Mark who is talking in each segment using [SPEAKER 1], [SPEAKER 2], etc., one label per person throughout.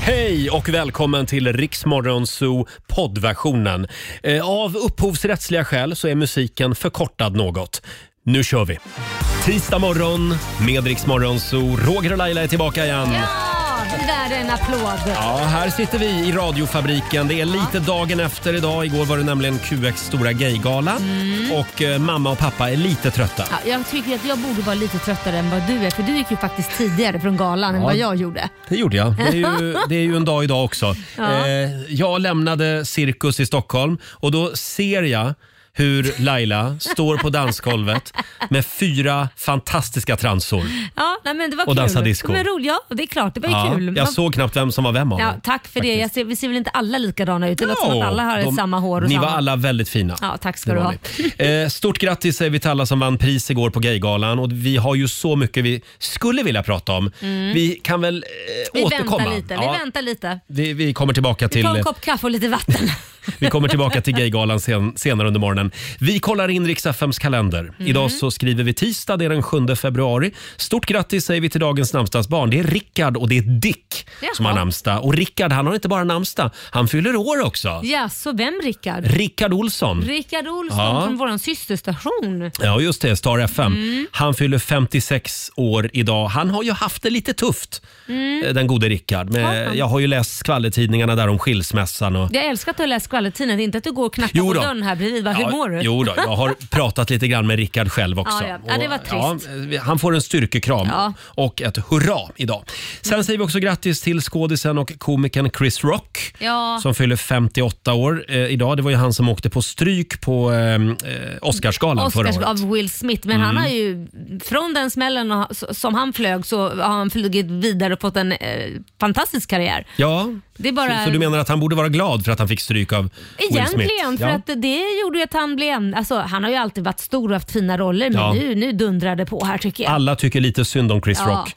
[SPEAKER 1] Hej och välkommen till Riksmorgon Zoo poddversionen. Eh, Av upphovsrättsliga skäl så är musiken förkortad något. Nu kör vi! Tisdag morgon med Riksmorgon Zoo. Roger och Laila är tillbaka igen.
[SPEAKER 2] Ja, det där är en applåd.
[SPEAKER 1] Ja, här sitter vi i radiofabriken. Det är lite dagen efter idag. Igår var det nämligen QX stora gaygala och eh, mamma och pappa är lite trötta.
[SPEAKER 2] Mm. Ja, jag tycker att jag borde vara lite tröttare än vad du är för du gick ju faktiskt tidigare från galan än
[SPEAKER 1] Ja.
[SPEAKER 2] vad jag gjorde.
[SPEAKER 1] Det gjorde jag. Det är ju, det är ju en dag idag också.
[SPEAKER 2] Ja.
[SPEAKER 1] Eh, jag lämnade Cirkus i Stockholm och då ser jag hur Laila står på dansgolvet med fyra fantastiska transor.
[SPEAKER 2] Ja, nej, men det var
[SPEAKER 1] Och
[SPEAKER 2] kul.
[SPEAKER 1] dansa disco.
[SPEAKER 2] Men roligt, ja det är klart, det var ju
[SPEAKER 1] Ja,
[SPEAKER 2] kul.
[SPEAKER 1] jag
[SPEAKER 2] Man-
[SPEAKER 1] såg knappt vem som var vem av
[SPEAKER 2] ja,
[SPEAKER 1] dem.
[SPEAKER 2] tack för det. Jag ser, vi ser väl inte alla likadana ut? Det låter som
[SPEAKER 1] Ja,
[SPEAKER 2] att alla har
[SPEAKER 1] de-
[SPEAKER 2] samma hår och
[SPEAKER 1] Ni
[SPEAKER 2] samma...
[SPEAKER 1] var alla väldigt fina.
[SPEAKER 2] Ja, tack ska
[SPEAKER 1] Det
[SPEAKER 2] du
[SPEAKER 1] var
[SPEAKER 2] ha.
[SPEAKER 1] ni. Eh, Stort grattis säger vi till alla som vann pris igår på Gaygalan och vi har ju så mycket vi skulle vilja prata om. Vi kan väl eh,
[SPEAKER 2] Mm. Vi
[SPEAKER 1] återkomma.
[SPEAKER 2] väntar lite. Vi
[SPEAKER 1] Ja,
[SPEAKER 2] väntar lite.
[SPEAKER 1] vi, vi kommer tillbaka
[SPEAKER 2] Vi
[SPEAKER 1] till...
[SPEAKER 2] tar en kopp kaffe och lite vatten.
[SPEAKER 1] Vi kommer tillbaka till Gaygalan sen, senare under morgonen. Vi kollar in Riks-FMs kalender.
[SPEAKER 2] Mm.
[SPEAKER 1] Idag så skriver vi tisdag, det är den 7 februari. Stort grattis säger vi till dagens namnsdagsbarn. Det är Rickard och det är Dick
[SPEAKER 2] Jaha.
[SPEAKER 1] som har namnsdag. Och Rickard han har inte bara namnsdag, han fyller år också.
[SPEAKER 2] ja, så vem Rickard?
[SPEAKER 1] Rickard Olsson.
[SPEAKER 2] Rickard Olsson
[SPEAKER 1] Ja.
[SPEAKER 2] från vår systerstation.
[SPEAKER 1] Ja, just det. Star FM.
[SPEAKER 2] Mm.
[SPEAKER 1] Han fyller 56 år idag. Han har ju haft det lite tufft, eh, den gode Rickard.
[SPEAKER 2] Mm. Har
[SPEAKER 1] Men
[SPEAKER 2] han?
[SPEAKER 1] jag har ju läst skvallertidningarna där om skilsmässan. Och...
[SPEAKER 2] Jag älskar att du har läst skvallertidningen. Inte att du går och knackar
[SPEAKER 1] Jo
[SPEAKER 2] på
[SPEAKER 1] då.
[SPEAKER 2] dörren här bredvid. Bara, Hur mår du?
[SPEAKER 1] Jo då, jag har pratat lite grann med Rickard själv också.
[SPEAKER 2] Ja, ja. Ja, det var trist.
[SPEAKER 1] Och, ja, han får en styrkekram
[SPEAKER 2] Ja. Mm.
[SPEAKER 1] och ett hurra idag. Sen säger vi också grattis till skådisen och komikern Chris Rock
[SPEAKER 2] Ja.
[SPEAKER 1] som fyller 58 år eh, idag. Det var ju han som åkte på stryk på eh, eh, Oscarsgalan förra
[SPEAKER 2] Oscars
[SPEAKER 1] året. Mm.
[SPEAKER 2] av Will Smith. Men han har ju, från den smällen och, som han flög så har han flugit vidare och fått en eh, fantastisk karriär.
[SPEAKER 1] Ja,
[SPEAKER 2] Det är bara
[SPEAKER 1] så du menar att han borde vara glad för att han fick stryk av Will Smith?
[SPEAKER 2] egentligen för
[SPEAKER 1] ja.
[SPEAKER 2] att det gjorde ju att han blev en, alltså, han har ju alltid varit stor och haft fina roller men
[SPEAKER 1] Ja.
[SPEAKER 2] nu, nu dundrar det på här tycker jag.
[SPEAKER 1] Alla tycker lite synd om Chris
[SPEAKER 2] Ja.
[SPEAKER 1] Rock.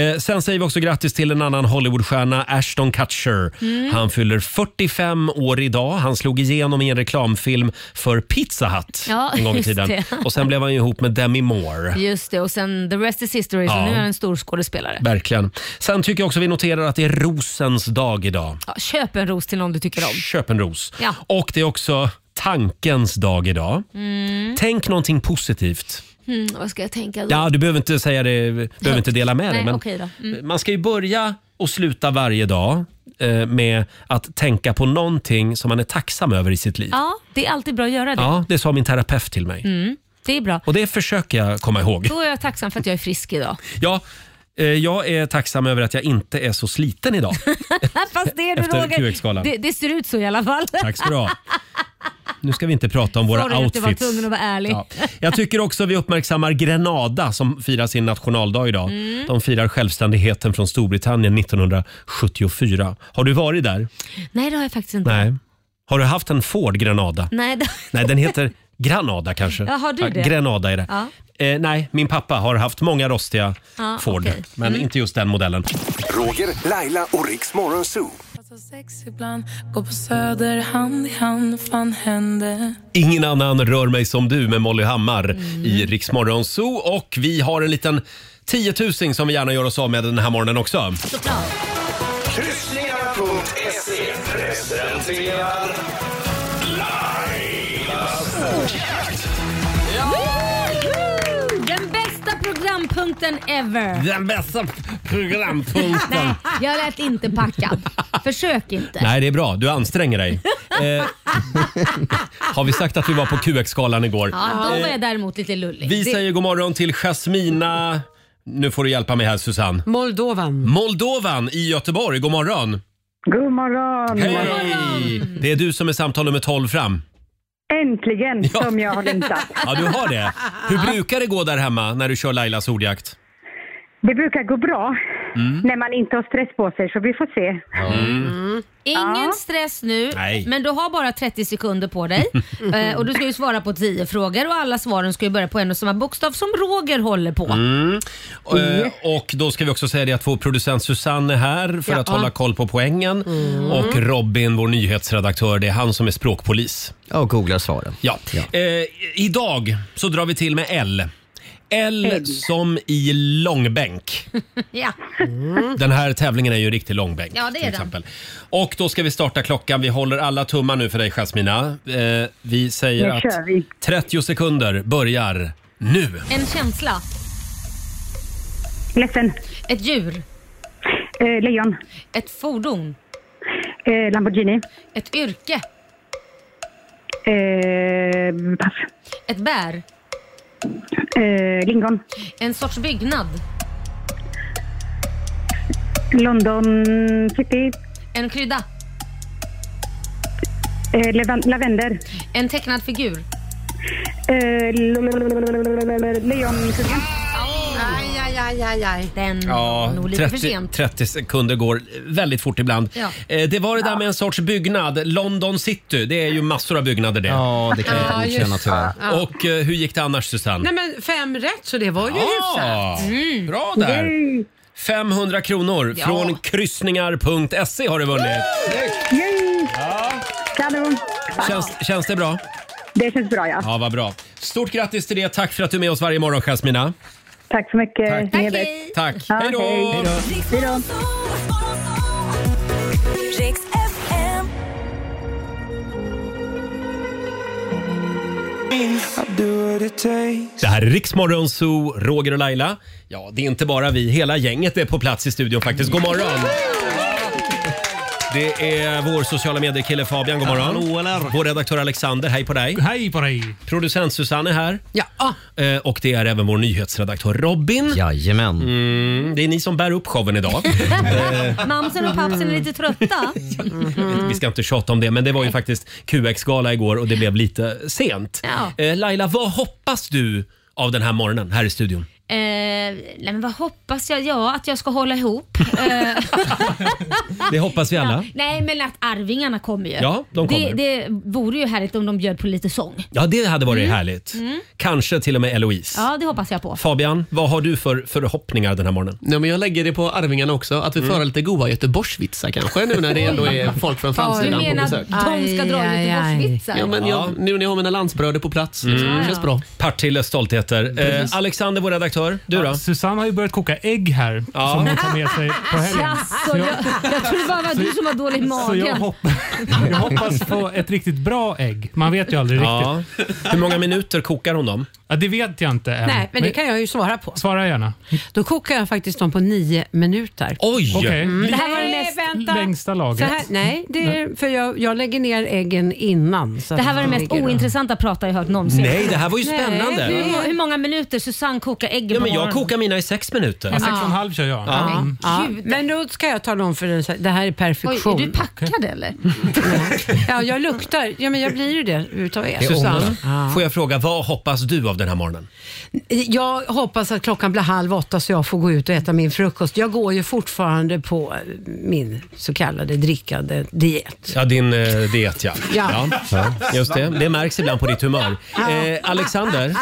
[SPEAKER 1] Eh, sen säger vi också grattis till en annan Hollywoodstjärna, Ashton Kutcher.
[SPEAKER 2] Mm.
[SPEAKER 1] Han fyller 45 år idag. Han slog igenom i en reklamfilm för Pizza Hut
[SPEAKER 2] Ja,
[SPEAKER 1] en gång i
[SPEAKER 2] just
[SPEAKER 1] tiden.
[SPEAKER 2] det.
[SPEAKER 1] Och sen blev han ju ihop med Demi Moore.
[SPEAKER 2] Just det och sen the rest is history så
[SPEAKER 1] Ja.
[SPEAKER 2] nu är han en stor skådespelare.
[SPEAKER 1] Verkligen. Sen tycker jag också vi noterar att det är rosens dag idag.
[SPEAKER 2] Ja, köp en ros till någon du tycker om.
[SPEAKER 1] Köp en ros.
[SPEAKER 2] Ja.
[SPEAKER 1] Och det är också tankens dag idag. Tänk någonting positivt.
[SPEAKER 2] Mm, vad ska jag tänka då?
[SPEAKER 1] Ja, du behöver inte säga det, behöver inte dela med dig.
[SPEAKER 2] Nej,
[SPEAKER 1] Men
[SPEAKER 2] okej då. Mm.
[SPEAKER 1] Man ska ju börja och sluta varje dag eh, med att tänka på någonting som man är tacksam över i sitt liv. Ja,
[SPEAKER 2] Ja, det är Mm. alltid bra att göra det.
[SPEAKER 1] det sa min terapeut till mig.
[SPEAKER 2] Det är bra.
[SPEAKER 1] Och det försöker jag komma ihåg.
[SPEAKER 2] Då är jag tacksam för att jag är frisk idag.
[SPEAKER 1] Ja, eh, jag är tacksam över att jag inte är så sliten idag.
[SPEAKER 2] Fast det är du
[SPEAKER 1] Efter
[SPEAKER 2] Roger.
[SPEAKER 1] QX-galan.
[SPEAKER 2] Det, det ser ut så i alla fall.
[SPEAKER 1] Tack ska du ha. Nu ska vi inte prata om våra
[SPEAKER 2] Sorry att jag
[SPEAKER 1] outfits.
[SPEAKER 2] var tvungen att vara ärlig.
[SPEAKER 1] Ja. Jag tycker också vi uppmärksammar Grenada som firar sin nationaldag idag.
[SPEAKER 2] Mm.
[SPEAKER 1] De firar självständigheten från Storbritannien 1974. Har du varit där?
[SPEAKER 2] Nej, det har jag faktiskt inte.
[SPEAKER 1] Nej. Har du haft en Ford Grenada?
[SPEAKER 2] Nej, det...
[SPEAKER 1] Nej, den heter Granada kanske.
[SPEAKER 2] Ja, har du det?
[SPEAKER 1] Grenada är det.
[SPEAKER 2] Ja.
[SPEAKER 1] Eh, nej, min pappa har haft många rostiga
[SPEAKER 2] Ja,
[SPEAKER 1] Ford,
[SPEAKER 2] okej. Mm.
[SPEAKER 1] men inte just den modellen.
[SPEAKER 3] Roger, Laila och Riks Morgonzoo.
[SPEAKER 4] Så sex ibland, gå på söder hand i hand, fan hände?
[SPEAKER 1] Ingen annan rör mig som du med Molly Hammar
[SPEAKER 2] Mm.
[SPEAKER 1] i Rix Morgon Zoo. Och vi har en liten tiotusing som vi gärna gör oss av med den här morgonen också.
[SPEAKER 5] Kryssningar.se presenterar
[SPEAKER 2] Den bästa programpunkten ever.
[SPEAKER 1] Den bästa programpunkten.
[SPEAKER 2] Jag lät inte packad. Försök inte.
[SPEAKER 1] Nej, det är bra. Du anstränger dig. Eh, har vi sagt att vi var på QX-galan igår? Eh,
[SPEAKER 2] Ja, då var jag däremot lite lullig.
[SPEAKER 1] Vi
[SPEAKER 2] Det-
[SPEAKER 1] säger god morgon till Jasmina... Nu får du hjälpa mig här Susanne.
[SPEAKER 6] Moldovan.
[SPEAKER 1] Moldovan i Göteborg, god morgon.
[SPEAKER 7] God morgon!
[SPEAKER 1] Hej! Det är du som är samtal nummer 12 fram.
[SPEAKER 7] Äntligen som jag har längtat.
[SPEAKER 1] Ja, du har det. Hur brukar det gå där hemma när du kör Lailas ordjakt?
[SPEAKER 7] Det brukar gå bra
[SPEAKER 1] Mm.
[SPEAKER 7] när man inte har stress på sig, så vi får se.
[SPEAKER 8] Mm.
[SPEAKER 2] Ingen stress nu,
[SPEAKER 1] Nej.
[SPEAKER 2] men du har bara 30 sekunder på dig. Eh, och Du ska ju svara på 10 frågor och alla svaren ska ju börja på en och samma bokstav som Roger håller på. Mm.
[SPEAKER 1] Eh, Och då ska vi också säga det att vår producent Susanne är här för att hålla koll på poängen.
[SPEAKER 2] Mm.
[SPEAKER 1] Och Robin, vår nyhetsredaktör, det är han som är språkpolis.
[SPEAKER 9] Ja, googlar svaren.
[SPEAKER 1] Ja. Eh, idag så drar vi till med L. L
[SPEAKER 7] Ägg.
[SPEAKER 1] som i långbänk.
[SPEAKER 2] Ja.
[SPEAKER 1] Den här tävlingen är ju en riktig långbänk.
[SPEAKER 2] Ja, det
[SPEAKER 1] till
[SPEAKER 2] är den.
[SPEAKER 1] exempel. Och då ska vi starta klockan. Vi håller alla tummar nu för dig Jasmina. Eh, vi säger
[SPEAKER 7] Nu
[SPEAKER 1] att
[SPEAKER 7] kör vi.
[SPEAKER 1] 30 sekunder börjar nu.
[SPEAKER 2] En känsla.
[SPEAKER 7] Ledsen.
[SPEAKER 2] Ett djur.
[SPEAKER 7] Eh, lejon.
[SPEAKER 2] Ett fordon.
[SPEAKER 7] Eh, Lamborghini.
[SPEAKER 2] Ett yrke.
[SPEAKER 7] Eh, pass.
[SPEAKER 2] Ett bär.
[SPEAKER 7] Eh, lingon.
[SPEAKER 2] En sorts byggnad.
[SPEAKER 7] London city.
[SPEAKER 2] En krydda.
[SPEAKER 7] Eh, levan- lavender.
[SPEAKER 2] En tecknad figur.
[SPEAKER 7] Eh, l- l- l- l- l- l- Lejonkungen.
[SPEAKER 6] Aj, aj, aj, aj, aj.
[SPEAKER 2] Den
[SPEAKER 1] Ja,
[SPEAKER 2] var nog lite för
[SPEAKER 1] 30,
[SPEAKER 2] sent.
[SPEAKER 1] 30 sekunder går väldigt fort ibland.
[SPEAKER 2] Ja.
[SPEAKER 1] Eh, det var det där med en sorts byggnad. London city, det är ju massor av byggnader det.
[SPEAKER 9] Ja, det kan jag inte
[SPEAKER 6] Ja, just
[SPEAKER 9] godkänna tyvärr.
[SPEAKER 1] Och eh, hur gick det annars Susanne?
[SPEAKER 6] Nej men fem rätt så det var ju hyfsat. Mm.
[SPEAKER 1] Ja, bra där! 500 kronor
[SPEAKER 2] Ja.
[SPEAKER 1] från kryssningar.se E har du vunnit.
[SPEAKER 7] Yay! Kanon.
[SPEAKER 1] Känns, känns det bra?
[SPEAKER 7] Det känns bra, ja.
[SPEAKER 1] Ja, vad bra. Stort grattis till det. Tack för att du är med oss varje morgon, Jasmina.
[SPEAKER 7] Tack så mycket.
[SPEAKER 1] Tack.
[SPEAKER 7] Ni är
[SPEAKER 2] Tack,
[SPEAKER 7] bäst.
[SPEAKER 2] hej.
[SPEAKER 1] Tack.
[SPEAKER 7] Ja,
[SPEAKER 1] Hej
[SPEAKER 7] hej.
[SPEAKER 1] då!
[SPEAKER 7] Hej då. Hej då.
[SPEAKER 10] Riks FM.
[SPEAKER 1] Det här är Riksmorgon Zoo, Roger och Laila. Ja, det är inte bara vi. Hela gänget är på plats i studion faktiskt. God morgon! Det är vår sociala medier-kille Fabian. God morgon.
[SPEAKER 9] Hallå, eller?
[SPEAKER 1] Vår redaktör Alexander. Hej på dig.
[SPEAKER 9] Hej på dig!
[SPEAKER 1] Producent Susanne är här.
[SPEAKER 6] Ja, ah,
[SPEAKER 1] Eh, Och det är även vår nyhetsredaktör Robin.
[SPEAKER 9] Jajamän.
[SPEAKER 1] Mm, det är ni som bär upp showen idag. Eh,
[SPEAKER 2] Mamsen och pappsen är lite trötta.
[SPEAKER 1] Vi ska inte tjata om det, men det var ju faktiskt QX-gala igår och det blev lite sent.
[SPEAKER 2] Ja.
[SPEAKER 1] Eh, Laila, vad hoppas du av den här morgonen här i studion?
[SPEAKER 2] Eh, nej men vad hoppas jag? Ja, att jag ska hålla ihop.
[SPEAKER 1] Det hoppas vi alla.
[SPEAKER 2] Nej men att Arvingarna kommer ju.
[SPEAKER 1] Ja, de kommer.
[SPEAKER 2] Det, det vore ju härligt om de bjöd på lite sång.
[SPEAKER 1] Ja, det hade varit härligt. Kanske till och med Eloise.
[SPEAKER 2] Ja, det hoppas jag på.
[SPEAKER 1] Fabian, vad har du för förhoppningar den här morgonen? Mm.
[SPEAKER 11] Nej, men jag lägger det på Arvingarna också, att vi får höra lite goa Göteborgsvitsar kanske nu när det ändå är folk från
[SPEAKER 2] Du
[SPEAKER 11] framsidan på
[SPEAKER 2] menar
[SPEAKER 11] besök.
[SPEAKER 2] att de ska dra
[SPEAKER 6] Aj, aj, aj.
[SPEAKER 2] Göteborgsvitsar?
[SPEAKER 11] Ja, men jag, nu när jag har mina landsbröder på plats, liksom, det känns bra.
[SPEAKER 1] Partilles Mm. stoltheter. Eh, Alexander, vår redaktör. Du då?
[SPEAKER 9] Susanne har ju börjat koka ägg här som hon tar med sig på helgen.
[SPEAKER 2] Jaså, Alltså, jag, jag trodde bara det var du som var dålig i
[SPEAKER 9] Så
[SPEAKER 2] magen.
[SPEAKER 9] jag, hopp- jag hoppas på ett riktigt bra ägg. Man vet ju aldrig riktigt.
[SPEAKER 1] Ja. Hur många minuter kokar hon dem?
[SPEAKER 9] Ja, det vet jag inte än.
[SPEAKER 6] nej, men det kan jag ju svara på.
[SPEAKER 9] Svara gärna.
[SPEAKER 6] Då kokar jag faktiskt dem på nio minuter. Mm.
[SPEAKER 1] Oj!
[SPEAKER 9] Okej.
[SPEAKER 6] Det här var det
[SPEAKER 2] Nej,
[SPEAKER 6] mest vänta.
[SPEAKER 9] Längsta laget.
[SPEAKER 6] Så här, nej, det är, för jag, jag lägger ner äggen innan. Så
[SPEAKER 2] Det här
[SPEAKER 6] att
[SPEAKER 2] var det mest
[SPEAKER 6] ligger då.
[SPEAKER 2] ointressanta prat jag hört någonsin.
[SPEAKER 1] Nej, det här var ju
[SPEAKER 6] Nej,
[SPEAKER 1] spännande.
[SPEAKER 2] Hur, må- hur många minuter Susanne kokar äggen
[SPEAKER 1] Ja, men
[SPEAKER 2] på
[SPEAKER 1] jag
[SPEAKER 2] morgonen?
[SPEAKER 1] kokar mina i sex minuter.
[SPEAKER 9] Sex och en halv kör jag. Mm.
[SPEAKER 6] Ja,
[SPEAKER 1] Mm.
[SPEAKER 6] ja. Men då ska jag tala om för dig, så här, det här är
[SPEAKER 2] Oj, är
[SPEAKER 6] perfektion.
[SPEAKER 2] du packad eller?
[SPEAKER 6] ja, jag luktar. Ja, men jag blir ju det utav er.
[SPEAKER 1] Susanne,
[SPEAKER 6] Ja.
[SPEAKER 1] får jag fråga, vad hoppas du av den här morgonen?
[SPEAKER 6] Jag hoppas att klockan blir halv åtta så jag får gå ut och äta min frukost. Jag går ju fortfarande på eh, min så kallade drickande diet.
[SPEAKER 1] Ja, din eh, diet ja.
[SPEAKER 6] Ja.
[SPEAKER 1] Just det, det märks ibland på ditt humör. Eh, Alexander,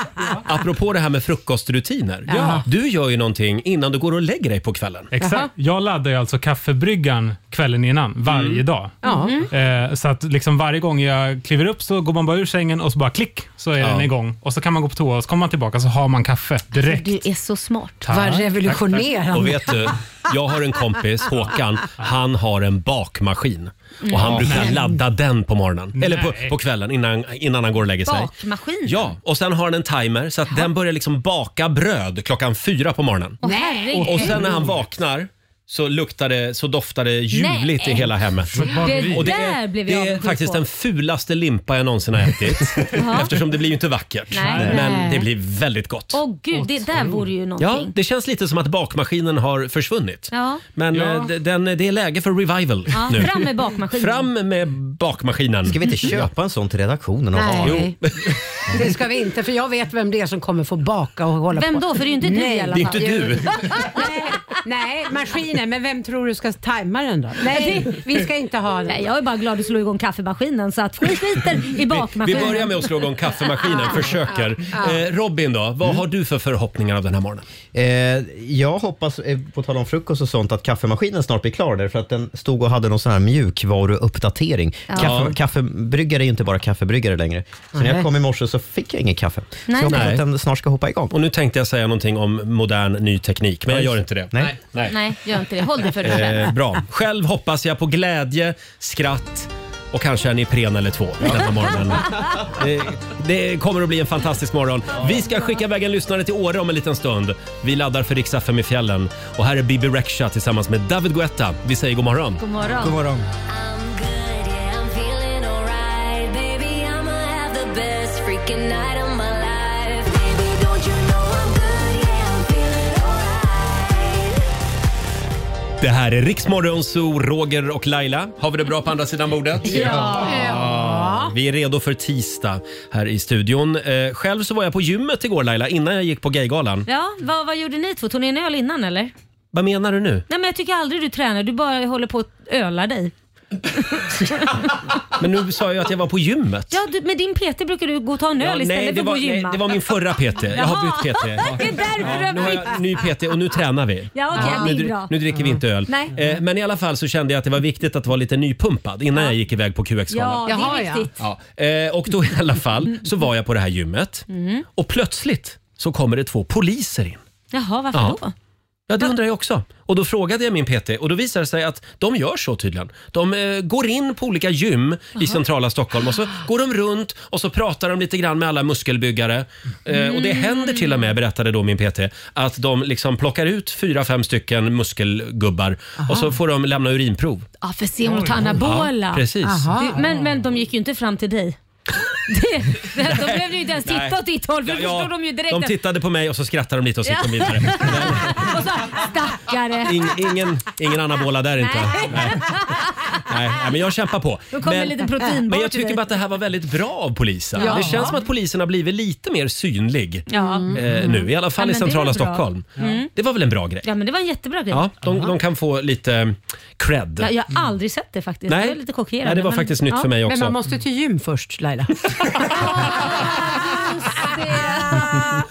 [SPEAKER 1] apropå det här med frukostrutiner.
[SPEAKER 6] Ja.
[SPEAKER 1] Du gör ju någonting innan du går och lägger dig på kvällen.
[SPEAKER 9] Exakt.
[SPEAKER 6] Jaha.
[SPEAKER 9] Jag laddar ju alltså kaffebryggan kvällen innan, varje
[SPEAKER 1] Mm.
[SPEAKER 9] dag.
[SPEAKER 6] Ja. Mm.
[SPEAKER 9] Eh, så att liksom varje gång jag kliver upp så går man bara ur sängen och så bara klick så är
[SPEAKER 1] Ja.
[SPEAKER 9] den igång. Och så kan man gå på toa och så kommer man tillbaka så har man kaffe direkt.
[SPEAKER 2] Du är så smart.
[SPEAKER 6] Vad
[SPEAKER 1] Och
[SPEAKER 6] revolutionerande.
[SPEAKER 1] vet du, jag har en kompis, Håkan, han har en bakmaskin. Och han brukar ladda den på morgonen, eller på,
[SPEAKER 9] Nej.
[SPEAKER 1] på kvällen innan, innan han går och lägger sig.
[SPEAKER 2] Bakmaskin?
[SPEAKER 1] Ja, och sen har han en timer så att den börjar liksom baka bröd klockan fyra på morgonen.
[SPEAKER 2] Åh, herregud.
[SPEAKER 1] Och sen när han vaknar så, luktar det, så doftar det ljuvligt i
[SPEAKER 2] Nej.
[SPEAKER 1] hela hemmet.
[SPEAKER 9] Bageri.
[SPEAKER 1] Och det
[SPEAKER 2] Där
[SPEAKER 1] är,
[SPEAKER 2] blev
[SPEAKER 1] det
[SPEAKER 2] jag
[SPEAKER 1] är
[SPEAKER 2] avundsjuk
[SPEAKER 1] faktiskt
[SPEAKER 2] på.
[SPEAKER 1] den fulaste limpa jag någonsin har ätit. Eftersom det blir ju inte vackert.
[SPEAKER 2] Nej.
[SPEAKER 1] Men det blir väldigt gott.
[SPEAKER 2] Åh gud, det där vore ju
[SPEAKER 1] Ja,
[SPEAKER 2] någonting.
[SPEAKER 1] det känns lite som att bakmaskinen har försvunnit.
[SPEAKER 2] Ja.
[SPEAKER 1] Men
[SPEAKER 9] Ja.
[SPEAKER 1] eh, d- Den, det är läge för revival
[SPEAKER 2] Ja,
[SPEAKER 1] nu.
[SPEAKER 2] fram med bakmaskinen.
[SPEAKER 1] Fram med bakmaskinen.
[SPEAKER 12] Ska vi inte köpa en sån till redaktionen och ha?
[SPEAKER 6] Nej, det ska vi inte. För jag vet vem det är som kommer få baka och hålla
[SPEAKER 2] Vem
[SPEAKER 6] på.
[SPEAKER 2] då? För det är ju inte du i alla
[SPEAKER 1] Det är
[SPEAKER 2] fall.
[SPEAKER 1] inte du.
[SPEAKER 6] Nej, maskinen. Men vem tror du ska tajma den då? Nej, vi ska inte ha den.
[SPEAKER 2] Nej, jag är bara glad du slog igång kaffemaskinen så att vi skiter i
[SPEAKER 1] Vi
[SPEAKER 2] bakmaskinen.
[SPEAKER 1] börjar med att slå igång kaffemaskinen, försöker.
[SPEAKER 2] Ja.
[SPEAKER 1] Eh, Robin då, vad har du för förhoppningar av den här morgonen?
[SPEAKER 12] Eh, jag hoppas, eh, på tal om frukost och sånt, att kaffemaskinen snart blir klar där, för att den stod och hade någon sån här mjukvaruuppdatering.
[SPEAKER 2] Ja.
[SPEAKER 12] Kaffe, kaffebryggare är ju inte bara kaffebryggare längre. Så när
[SPEAKER 1] Nej.
[SPEAKER 12] jag kom i morse så fick jag ingen kaffe.
[SPEAKER 2] Nej.
[SPEAKER 12] Så jag hoppas
[SPEAKER 1] Nej.
[SPEAKER 12] att den snart ska hoppa igång.
[SPEAKER 1] Och nu tänkte jag säga någonting om modern ny teknik, men jag gör inte det.
[SPEAKER 12] Nej.
[SPEAKER 2] Nej, gör inte det. Håll dig för dig själv.
[SPEAKER 1] Eh, bra. Själv hoppas jag på glädje, skratt och kanske en Ipren eller två den här morgonen. Det, det kommer att bli en fantastisk morgon. Vi ska skicka iväg en lyssnare till Åre om en liten stund. Vi laddar för riks FM i fjällen. Och här är Bibi Rexha tillsammans med David Guetta. Vi säger god morgon.
[SPEAKER 2] God morgon.
[SPEAKER 12] God morgon.
[SPEAKER 1] Det här är Riksmorgon Zoo, Roger och Laila. Har vi det bra på andra sidan bordet? Ah,
[SPEAKER 2] Ja.
[SPEAKER 1] Vi är redo för tisdag här i studion. Eh, själv så var jag på gymmet igår Laila, innan jag gick på gaygalan.
[SPEAKER 2] Ja, vad, vad gjorde ni två? Tog ni en öl innan eller?
[SPEAKER 1] Vad menar du nu?
[SPEAKER 2] Nej men jag tycker aldrig du tränar, du bara håller på att öla dig.
[SPEAKER 1] Men nu sa jag ju att jag var på gymmet.
[SPEAKER 2] Ja, du, med din PT brukar du gå och ta en öl
[SPEAKER 1] Ja,
[SPEAKER 2] istället
[SPEAKER 1] nej,
[SPEAKER 2] för
[SPEAKER 1] det
[SPEAKER 2] att
[SPEAKER 1] var,
[SPEAKER 2] gå och
[SPEAKER 1] nej,
[SPEAKER 2] gymma.
[SPEAKER 1] det var min förra PT. Jag har bytt PT. Ja.
[SPEAKER 2] Det är därför
[SPEAKER 1] Ja,
[SPEAKER 2] du
[SPEAKER 1] nu
[SPEAKER 2] har
[SPEAKER 1] har
[SPEAKER 2] bytt.
[SPEAKER 1] jag ny PT och nu tränar vi.
[SPEAKER 2] Ja, okej,
[SPEAKER 1] nu,
[SPEAKER 2] det är
[SPEAKER 1] dri-
[SPEAKER 2] bra.
[SPEAKER 1] nu dricker vi inte öl.
[SPEAKER 2] Nej.
[SPEAKER 1] Eh, men i alla fall så kände jag att det var viktigt att vara lite nypumpad innan jag gick iväg på
[SPEAKER 2] Ja,
[SPEAKER 1] QX-galan.
[SPEAKER 2] det
[SPEAKER 6] Jaha,
[SPEAKER 2] är
[SPEAKER 6] ja.
[SPEAKER 2] viktigt.
[SPEAKER 1] Ja. Eh, och då i alla fall så var jag på det här gymmet
[SPEAKER 2] Mm.
[SPEAKER 1] och plötsligt så kommer det två poliser in.
[SPEAKER 2] Jaha, varför
[SPEAKER 1] Ja.
[SPEAKER 2] då?
[SPEAKER 1] Ja, det undrar jag också. Och då frågade jag min PT och då visade det sig att de gör så tydligen. De eh, går in på olika gym i centrala Stockholm och så går de runt och så pratar de lite grann med alla muskelbyggare. Eh, och det händer till och
[SPEAKER 2] Mm.
[SPEAKER 1] med, berättade då min PT, att de liksom plockar ut fyra, fem stycken muskelgubbar och så får de lämna urinprov.
[SPEAKER 2] Ja, för se om de tar anabola.
[SPEAKER 1] Precis.
[SPEAKER 2] Du, men, men de gick ju inte fram till dig. Det, det, de behövde ju inte ens titta
[SPEAKER 1] Nej.
[SPEAKER 2] åt ditt håll för
[SPEAKER 1] Ja,
[SPEAKER 2] då
[SPEAKER 1] ja,
[SPEAKER 2] förstod de ju direkt.
[SPEAKER 1] de
[SPEAKER 2] att-
[SPEAKER 1] tittade på mig och så skrattade de lite och så gick de vidare.
[SPEAKER 2] och så, stackare.
[SPEAKER 1] Ing, ingen, ingen anabola där inte. Nej. Nej. Nej, men jag kämpar på.
[SPEAKER 2] Då kommer
[SPEAKER 1] Men-
[SPEAKER 2] lite proteinbar
[SPEAKER 1] Men jag
[SPEAKER 2] till
[SPEAKER 1] tycker
[SPEAKER 2] dig.
[SPEAKER 1] bara att det här var väldigt bra av polisen.
[SPEAKER 2] Ja.
[SPEAKER 1] Det känns som att polisen har blivit lite mer synlig
[SPEAKER 2] Ja. Mm.
[SPEAKER 1] eh, nu. I alla fall
[SPEAKER 2] Ja,
[SPEAKER 1] i
[SPEAKER 2] men det är
[SPEAKER 1] centrala
[SPEAKER 2] bra. Mm.
[SPEAKER 1] Stockholm. Det var väl en bra grej?
[SPEAKER 2] ja, men det var en jättebra grej.
[SPEAKER 1] Ja, de, de kan få lite cred.
[SPEAKER 2] Ja, jag har aldrig sett det faktiskt.
[SPEAKER 1] Nej.
[SPEAKER 2] Jag är lite chockerad.
[SPEAKER 1] Nej, det var
[SPEAKER 2] men-
[SPEAKER 1] faktiskt nytt
[SPEAKER 2] ja.
[SPEAKER 1] för mig
[SPEAKER 6] Men man
[SPEAKER 1] också.
[SPEAKER 6] måste till gym först Laila.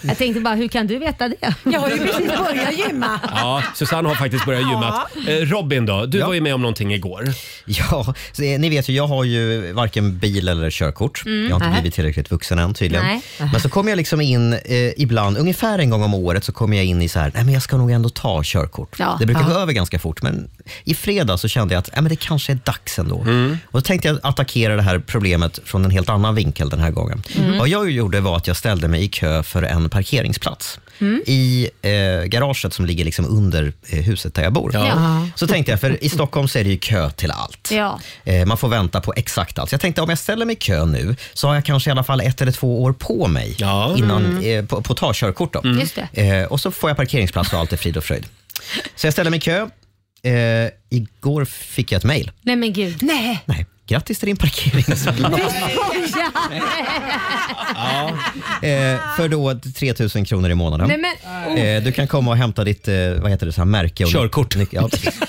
[SPEAKER 2] Jag tänkte bara, hur kan du veta det?
[SPEAKER 6] Jag har ju precis börjat gymma.
[SPEAKER 1] Ja, Susanne har faktiskt börjat gymma. Eh, Robin då, du
[SPEAKER 12] Ja.
[SPEAKER 1] var ju med om någonting igår.
[SPEAKER 12] Ja, så, eh, ni vet ju, jag har ju varken bil eller körkort. Jag har inte
[SPEAKER 2] Nej.
[SPEAKER 12] blivit tillräckligt vuxen än tydligen.
[SPEAKER 2] Mm. Nej.
[SPEAKER 12] Men så kommer jag liksom in eh, ibland, ungefär en gång om året, så kommer jag in i så här, nej men jag ska nog ändå ta körkort.
[SPEAKER 2] Ja.
[SPEAKER 12] Det brukar gå över ganska fort, men i fredag så kände jag att nej, men det kanske är dags ändå.
[SPEAKER 1] Mm.
[SPEAKER 12] Och då tänkte jag attackera det här problemet från en helt annan vinkel den här gången.
[SPEAKER 2] Mm.
[SPEAKER 12] Vad jag ju gjorde var att jag ställde mig i kö för en parkeringsplats
[SPEAKER 6] Mm.
[SPEAKER 12] i eh, garaget som ligger liksom under eh, huset där jag bor.
[SPEAKER 2] Ja.
[SPEAKER 12] Så tänkte jag, för i Stockholm så är det ju kö till allt.
[SPEAKER 2] Ja.
[SPEAKER 12] Eh, Man får vänta på exakt allt. Så jag tänkte om jag ställer mig i kö nu så har jag kanske i alla fall ett eller två år på mig
[SPEAKER 1] Ja.
[SPEAKER 12] innan, eh, på, på att ta körkort. Då.
[SPEAKER 2] Mm. Just det.
[SPEAKER 12] Eh, och så får jag parkeringsplats och allt är frid och fröjd. Så jag ställer mig i kö. Eh, igår fick jag ett mejl.
[SPEAKER 2] Nej men gud.
[SPEAKER 6] Nej.
[SPEAKER 12] Nej, grattis till din parkeringsplats. eh, för då 3 000 kronor i månaden.
[SPEAKER 2] Nej men, oh.
[SPEAKER 12] Eh, du kan komma och hämta ditt eh, vad heter det, så här, märke. Och
[SPEAKER 1] Körkort.
[SPEAKER 12] Nyc- ja, precis.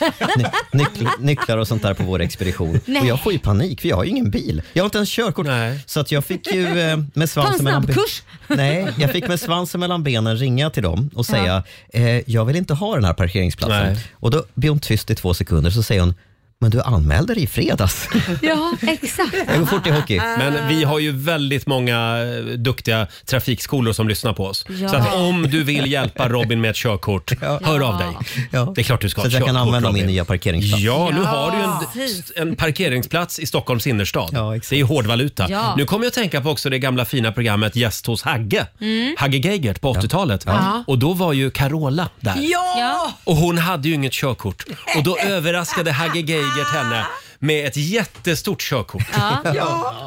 [SPEAKER 12] Ny- nyc- nycklar och sånt där på vår expedition.
[SPEAKER 2] Nej.
[SPEAKER 12] Och jag får ju panik för jag har ju ingen bil. Jag har inte ens körkort.
[SPEAKER 1] Nej.
[SPEAKER 12] Så att jag fick ju eh, med
[SPEAKER 2] Ta en
[SPEAKER 12] svansen mellan
[SPEAKER 2] snabbkurs.
[SPEAKER 12] Nej, jag fick med svansen mellan benen ringa till dem och säga eh, jag vill inte ha den här parkeringsplatsen.
[SPEAKER 1] Nej.
[SPEAKER 12] Och då blir hon tyst i två sekunder så säger hon men du anmälde dig i fredags.
[SPEAKER 2] ja exakt.
[SPEAKER 12] Jag går fort i hockey.
[SPEAKER 1] Men vi har ju väldigt många eh, duktiga trafikskolor som lyssnar på oss.
[SPEAKER 2] Ja.
[SPEAKER 1] Så att om du vill hjälpa Robin med ett körkort, hör av dig.
[SPEAKER 12] Ja.
[SPEAKER 1] Det är klart du
[SPEAKER 12] Så
[SPEAKER 1] ska ha ett
[SPEAKER 12] att jag kan
[SPEAKER 1] körkort,
[SPEAKER 12] använda min
[SPEAKER 1] Robin.
[SPEAKER 12] nya parkeringsplats.
[SPEAKER 1] Ja, nu har du ju
[SPEAKER 2] Precis.
[SPEAKER 1] en, en parkeringsplats i Stockholms innerstad.
[SPEAKER 12] Ja, exakt.
[SPEAKER 1] det är ju hårdvaluta.
[SPEAKER 2] Ja.
[SPEAKER 1] Nu kommer jag att tänka på också det gamla fina programmet Gäst hos Hagge.
[SPEAKER 2] Mm.
[SPEAKER 1] Hagge Geigert på 80-talet. Och då var ju Carola där.
[SPEAKER 2] Ja.
[SPEAKER 1] Och hon hade ju inget körkort. Och då överraskade Hagge Geigert henne med ett jättestort körkort.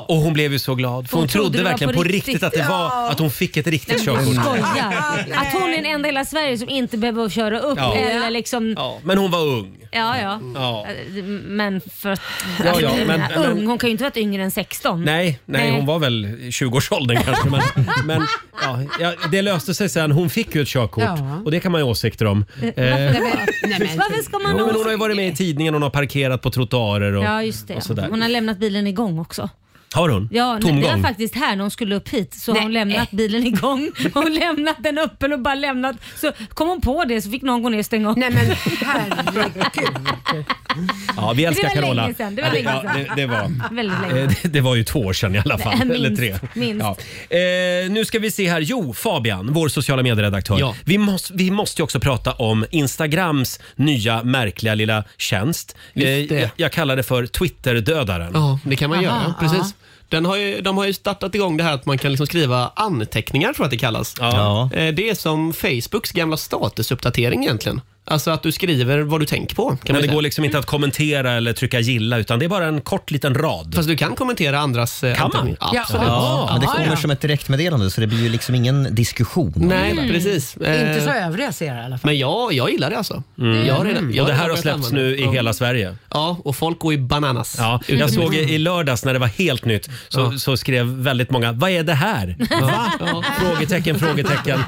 [SPEAKER 1] Och hon blev ju så glad. För hon,
[SPEAKER 2] Hon
[SPEAKER 1] trodde,
[SPEAKER 2] trodde det var
[SPEAKER 1] verkligen på
[SPEAKER 2] på
[SPEAKER 1] riktigt,
[SPEAKER 2] riktigt.
[SPEAKER 1] att det var att hon fick ett riktigt
[SPEAKER 2] Du
[SPEAKER 1] körkort.
[SPEAKER 2] skojar. Att hon är en enda i hela Sverige som inte behöver köra upp
[SPEAKER 1] Ja.
[SPEAKER 2] eller liksom...
[SPEAKER 1] Ja, men hon var ung.
[SPEAKER 2] Ja, ja.
[SPEAKER 1] Ja.
[SPEAKER 2] Men för att...
[SPEAKER 1] Ja, ja, men-
[SPEAKER 2] men, ung,
[SPEAKER 1] men-
[SPEAKER 2] hon kan ju inte ha varit yngre än 16.
[SPEAKER 1] Nej, nej, hon var väl i 20-årsåldern kanske. Men, men ja, ja, det löste sig sen. Hon fick ju ett körkort
[SPEAKER 2] Ja.
[SPEAKER 1] och det kan man ju ha åsikter om. Eh,
[SPEAKER 2] Varför ska man
[SPEAKER 1] jo, men hon har
[SPEAKER 2] ha...
[SPEAKER 1] ju varit med i tidningen, hon har parkerat på trottoarer och,
[SPEAKER 2] Ja, just det.
[SPEAKER 1] och sådär.
[SPEAKER 2] Hon har lämnat bilen igång också.
[SPEAKER 1] Har hon?
[SPEAKER 2] Ja, nej,
[SPEAKER 1] Tomgång?
[SPEAKER 2] det var faktiskt här när hon skulle upp hit så har hon lämnat bilen igång. Hon lämnat den öppen och bara lämnat. Så kom hon på det så fick någon gå ner och stänga av.
[SPEAKER 6] Nej men herregud.
[SPEAKER 1] Ja, vi
[SPEAKER 2] Det
[SPEAKER 1] älskar
[SPEAKER 2] var länge
[SPEAKER 1] Carola.
[SPEAKER 2] sedan, det var
[SPEAKER 1] Ja,
[SPEAKER 2] länge
[SPEAKER 1] ja,
[SPEAKER 2] sedan.
[SPEAKER 1] det, det, var,
[SPEAKER 2] Väldigt länge.
[SPEAKER 1] eh, det, det var ju två år sedan i alla fall.
[SPEAKER 2] Minst,
[SPEAKER 1] eller tre.
[SPEAKER 2] minst.
[SPEAKER 1] Ja. Eh, nu ska vi se här. Jo, Fabian, vår sociala medieredaktör.
[SPEAKER 11] Ja.
[SPEAKER 1] Vi, måste, vi måste ju också prata om Instagrams nya märkliga lilla tjänst. Eh,
[SPEAKER 11] Just det.
[SPEAKER 1] jag, jag kallar det för Twitterdödaren.
[SPEAKER 11] Ja, det kan man
[SPEAKER 1] Aha,
[SPEAKER 11] göra. Precis. Den har ju, de har ju startat igång det här att man kan liksom skriva anteckningar, tror jag att det kallas. Eh, Det är som Facebooks gamla statusuppdatering egentligen. Alltså att du skriver vad du tänker på. Kan
[SPEAKER 1] Men
[SPEAKER 11] man
[SPEAKER 1] det
[SPEAKER 11] säga.
[SPEAKER 1] går liksom inte att kommentera eller trycka gilla utan det är bara en kort liten rad.
[SPEAKER 11] Fast du kan kommentera andras eh,
[SPEAKER 1] Kan man?
[SPEAKER 11] anteckningar. Absolut.
[SPEAKER 12] Ja, men det kommer som ett direktmeddelande så det blir ju liksom ingen diskussion. om
[SPEAKER 11] Nej,
[SPEAKER 12] det.
[SPEAKER 11] precis.
[SPEAKER 6] Mm. Inte så
[SPEAKER 11] Eh,
[SPEAKER 6] övriga ser i alla fall.
[SPEAKER 11] Men jag, jag gillar det alltså. Jag har redan, jag
[SPEAKER 1] Mm. Och det här har
[SPEAKER 11] redan börjat
[SPEAKER 1] släppts
[SPEAKER 11] använda
[SPEAKER 1] nu
[SPEAKER 11] det.
[SPEAKER 1] i
[SPEAKER 11] Ja.
[SPEAKER 1] hela Sverige.
[SPEAKER 11] Ja, och folk går i bananas.
[SPEAKER 1] Ja, jag såg i i lördags när det var helt nytt så, så skrev väldigt många “Vad är det här?” Va? Frågetecken, frågetecken.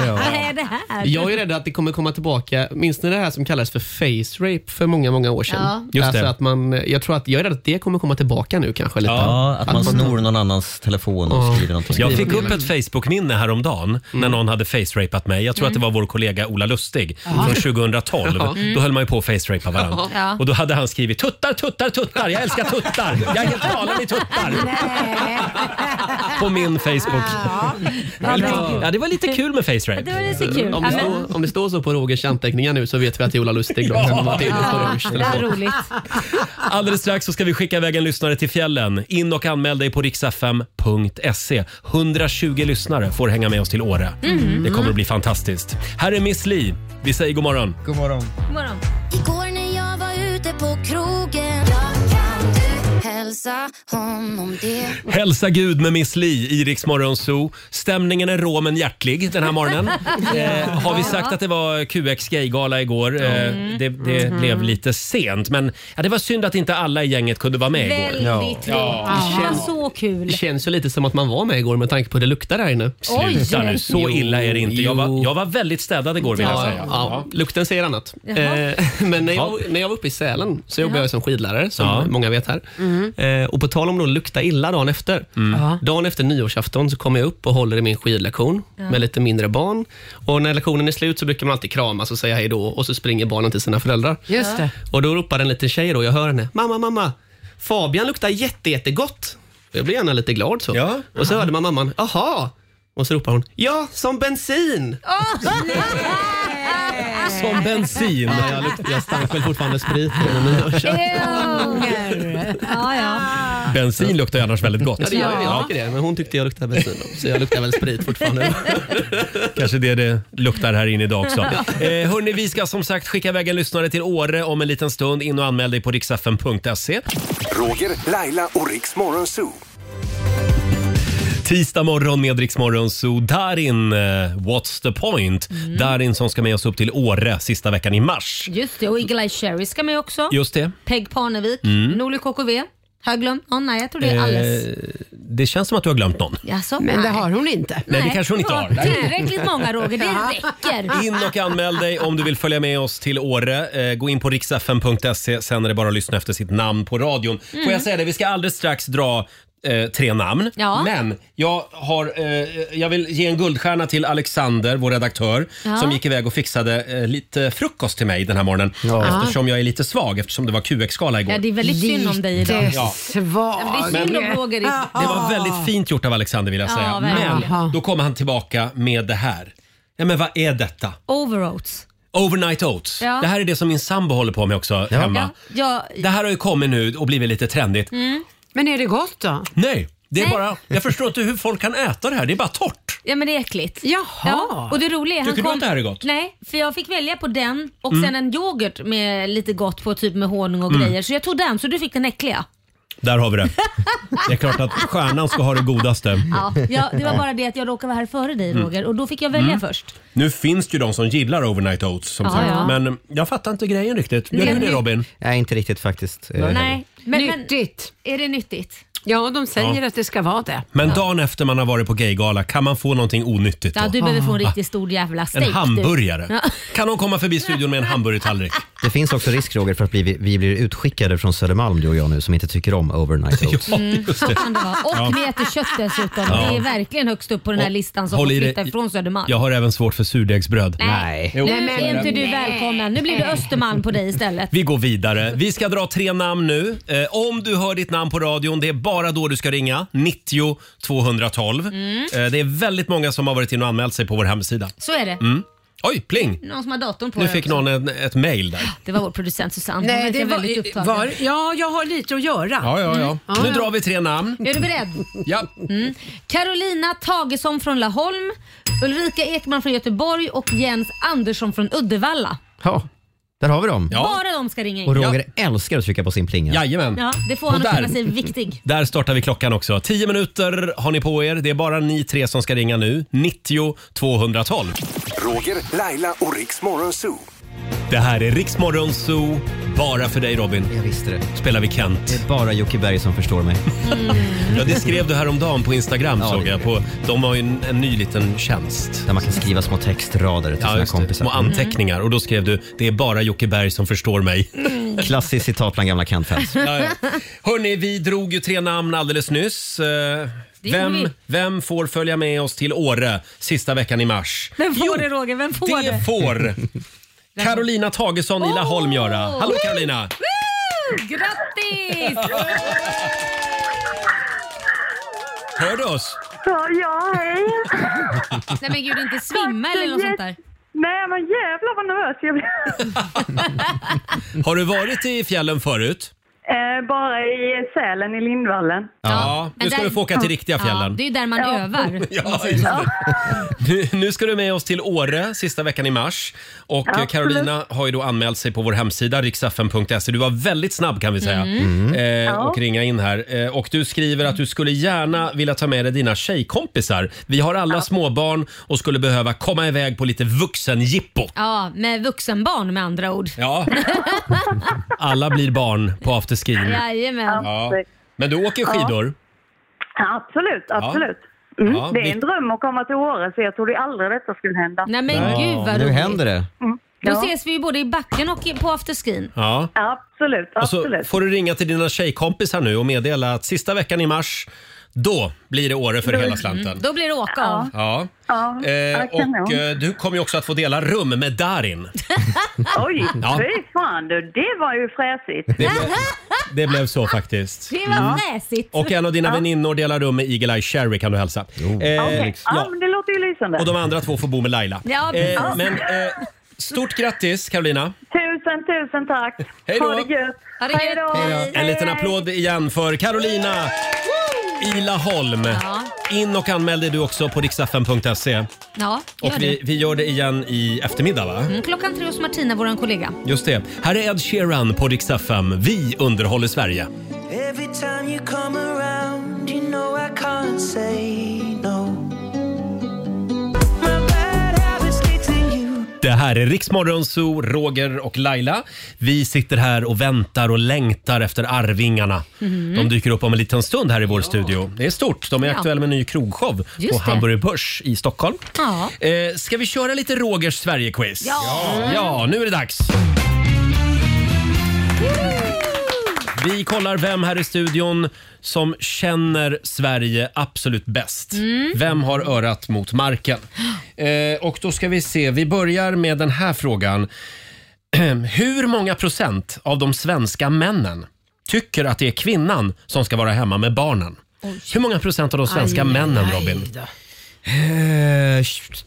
[SPEAKER 2] Vad är det här?
[SPEAKER 11] Jag är rädd att det kommer komma tillbaka, minns ni det här som kallades för face rape för många, många år sedan? Alltså
[SPEAKER 2] Ja.
[SPEAKER 1] Just det.
[SPEAKER 11] Att man, jag, tror att, jag är rädd att det kommer komma tillbaka nu kanske lite.
[SPEAKER 12] Ja, att
[SPEAKER 2] Alltså-
[SPEAKER 12] man snor någon annans telefon och skriver någonting.
[SPEAKER 1] Jag fick upp ett Facebook-minne häromdagen när
[SPEAKER 2] Mm.
[SPEAKER 1] någon hade face-rapat mig. Jag tror att det var vår kollega Ola Lustig från 2012. Då höll man ju på att face-rapa varandra.
[SPEAKER 2] Ja.
[SPEAKER 1] Och då hade han skrivit “Tuttar, tuttar, tuttar! Jag älskar tuttar! Jag är helt galen i tuttar!” På min Facebook. Ja, det var lite kul med
[SPEAKER 2] Det
[SPEAKER 1] face-rape.
[SPEAKER 2] var lite kul. Ja,
[SPEAKER 11] Om det,
[SPEAKER 2] men,
[SPEAKER 11] står, om det står så på Rogers anteckningar nu så vet vi att det är Ola Lustig då, som var tydligt på Rogers
[SPEAKER 2] det här är
[SPEAKER 11] telefon.
[SPEAKER 2] roligt.
[SPEAKER 1] Alldeles strax så ska vi skicka iväg en lyssnare till fjällen. In och anmäl dig på riksfm.se. 120 lyssnare får hänga med oss till Åre. Det kommer att bli fantastiskt. Här är Miss Li. Vi säger god morgon.
[SPEAKER 12] God morgon.
[SPEAKER 2] God morgon.
[SPEAKER 10] Igår när jag var ute på krogen Då kan du hälsa honom det
[SPEAKER 1] Hälsa Gud med Miss Li i Rix Morgon Zoo. Stämningen är rå men hjärtlig den här morgonen. eh, har vi sagt att det var QX gaygala igår? Eh, det det blev lite sent, men ja, det var synd att inte alla i gänget kunde vara med igår.
[SPEAKER 2] Väldigt roligt. Det var så kul.
[SPEAKER 11] Det känns ju lite som att man var med igår med tanke på hur det luktar här inne.
[SPEAKER 1] Sluta nu, så
[SPEAKER 11] Jo,
[SPEAKER 1] illa är det inte. Jag
[SPEAKER 11] jo.
[SPEAKER 1] var, jag var väldigt städad igår vill jag
[SPEAKER 11] Ja,
[SPEAKER 1] säga.
[SPEAKER 11] ja, ja. Lukten säger annat. Eh, men när jag, när jag var uppe i Sälen så jobbade jag som skidlärare, som
[SPEAKER 1] Ja.
[SPEAKER 11] många vet här. Eh, och På tal om att lukta illa dagen efter.
[SPEAKER 1] Mm.
[SPEAKER 11] Dagen efter nyårsafton så kommer jag upp och håller i min skidlektion med lite mindre barn. Och När lektionen är slut så brukar man alltid kramas och säga hej då och så springer barnen till sina föräldrar.
[SPEAKER 6] Just det.
[SPEAKER 11] Och Då ropar en liten tjej, då, jag hör henne. Mamma, mamma! Fabian luktar jätte, jättegott. Jag blir gärna lite glad. så.
[SPEAKER 1] Ja.
[SPEAKER 11] Och så hörde man mamman, aha! Och så ropar hon, ja, som bensin!
[SPEAKER 1] Som bensin.
[SPEAKER 11] Ja, jag, luk- jag stank väl fortfarande sprit innan den görs. Ja,
[SPEAKER 2] Ja, ja.
[SPEAKER 1] Bensin luktar ju annars väldigt gott.
[SPEAKER 11] Ah. det gör jag. Jag tycker det. Men hon tyckte jag luktade bensin då, så jag luktar väl sprit fortfarande.
[SPEAKER 1] Kanske det det luktar här inne idag också. Eh, hörni, vi ska som sagt skicka iväg en lyssnare till Åre om en liten stund. In och anmäl dig på riksfn.se.
[SPEAKER 3] Roger, Laila och Riks Morgonzoo.
[SPEAKER 1] Tisdag morgon med Rix Morgon så Darin, eh, what's the point?
[SPEAKER 2] Mm.
[SPEAKER 1] Darin som ska med oss upp till Åre sista veckan i mars.
[SPEAKER 2] Just det, och Eagle-Eye Cherry ska med också.
[SPEAKER 1] Just det.
[SPEAKER 2] Peg Parnevik, Norlie KKV. Har jag glömt någon? Nej, jag tror det är
[SPEAKER 1] Eh,
[SPEAKER 2] Alice.
[SPEAKER 1] Det känns som att du har glömt någon.
[SPEAKER 2] Jaså?
[SPEAKER 6] Men det
[SPEAKER 2] Nej.
[SPEAKER 6] har hon inte.
[SPEAKER 1] Nej, det kanske hon inte
[SPEAKER 2] Ja,
[SPEAKER 1] har.
[SPEAKER 2] Tillräckligt många Roger, det räcker.
[SPEAKER 1] In och anmäl dig om du vill följa med oss till Åre. Eh, Gå in på riksfn.se, sen är det bara att lyssna efter sitt namn på radion.
[SPEAKER 2] Mm.
[SPEAKER 1] Får jag säga det, vi ska alldeles strax dra eh, tre namn.
[SPEAKER 2] Ja.
[SPEAKER 1] Men jag, har, eh, jag vill ge en guldstjärna till Alexander, vår redaktör,
[SPEAKER 2] Ja.
[SPEAKER 1] som gick iväg och fixade eh, lite frukost till mig den här morgonen. Eftersom jag är lite svag, eftersom det var QX-gala igår.
[SPEAKER 2] Ja, det är väldigt synd om dig idag.
[SPEAKER 6] Lite
[SPEAKER 1] Ja.
[SPEAKER 2] Ja,
[SPEAKER 6] svag.
[SPEAKER 2] Det är synd om Roger.
[SPEAKER 1] Det var väldigt fint gjort av Alexander vill jag
[SPEAKER 2] Ah. Ja,
[SPEAKER 1] säga.
[SPEAKER 2] verkligen.
[SPEAKER 1] Men då kommer han tillbaka med det här. Ja, men vad är detta?
[SPEAKER 2] Overoats.
[SPEAKER 1] Overnight oats.
[SPEAKER 2] Ja.
[SPEAKER 1] Det här är det som min sambo håller på med också hemma.
[SPEAKER 2] Ja, ja, Mm.
[SPEAKER 1] Det här har ju kommit nu och blivit lite trendigt.
[SPEAKER 6] Men är det gott då?
[SPEAKER 1] Nej, det är
[SPEAKER 2] Nej.
[SPEAKER 1] bara, jag förstår inte hur folk kan äta det här. Det är bara torrt.
[SPEAKER 2] ja, men det är äckligt.
[SPEAKER 6] Jaha.
[SPEAKER 2] Ja, och det roliga är, han
[SPEAKER 1] Tycker du
[SPEAKER 2] kom,
[SPEAKER 1] att det här är gott? Mm.
[SPEAKER 2] Nej, för jag fick välja på den och sen en yoghurt med lite gott på, typ med honung och grejer. Så jag tog den, så du fick den äckliga.
[SPEAKER 1] Där har vi det. Det är klart att stjärnan ska ha det godaste.
[SPEAKER 2] Ja, ja, det var bara det att jag råkade vara här före dig
[SPEAKER 1] Mm.
[SPEAKER 2] Roger och då fick jag välja
[SPEAKER 1] Mm.
[SPEAKER 2] först.
[SPEAKER 1] Nu finns det ju de som gillar overnight oats som
[SPEAKER 2] Ja,
[SPEAKER 1] sagt.
[SPEAKER 2] ja.
[SPEAKER 1] Men jag fattar inte grejen riktigt. Gör
[SPEAKER 2] Nej,
[SPEAKER 1] du det
[SPEAKER 2] men-
[SPEAKER 1] Robin?
[SPEAKER 12] Nej, inte riktigt faktiskt. eh,
[SPEAKER 2] Nej. Men,
[SPEAKER 6] nyttigt.
[SPEAKER 2] Men, är det nyttigt?
[SPEAKER 6] Ja, de säger
[SPEAKER 1] Ja.
[SPEAKER 6] att det ska vara det.
[SPEAKER 1] Men dagen efter man har varit på gaygala, kan man få någonting onyttigt då?
[SPEAKER 2] Ja, du behöver få en
[SPEAKER 1] Ah,
[SPEAKER 2] riktigt stor jävla steak.
[SPEAKER 1] En hamburgare.
[SPEAKER 2] Du. Ja.
[SPEAKER 1] Kan någon komma förbi studion med en hamburgertallrik?
[SPEAKER 12] Det finns också risk Roger för att vi, vi blir utskickade från Södermalm du och jag nu som inte tycker om overnight oats.
[SPEAKER 2] Mm, så kan det vara. Och
[SPEAKER 12] Ja.
[SPEAKER 2] vi äter kött dessutom.
[SPEAKER 12] Ja.
[SPEAKER 2] Det är verkligen högst upp på den här listan som
[SPEAKER 1] håll
[SPEAKER 2] får
[SPEAKER 1] i
[SPEAKER 2] flytta
[SPEAKER 1] dig.
[SPEAKER 2] ifrån Södermalm.
[SPEAKER 1] Jag har även svårt för surdegsbröd.
[SPEAKER 2] Nej,
[SPEAKER 1] Jo,
[SPEAKER 2] nu
[SPEAKER 1] så är
[SPEAKER 2] är
[SPEAKER 1] det.
[SPEAKER 2] inte du välkommen. Nu blir det Östermalm på dig istället.
[SPEAKER 1] Vi går vidare. Vi ska dra tre namn nu. Eh, om du hör ditt namn på radion, det är bara då du ska ringa. 90 212.
[SPEAKER 2] Mm.
[SPEAKER 1] Eh, det är väldigt många som har varit inne och anmält sig på vår hemsida.
[SPEAKER 2] Så är det.
[SPEAKER 1] Mm. Oj, pling!
[SPEAKER 2] Någon som har datorn på
[SPEAKER 1] Nu
[SPEAKER 2] dig
[SPEAKER 1] fick
[SPEAKER 2] också.
[SPEAKER 1] någon en, ett mejl där.
[SPEAKER 2] Det var vår producent Susanne.
[SPEAKER 6] Nej,
[SPEAKER 2] Hon
[SPEAKER 6] det
[SPEAKER 2] verkar
[SPEAKER 6] var-
[SPEAKER 2] väldigt upptagen.
[SPEAKER 6] var- ja, jag har lite att göra. Mm.
[SPEAKER 1] Ja, ja, ja.
[SPEAKER 2] Ja,
[SPEAKER 1] Nu
[SPEAKER 2] ja.
[SPEAKER 1] drar vi tre namn.
[SPEAKER 2] Är du beredd?
[SPEAKER 1] Ja.
[SPEAKER 2] Mm. Carolina Tagesson från Laholm, Ulrika Ekman från Göteborg och Jens Andersson från Uddevalla.
[SPEAKER 12] Ja, där har vi dem.
[SPEAKER 2] Bara de ska ringa in.
[SPEAKER 12] Och Roger älskar att trycka på sin plinga.
[SPEAKER 1] Jajamän.
[SPEAKER 2] Ja, det får
[SPEAKER 1] Och
[SPEAKER 2] han att
[SPEAKER 1] där.
[SPEAKER 2] känna sig viktig.
[SPEAKER 1] Där startar vi klockan också. 10 minuter har ni på er. Det är bara ni tre som ska ringa nu. 90 212.
[SPEAKER 3] Roger, Laila och Riks Morgonzoo.
[SPEAKER 1] Det här är Riksmorgon Zoo. Bara för dig Robin.
[SPEAKER 12] Jag visste det.
[SPEAKER 1] Spelar vi Kent. Det
[SPEAKER 12] är bara Jocke Berg som förstår mig.
[SPEAKER 2] Mm.
[SPEAKER 1] Ja, det skrev du häromdagen på Instagram
[SPEAKER 12] Ja,
[SPEAKER 1] såg
[SPEAKER 12] det
[SPEAKER 1] jag. På, de har ju en, en ny liten tjänst.
[SPEAKER 12] Där man kan skriva små textrader till sina
[SPEAKER 1] just det.
[SPEAKER 12] kompisar. Mm.
[SPEAKER 1] Små anteckningar. Och då skrev du “Det är bara Jocke Berg som förstår mig”.
[SPEAKER 12] Klassiskt citat bland gamla Kent-fans.
[SPEAKER 1] Ja, ja. Hörni, vi drog ju tre namn alldeles nyss. Eh,
[SPEAKER 2] gjorde vi.
[SPEAKER 1] Vem, vem får följa med oss till Åre sista veckan i mars?
[SPEAKER 2] Vem får det Roger? Vem får det?
[SPEAKER 1] Det får Carolina Tagesson i Laholm göra. Hallå Carolina!
[SPEAKER 2] Woo! Grattis!
[SPEAKER 1] Hör du oss?
[SPEAKER 7] Ja, ja hej.
[SPEAKER 2] Nej men gud, inte svimma eller något sånt där.
[SPEAKER 7] Nej, men jävlar vad nervös jag blev.
[SPEAKER 1] Har du varit i fjällen förut?
[SPEAKER 7] Eh, bara i Sälen i Lindvallen.
[SPEAKER 1] Ja. nu ska
[SPEAKER 7] Men
[SPEAKER 1] du
[SPEAKER 7] där-
[SPEAKER 1] få åka till riktiga fjällen.
[SPEAKER 2] det är ju där man övar.
[SPEAKER 1] Ja, just det. Nu, nu ska du med oss till Åre sista veckan i mars. Och eh,
[SPEAKER 2] Absolut.
[SPEAKER 1] Carolina har ju då anmält sig på vår hemsida riksfn.se. Du var väldigt snabb kan vi säga
[SPEAKER 5] Mm.
[SPEAKER 1] eh,
[SPEAKER 5] Ja.
[SPEAKER 1] och ringa in här. Eh, och du skriver att du skulle gärna vilja ta med dig dina tjejkompisar. Vi har alla småbarn och skulle behöva komma iväg på lite vuxengippo.
[SPEAKER 2] Ja, med vuxenbarn med andra ord.
[SPEAKER 1] Ja. Alla blir barn på afterskin.
[SPEAKER 2] Jajamän.
[SPEAKER 1] Mm. Ja. Men du åker skidor?
[SPEAKER 7] Absolut, absolut.
[SPEAKER 1] Ja.
[SPEAKER 7] Mm.
[SPEAKER 1] Ja,
[SPEAKER 7] det är
[SPEAKER 1] vi-
[SPEAKER 7] en dröm att komma till Åre, så jag trodde aldrig detta skulle hända.
[SPEAKER 2] Nej men gud vad
[SPEAKER 12] nu
[SPEAKER 2] roligt.
[SPEAKER 12] händer det.
[SPEAKER 2] Då
[SPEAKER 7] Ja.
[SPEAKER 2] ses vi ju både i backen och i- på afterskin.
[SPEAKER 1] Ja.
[SPEAKER 7] Absolut,
[SPEAKER 1] Och så får du ringa till dina tjejkompisar nu och meddela att sista veckan i mars, då blir det Åre för hela slanten.
[SPEAKER 2] Då blir det åka av.
[SPEAKER 1] Ja.
[SPEAKER 7] Ja,
[SPEAKER 1] Eh,
[SPEAKER 7] kanon.
[SPEAKER 1] och eh, du kommer ju också att få dela rum med Darin.
[SPEAKER 7] Oj,
[SPEAKER 1] Ja.
[SPEAKER 7] fy fan du, det var ju fräsigt.
[SPEAKER 1] Det, det blev så faktiskt. Mm.
[SPEAKER 2] Det var fräsigt.
[SPEAKER 1] Och en av dina väninnor delar rum med Eagle-Eye Cherry kan du hälsa. Eh,
[SPEAKER 7] Okej, ja,
[SPEAKER 1] ja.
[SPEAKER 7] men det låter ju lysande.
[SPEAKER 1] Och de andra två får bo med Laila.
[SPEAKER 7] Ja,
[SPEAKER 1] eh,
[SPEAKER 7] precis.
[SPEAKER 1] men eh, stort grattis Carolina.
[SPEAKER 7] Tusen, tusen tack.
[SPEAKER 1] Hej då.
[SPEAKER 7] Ha det gött. Hej då.
[SPEAKER 1] En liten applåd igen för Carolina i Laholm.
[SPEAKER 2] Ja.
[SPEAKER 1] In och anmäl dig du också på riksdagen.se.
[SPEAKER 2] Ja,
[SPEAKER 1] Och
[SPEAKER 2] gör
[SPEAKER 1] vi,
[SPEAKER 2] det.
[SPEAKER 1] vi gör det igen i eftermiddag va?
[SPEAKER 2] Mm, klockan tre hos Martina, vår kollega.
[SPEAKER 1] Just det. Här är Ed Sheeran på Rix FM. Vi underhåller Sverige.
[SPEAKER 5] Every time you come around you know I can't say no My bad habits lead to you
[SPEAKER 1] Det här är Riksmorgon Zoo, Roger och Laila. Vi sitter här och väntar och längtar efter Arvingarna.
[SPEAKER 5] Mhm.
[SPEAKER 1] De dyker upp om en liten stund här i vår studio. Det är stort. De är
[SPEAKER 5] Ja.
[SPEAKER 1] aktuella med en ny krogshow
[SPEAKER 5] Just
[SPEAKER 1] på
[SPEAKER 5] det.
[SPEAKER 1] Hamburger Börs i Stockholm.
[SPEAKER 2] Ja.
[SPEAKER 1] Eh, ska vi köra lite Rogers Sverige-quiz?
[SPEAKER 5] Ja. Ja.
[SPEAKER 1] ja, nu är det dags. Vi kollar vem här i studion som känner Sverige absolut bäst.
[SPEAKER 5] Mm.
[SPEAKER 1] Vem har örat mot marken? Eh, och då ska vi se, vi börjar med den här frågan. Hur många procent av de svenska männen tycker att det är kvinnan som ska vara hemma med barnen? Hur många procent av de svenska
[SPEAKER 12] Aj,
[SPEAKER 1] männen,
[SPEAKER 12] aj
[SPEAKER 1] Robin?
[SPEAKER 12] då. Eh, sh-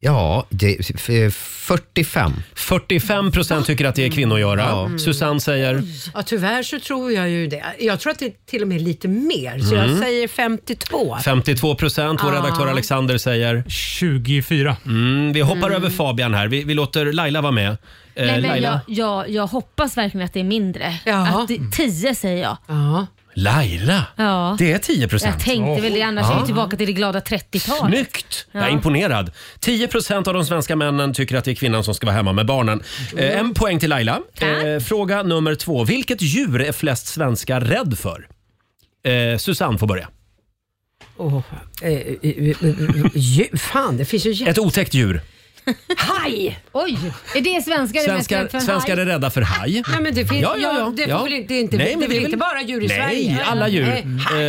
[SPEAKER 12] ja, det, f- eh, 45.
[SPEAKER 1] 45 procent tycker att det är kvinnogöra.
[SPEAKER 2] Mm.
[SPEAKER 12] Ja.
[SPEAKER 1] Susanne säger
[SPEAKER 6] Ja, tyvärr så tror jag ju det. Jag tror att det är till och med lite mer, så
[SPEAKER 1] Mm.
[SPEAKER 6] jag säger 52.
[SPEAKER 1] 52 procent. Vår
[SPEAKER 6] Ja.
[SPEAKER 1] redaktör Alexander säger 24. Mm, vi hoppar över Fabian här. Vi, vi låter Laila vara med.
[SPEAKER 11] Eh,
[SPEAKER 2] Mm. Nej, men jag,
[SPEAKER 11] Laila?
[SPEAKER 2] jag, jag hoppas verkligen att det är mindre. Att det, 10 säger jag.
[SPEAKER 6] Ja.
[SPEAKER 1] Laila?
[SPEAKER 2] Ja.
[SPEAKER 1] Det är 10 procent.
[SPEAKER 2] Jag tänkte väl det, annars är vi tillbaka till det glada 30-talet.
[SPEAKER 1] Snyggt! Jag är
[SPEAKER 2] Ja.
[SPEAKER 1] imponerad. 10 av de svenska männen tycker att det är kvinnan som ska vara hemma med barnen. Eh, en poäng till Laila. Eh, fråga nummer två. Vilket djur är flest svenskar rädd för? Eh, Susanne får börja.
[SPEAKER 6] Åh, eh, eh, eh, eh, djur- fan, det finns ju jätte...
[SPEAKER 1] Ett otäckt djur.
[SPEAKER 6] Haj!
[SPEAKER 2] Oj, är det svenskar det mest
[SPEAKER 1] Svenskar,
[SPEAKER 2] rädda för en
[SPEAKER 1] svenskar
[SPEAKER 2] haj?
[SPEAKER 1] är rädda för haj.
[SPEAKER 6] Nej, men det finns- ja, det får väl inte- det är inte- det är väl inte bara djur i
[SPEAKER 1] nej,
[SPEAKER 6] Sverige?
[SPEAKER 1] Nej, alla djur.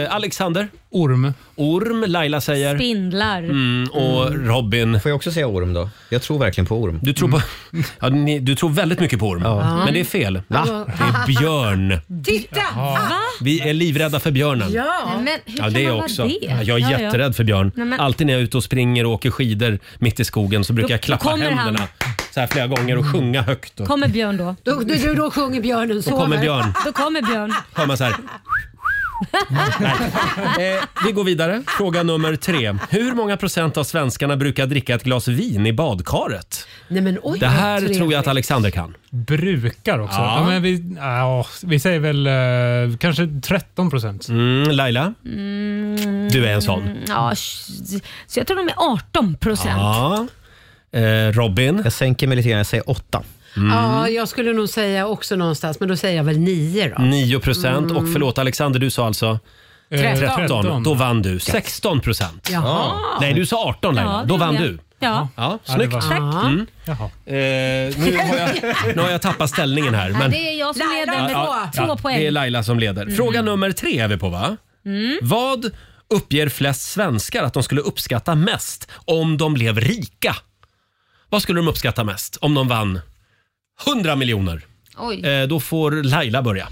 [SPEAKER 1] Eh, Alexander? Orm. Orm, Laila säger.
[SPEAKER 2] Spindlar.
[SPEAKER 1] Mm, och Robin.
[SPEAKER 12] Får jag också säga orm då? Jag tror verkligen på orm.
[SPEAKER 1] Du tror, på,
[SPEAKER 2] Mm.
[SPEAKER 1] ja, ni, du tror väldigt mycket på orm.
[SPEAKER 12] Ja.
[SPEAKER 1] Men det är fel.
[SPEAKER 12] Va?
[SPEAKER 1] Det är björn.
[SPEAKER 6] Titta!
[SPEAKER 2] Alltså, Va?
[SPEAKER 1] Vi är livrädda för björnen.
[SPEAKER 2] Nej, Men hur
[SPEAKER 1] Ja,
[SPEAKER 2] kan
[SPEAKER 1] det
[SPEAKER 2] man
[SPEAKER 1] är
[SPEAKER 2] vara
[SPEAKER 1] också.
[SPEAKER 2] det?
[SPEAKER 1] Ja, Jag är
[SPEAKER 2] Ja, ja.
[SPEAKER 1] jätterädd för björn.
[SPEAKER 2] Nej, men-
[SPEAKER 1] Alltid när jag är ute och springer och åker skidor mitt i skogen så brukar
[SPEAKER 2] Då-
[SPEAKER 1] jag
[SPEAKER 2] då
[SPEAKER 1] klappa
[SPEAKER 2] kommer han. Mm.
[SPEAKER 1] händerna så här flera gånger och sjunga högt. Och
[SPEAKER 2] Kommer björn då?
[SPEAKER 6] Då, då, då, då sjunger björnen sover.
[SPEAKER 1] kommer björn.
[SPEAKER 2] Då kommer björn.
[SPEAKER 1] hör man så här. Nej. Eh, vi går vidare. Fråga nummer tre. Hur många procent av svenskarna brukar dricka ett glas vin i badkaret?
[SPEAKER 6] Nej, men oj,
[SPEAKER 1] Det här
[SPEAKER 6] vad trevligt.
[SPEAKER 1] tror jag att Alexander kan.
[SPEAKER 9] Brukar också.
[SPEAKER 1] Ja.
[SPEAKER 9] Ja. men vi, ja, vi säger väl eh, kanske 13 procent.
[SPEAKER 1] Mm, Laila, du är en sån.
[SPEAKER 2] Mm.
[SPEAKER 1] Mm.
[SPEAKER 2] Ja, sh- så jag tror de är 18 procent.
[SPEAKER 1] Ja. Eh, Robin? Mm.
[SPEAKER 12] Jag sänker mig lite grann, jag säger åtta.
[SPEAKER 6] Ja, jag skulle nog säga också någonstans, men då säger jag väl nio då.
[SPEAKER 1] 9 procent.
[SPEAKER 2] Mm.
[SPEAKER 1] Och förlåt Alexander, du sa alltså?
[SPEAKER 6] Eh, 13.
[SPEAKER 1] 13. Då vann du. 16 procent.
[SPEAKER 6] Jaha.
[SPEAKER 1] Nej, du sa 18 Laila.
[SPEAKER 2] Ja, det
[SPEAKER 1] Då vann
[SPEAKER 2] gjorde jag.
[SPEAKER 1] du.
[SPEAKER 2] Ja.
[SPEAKER 1] Ja,
[SPEAKER 9] Ja,
[SPEAKER 1] snyggt.
[SPEAKER 9] det var-
[SPEAKER 2] Tack.
[SPEAKER 1] Mm. Eh, nu, har jag, nu har jag tappat ställningen här.
[SPEAKER 2] Ja,
[SPEAKER 1] Men,
[SPEAKER 2] det är jag som
[SPEAKER 6] Laila,
[SPEAKER 2] leder med
[SPEAKER 1] Ja,
[SPEAKER 2] två
[SPEAKER 1] ja,
[SPEAKER 2] poäng. Mm.
[SPEAKER 1] Det är Laila som leder. Fråga nummer tre är vi på va? Vad uppger flest svenskar att de skulle uppskatta mest om de blev rika? Vad skulle de uppskatta mest om de vann 100 miljoner?
[SPEAKER 2] Oj.
[SPEAKER 1] Eh, då får Laila börja.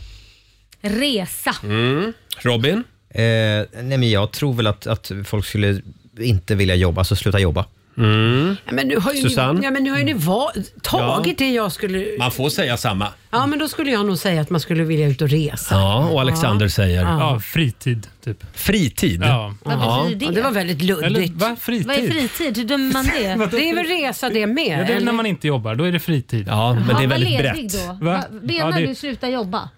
[SPEAKER 2] Resa.
[SPEAKER 1] Mm. Robin?
[SPEAKER 12] Eh, nej, men jag tror väl att, att folk skulle inte vilja jobba, alltså sluta jobba.
[SPEAKER 2] Mm.
[SPEAKER 6] Ja, men nu har ju
[SPEAKER 1] Susanne?
[SPEAKER 6] Ni, ja, men nu har ju ni va, tagit det jag skulle...
[SPEAKER 1] Man får säga samma.
[SPEAKER 6] Ja, men då skulle jag nog säga att man skulle vilja ut och resa.
[SPEAKER 1] Ja, och Alexander säger
[SPEAKER 9] Ja, fritid typ.
[SPEAKER 1] fritid.
[SPEAKER 9] Ja.
[SPEAKER 2] Vad betyder det?
[SPEAKER 6] Ja, det var väldigt
[SPEAKER 9] Eller
[SPEAKER 6] luddigt.
[SPEAKER 9] va? Fritid?
[SPEAKER 2] Vad är fritid? Hur dömer man det?
[SPEAKER 6] Det är väl resa det med?
[SPEAKER 9] Ja, det är
[SPEAKER 6] eller?
[SPEAKER 9] när man inte jobbar, då är det fritid.
[SPEAKER 1] Ja, men det är
[SPEAKER 2] Ja, vad
[SPEAKER 1] väldigt
[SPEAKER 2] ledig
[SPEAKER 1] brett.
[SPEAKER 2] Då.
[SPEAKER 9] Va?
[SPEAKER 2] Va? Det är
[SPEAKER 9] Ja,
[SPEAKER 2] när
[SPEAKER 9] det-
[SPEAKER 2] du slutar jobba.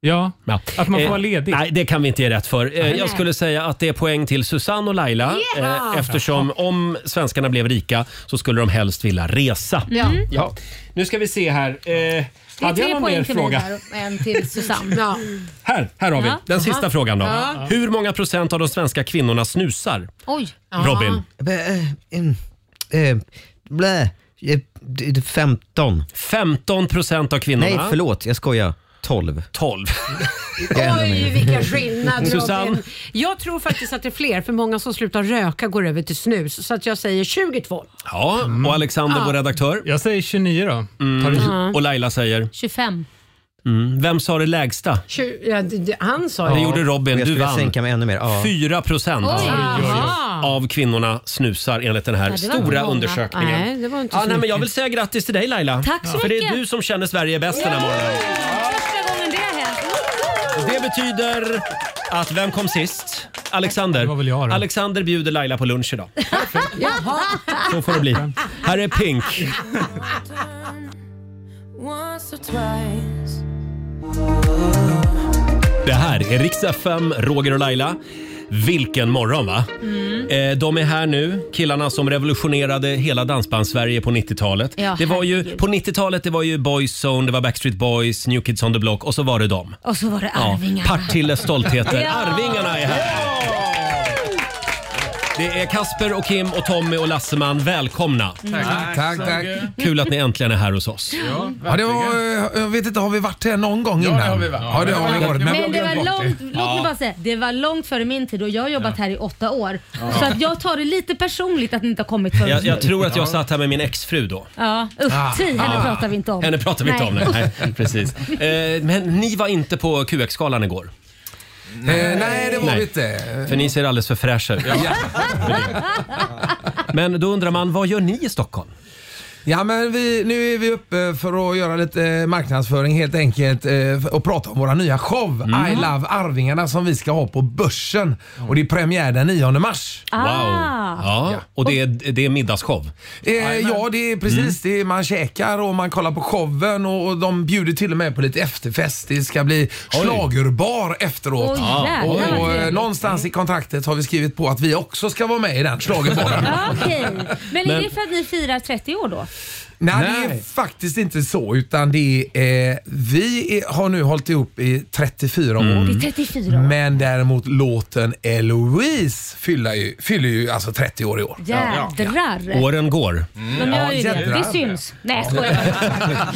[SPEAKER 9] Ja.
[SPEAKER 1] Ja.
[SPEAKER 9] Att man får
[SPEAKER 1] Eh,
[SPEAKER 9] vara ledig.
[SPEAKER 1] Nej, det kan vi inte ge rätt för. Eh, jag skulle säga att det är poäng till Susanne och Laila eh, eftersom om svenskarna blev rika så skulle de helst vilja resa.
[SPEAKER 2] Ja. Mm.
[SPEAKER 1] Ja. Nu ska vi se här. Eh,
[SPEAKER 2] Det är
[SPEAKER 1] hade jag
[SPEAKER 2] tre
[SPEAKER 1] någon mer
[SPEAKER 2] poäng till mig
[SPEAKER 1] fråga?
[SPEAKER 2] där och en till Susanne.
[SPEAKER 6] Ja.
[SPEAKER 1] Här, här har vi
[SPEAKER 2] Ja.
[SPEAKER 1] den sista frågan då.
[SPEAKER 6] Ja.
[SPEAKER 1] Hur många procent av de svenska kvinnorna snusar?
[SPEAKER 2] Oj.
[SPEAKER 1] Robin?
[SPEAKER 12] Eh, mm, Blä. Eh, d- d- 15.
[SPEAKER 1] 15 procent av kvinnorna.
[SPEAKER 12] Nej, förlåt. Jag skojar. 12.
[SPEAKER 1] 12.
[SPEAKER 12] Jag är ännu
[SPEAKER 6] Oj,
[SPEAKER 12] mer.
[SPEAKER 6] vilken skillnad
[SPEAKER 1] Susanne?
[SPEAKER 6] Robin. Jag tror faktiskt att det är fler, för många som slutar röka går över till snus. Så att jag säger 22.
[SPEAKER 1] Ja, och Alexander, vår redaktör. Mm.
[SPEAKER 9] Jag säger 29 då. Tar det-
[SPEAKER 1] Och Laila säger,
[SPEAKER 2] 25.
[SPEAKER 1] mm, vem sa det lägsta?
[SPEAKER 6] Tju- ja, d- d- han sa
[SPEAKER 1] Det
[SPEAKER 6] ju...
[SPEAKER 1] gjorde Robin,
[SPEAKER 12] Jag
[SPEAKER 1] du
[SPEAKER 12] skulle
[SPEAKER 1] vann.
[SPEAKER 12] sänka mig ännu mer. Ja.
[SPEAKER 1] 4 procent
[SPEAKER 2] Oj.
[SPEAKER 6] Aha.
[SPEAKER 1] av kvinnorna snusar enligt den här
[SPEAKER 2] var inte
[SPEAKER 1] stora
[SPEAKER 2] många.
[SPEAKER 1] undersökningen.
[SPEAKER 6] Nej, det var inte
[SPEAKER 1] Ja,
[SPEAKER 6] så
[SPEAKER 1] nej, men
[SPEAKER 6] mycket.
[SPEAKER 1] jag vill säga grattis till dig Laila.
[SPEAKER 2] Tack så
[SPEAKER 1] För det är
[SPEAKER 2] mycket.
[SPEAKER 1] du som känner Sverige bäst den här morgonen.
[SPEAKER 2] Första gången det har hänt.
[SPEAKER 1] Det betyder att vem kom sist? Alexander.
[SPEAKER 9] Det var väl jag då.
[SPEAKER 1] Alexander bjuder Laila på lunch idag. Så får det bli. Här är Pink.
[SPEAKER 4] Once or twice.
[SPEAKER 1] Det här är Rix FM, Roger och Laila. Vilken morgon va?
[SPEAKER 2] Mm.
[SPEAKER 1] Eh, de är här nu, killarna som revolutionerade hela dansbands-Sverige på 90-talet.
[SPEAKER 2] Ja,
[SPEAKER 1] det var ju,
[SPEAKER 2] herregud.
[SPEAKER 1] på 90-talet det var ju Boyzone, det var Backstreet Boys, New Kids on the Block och så var det dem.
[SPEAKER 2] Och så var det
[SPEAKER 1] Ja,
[SPEAKER 2] Arvingarna.
[SPEAKER 1] Partilles stoltheter.
[SPEAKER 2] Ja.
[SPEAKER 1] Arvingarna är här. Det är Kasper och Kim och Tommy och Lasseman. Välkomna!
[SPEAKER 13] Mm. Tack, tack.
[SPEAKER 1] Kul att ni äntligen är här hos oss.
[SPEAKER 13] Ja, det var, eh, jag vet inte, har vi varit här någon gång innan? Ja, det har vi varit. Ja, det har vi varit. Men,
[SPEAKER 2] Men det var långt, låt mig bara säga, det var långt före min tid och jag har jobbat här i åtta år. Så att jag tar det lite personligt att ni inte har kommit förrän
[SPEAKER 1] Jag,
[SPEAKER 2] nu.
[SPEAKER 1] jag tror att jag satt här med min exfru då.
[SPEAKER 2] Ja, usch, tiden
[SPEAKER 1] ah.
[SPEAKER 2] pratar vi inte om.
[SPEAKER 1] Henne pratar vi inte om.
[SPEAKER 2] Nej.
[SPEAKER 1] Nej. Nej, precis. Eh, Men ni var inte på QX-galan igår.
[SPEAKER 13] eh, nej, det var
[SPEAKER 1] Nej.
[SPEAKER 13] vi inte.
[SPEAKER 1] För ni ser alldeles för fräscha ut. Men då undrar man, vad gör ni i Stockholm?
[SPEAKER 13] Ja, men vi, nu är vi uppe för att göra lite eh, marknadsföring helt enkelt eh, f- och prata om våra nya show
[SPEAKER 1] Mm.
[SPEAKER 13] I Love Arvingarna som vi ska ha på Börsen. Och det är premiär den 9 mars.
[SPEAKER 2] Ah.
[SPEAKER 1] Ja, och det är, det är middagsshow. Mm.
[SPEAKER 13] Eh, ja, det är precis. Det är, man käkar och man kollar på showen och, och de bjuder till och med på lite efterfest. Det ska bli schlagerbar efteråt.
[SPEAKER 5] Oj, jävlar,
[SPEAKER 13] och,
[SPEAKER 5] vad
[SPEAKER 13] och, eh,
[SPEAKER 5] trevligt.
[SPEAKER 13] någonstans i kontraktet har vi skrivit på att vi också ska vara med i den schlagerbaren.
[SPEAKER 2] Ja, okej. Men är
[SPEAKER 13] Men-
[SPEAKER 2] det för att ni firar 30 år då?
[SPEAKER 13] Nej, det är faktiskt inte så. Utan det är, eh, vi är, har nu hållit ihop i 34 år.
[SPEAKER 2] Mm. Det är 34 år.
[SPEAKER 13] Men däremot låten Eloise fyller ju, fyller ju alltså 30 år i år. Mm.
[SPEAKER 2] Jädrar.
[SPEAKER 1] Åren går.
[SPEAKER 2] De gör ju det. Det syns. Nej, jag skojar.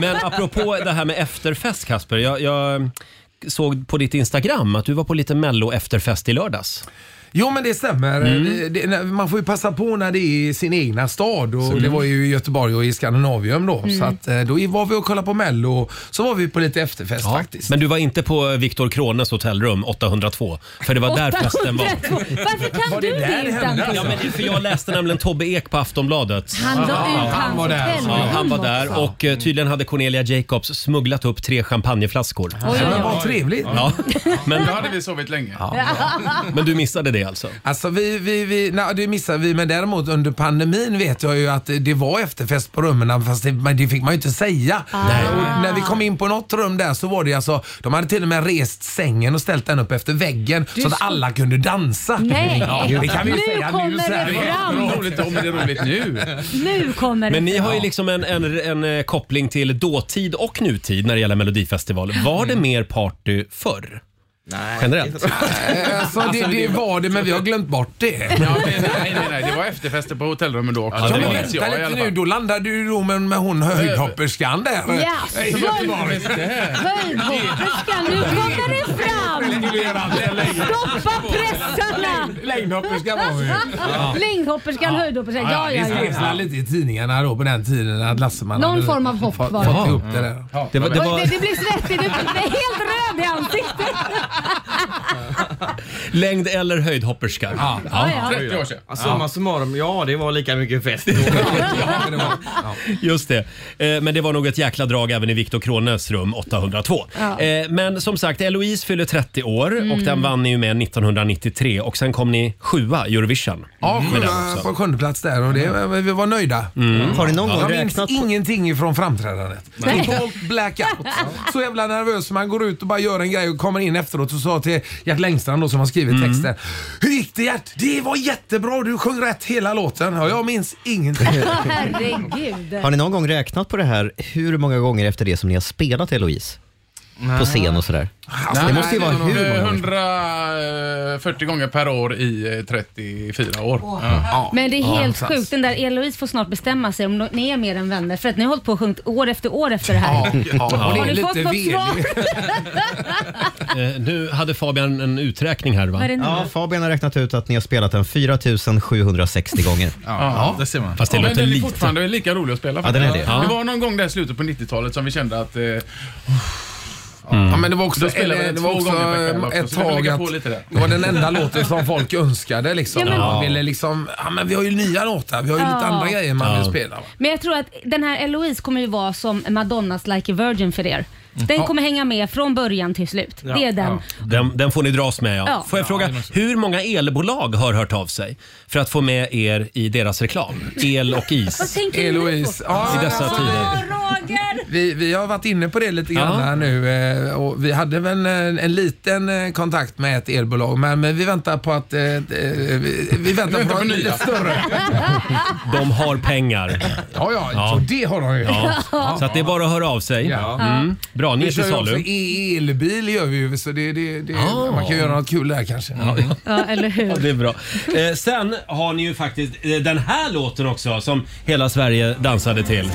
[SPEAKER 1] Men apropå det här med efterfest Kasper. Jag, jag såg på ditt Instagram att du var på lite mello efterfest i lördags.
[SPEAKER 13] Jo men det stämmer.
[SPEAKER 1] Mm.
[SPEAKER 13] Det- Eh, Det, när- man får ju passa på när det är i sin egna stad och
[SPEAKER 1] Så-
[SPEAKER 13] det var ju i Göteborg och i Skandinavium då.
[SPEAKER 1] Mm.
[SPEAKER 13] Så att, eh, då var vi och kollade på Mello och så var vi på lite efterfest faktiskt.
[SPEAKER 1] Men du var inte på Viktor Krones hotellrum 802, för det var där festen var.
[SPEAKER 2] Varför kan du det, utan till?
[SPEAKER 1] Ja, men det är för jag läste nämligen Tobbe Ek på Aftonbladet.
[SPEAKER 2] Han la ut
[SPEAKER 1] Ja,
[SPEAKER 2] hans
[SPEAKER 1] var där.
[SPEAKER 2] hotellrum
[SPEAKER 1] Ja, han var där
[SPEAKER 2] också.
[SPEAKER 1] och eh, tydligen hade Cornelia Jacobs smugglat upp tre champagneflaskor.
[SPEAKER 13] oj, oj. Men vad trevligt.
[SPEAKER 1] Ja. Men,
[SPEAKER 14] Då hade vi sovit länge.
[SPEAKER 1] men du missade det alltså?
[SPEAKER 13] Alltså vi, vi, vi, nej, det missade vi men däremot under pandemin vet jag ju att det var efterfest på rummen fast det, men det fick man ju inte säga.
[SPEAKER 5] Ah.
[SPEAKER 13] Och när vi kom in på något rum där så var det alltså, de hade till och med rest sängen och ställt den upp efter väggen så att alla kunde dansa.
[SPEAKER 5] Nej.
[SPEAKER 13] Ja, det kan vi ju
[SPEAKER 5] Nu
[SPEAKER 13] säga
[SPEAKER 5] kommer
[SPEAKER 13] nu. så här.
[SPEAKER 5] det fram.
[SPEAKER 14] Roligt om det är roligt nu.
[SPEAKER 2] Nu kommer det
[SPEAKER 1] Men ni
[SPEAKER 2] fram.
[SPEAKER 1] har ju liksom en, en, en eh, koppling till dåtid och nutid när det gäller Melodifestivalen. Var
[SPEAKER 2] Mm.
[SPEAKER 1] det mer party förr?
[SPEAKER 14] Nej.
[SPEAKER 1] Generellt?
[SPEAKER 13] Eh, Alltså, det, det var det men vi har glömt bort det.
[SPEAKER 14] Ja, men, nej, nej, nej. Det var efterfester på hotellrummen då också.
[SPEAKER 13] Ja, men
[SPEAKER 14] Det vet
[SPEAKER 13] vänta
[SPEAKER 14] jag i alla
[SPEAKER 13] lite nu,
[SPEAKER 14] fall.
[SPEAKER 13] då landade du i rummen med hon höjdhopperskan där.
[SPEAKER 14] Ja,
[SPEAKER 13] Eh, i
[SPEAKER 14] som
[SPEAKER 13] Göteborg.
[SPEAKER 2] Höjdhopperskan, nu kommer det fram! Stoppa pressarna!
[SPEAKER 13] Längdhopperskan var hon ju. Ja.
[SPEAKER 2] Längdhopperskan, höjdhopperskan, ja ja
[SPEAKER 13] Det skrevs väl
[SPEAKER 2] ja.
[SPEAKER 13] lite i tidningarna då på den tiden att Lasseman
[SPEAKER 2] Någon
[SPEAKER 13] hade
[SPEAKER 2] form av hopp
[SPEAKER 13] fått-
[SPEAKER 2] var det.
[SPEAKER 13] fått ihop det där.
[SPEAKER 1] Det var- det var-
[SPEAKER 2] Det, det blev svettigt, du blev helt röd i ansiktet.
[SPEAKER 1] Längd eller höjdhopperska? Ja.
[SPEAKER 2] Ja, ja. 30 år sedan.
[SPEAKER 15] Ja, summa summarum, ja det var lika mycket fest.
[SPEAKER 1] Just det. Eh, Men det var nog ett jäkla drag även i Viktor Krones rum 802.
[SPEAKER 5] Ja.
[SPEAKER 1] Eh, Men som sagt, Eloise fyller 30 år och
[SPEAKER 5] Mm.
[SPEAKER 1] den vann ni ju med 1993 och sen kom ni sjua i Eurovision.
[SPEAKER 13] Ja,
[SPEAKER 1] Med
[SPEAKER 13] sjua
[SPEAKER 1] den också.
[SPEAKER 13] på sjunde plats där och det, vi var nöjda.
[SPEAKER 1] Mm. Har ni någon gång
[SPEAKER 13] Jag minns
[SPEAKER 1] räknat på-
[SPEAKER 13] ingenting ifrån framträdandet.
[SPEAKER 1] Nej.
[SPEAKER 13] Totalt blackout. Så jävla nervös man går ut och bara gör en grej och kommer in efteråt och sa till Gert Längstrand då som har skrivit
[SPEAKER 5] Mm.
[SPEAKER 13] texten. Hur gick det Gert? Det var jättebra, du sjöng rätt hela låten. Ja, jag minns ingenting.
[SPEAKER 2] Herregud.
[SPEAKER 12] Har ni någon gång räknat på det här, hur många gånger efter det som ni har spelat Eloise? På scen och sådär.
[SPEAKER 14] Nej,
[SPEAKER 12] det måste ju
[SPEAKER 14] nej, det
[SPEAKER 12] vara hur
[SPEAKER 14] är
[SPEAKER 12] många gånger?
[SPEAKER 14] 140 eh, gånger per år i eh, 34 år.
[SPEAKER 2] Men det är helt sjukt. Den där Eloise får snart bestämma sig om ni är mer än vänner för att ni har hållit på och sjungit år efter år efter det här. Har ni fått något svar?
[SPEAKER 1] Eh, Nu hade Fabian en uträkning här va?
[SPEAKER 2] Vad är det nu?
[SPEAKER 12] Ja, Fabian har räknat ut att ni har spelat den 4760 gånger.
[SPEAKER 14] Ja, det ser man.
[SPEAKER 12] Fast det
[SPEAKER 14] Ja, men
[SPEAKER 12] låter
[SPEAKER 14] den är
[SPEAKER 12] lite.
[SPEAKER 14] fortfarande lika rolig att spela.
[SPEAKER 12] Ja, den är det.
[SPEAKER 14] faktiskt.
[SPEAKER 12] Ja.
[SPEAKER 14] det var någon gång där i slutet på 90-talet som vi kände att... Eh,
[SPEAKER 12] Mm.
[SPEAKER 13] Ja, men det var också,
[SPEAKER 14] Mm. Då spelade vi
[SPEAKER 13] eller,
[SPEAKER 14] den
[SPEAKER 13] det var
[SPEAKER 14] två
[SPEAKER 13] också
[SPEAKER 14] gånger per kväll också,
[SPEAKER 13] ett
[SPEAKER 14] så vi får
[SPEAKER 13] tag
[SPEAKER 14] lägga
[SPEAKER 13] att
[SPEAKER 14] på lite där.
[SPEAKER 13] det var den enda låten som folk önskade. Liksom.
[SPEAKER 2] Ja, men-
[SPEAKER 13] Man ville liksom, ja, men vi har ju nya låtar, vi har ju lite
[SPEAKER 2] Ja.
[SPEAKER 13] andra grejer man
[SPEAKER 2] Ja.
[SPEAKER 13] vill spela. va.
[SPEAKER 2] Men jag tror att den här Eloise kommer ju vara som Madonnas Like a Virgin för er. Den
[SPEAKER 1] Ja.
[SPEAKER 2] kommer hänga med från början till slut.
[SPEAKER 1] Ja.
[SPEAKER 2] Det är den.
[SPEAKER 1] Den, den får ni dras med ja.
[SPEAKER 2] Ja.
[SPEAKER 1] Får jag
[SPEAKER 2] Ja,
[SPEAKER 1] fråga, hur många elbolag har hört av sig för att få med er i deras reklam? El och
[SPEAKER 2] Vad
[SPEAKER 1] is.
[SPEAKER 2] tänker
[SPEAKER 13] Eloise.
[SPEAKER 1] I dessa tider.
[SPEAKER 13] Vi, vi har varit inne på det lite grann
[SPEAKER 1] Ja.
[SPEAKER 13] här nu eh, och vi hade väl en, en liten eh, kontakt med ett elbolag men, men vi väntar på att... eh, eh, Vi, vi väntar,
[SPEAKER 5] väntar
[SPEAKER 13] på,
[SPEAKER 5] på
[SPEAKER 13] en
[SPEAKER 5] nya.
[SPEAKER 13] lite större.
[SPEAKER 1] De har pengar.
[SPEAKER 13] Ja, ja, så det har de ju.
[SPEAKER 1] Ja. Så att det är bara att höra av sig.
[SPEAKER 13] Ja.
[SPEAKER 1] Mm. Bra, ni är
[SPEAKER 13] vi
[SPEAKER 1] till
[SPEAKER 13] kör ju också
[SPEAKER 1] salu.
[SPEAKER 13] e- elbil gör vi ju så det, det, det, man kan göra något kul där kanske.
[SPEAKER 2] Ja, eller
[SPEAKER 1] Ja,
[SPEAKER 2] hur?
[SPEAKER 1] det är bra. Eh, sen har ni ju faktiskt eh, den här låten också som hela Sverige dansade till.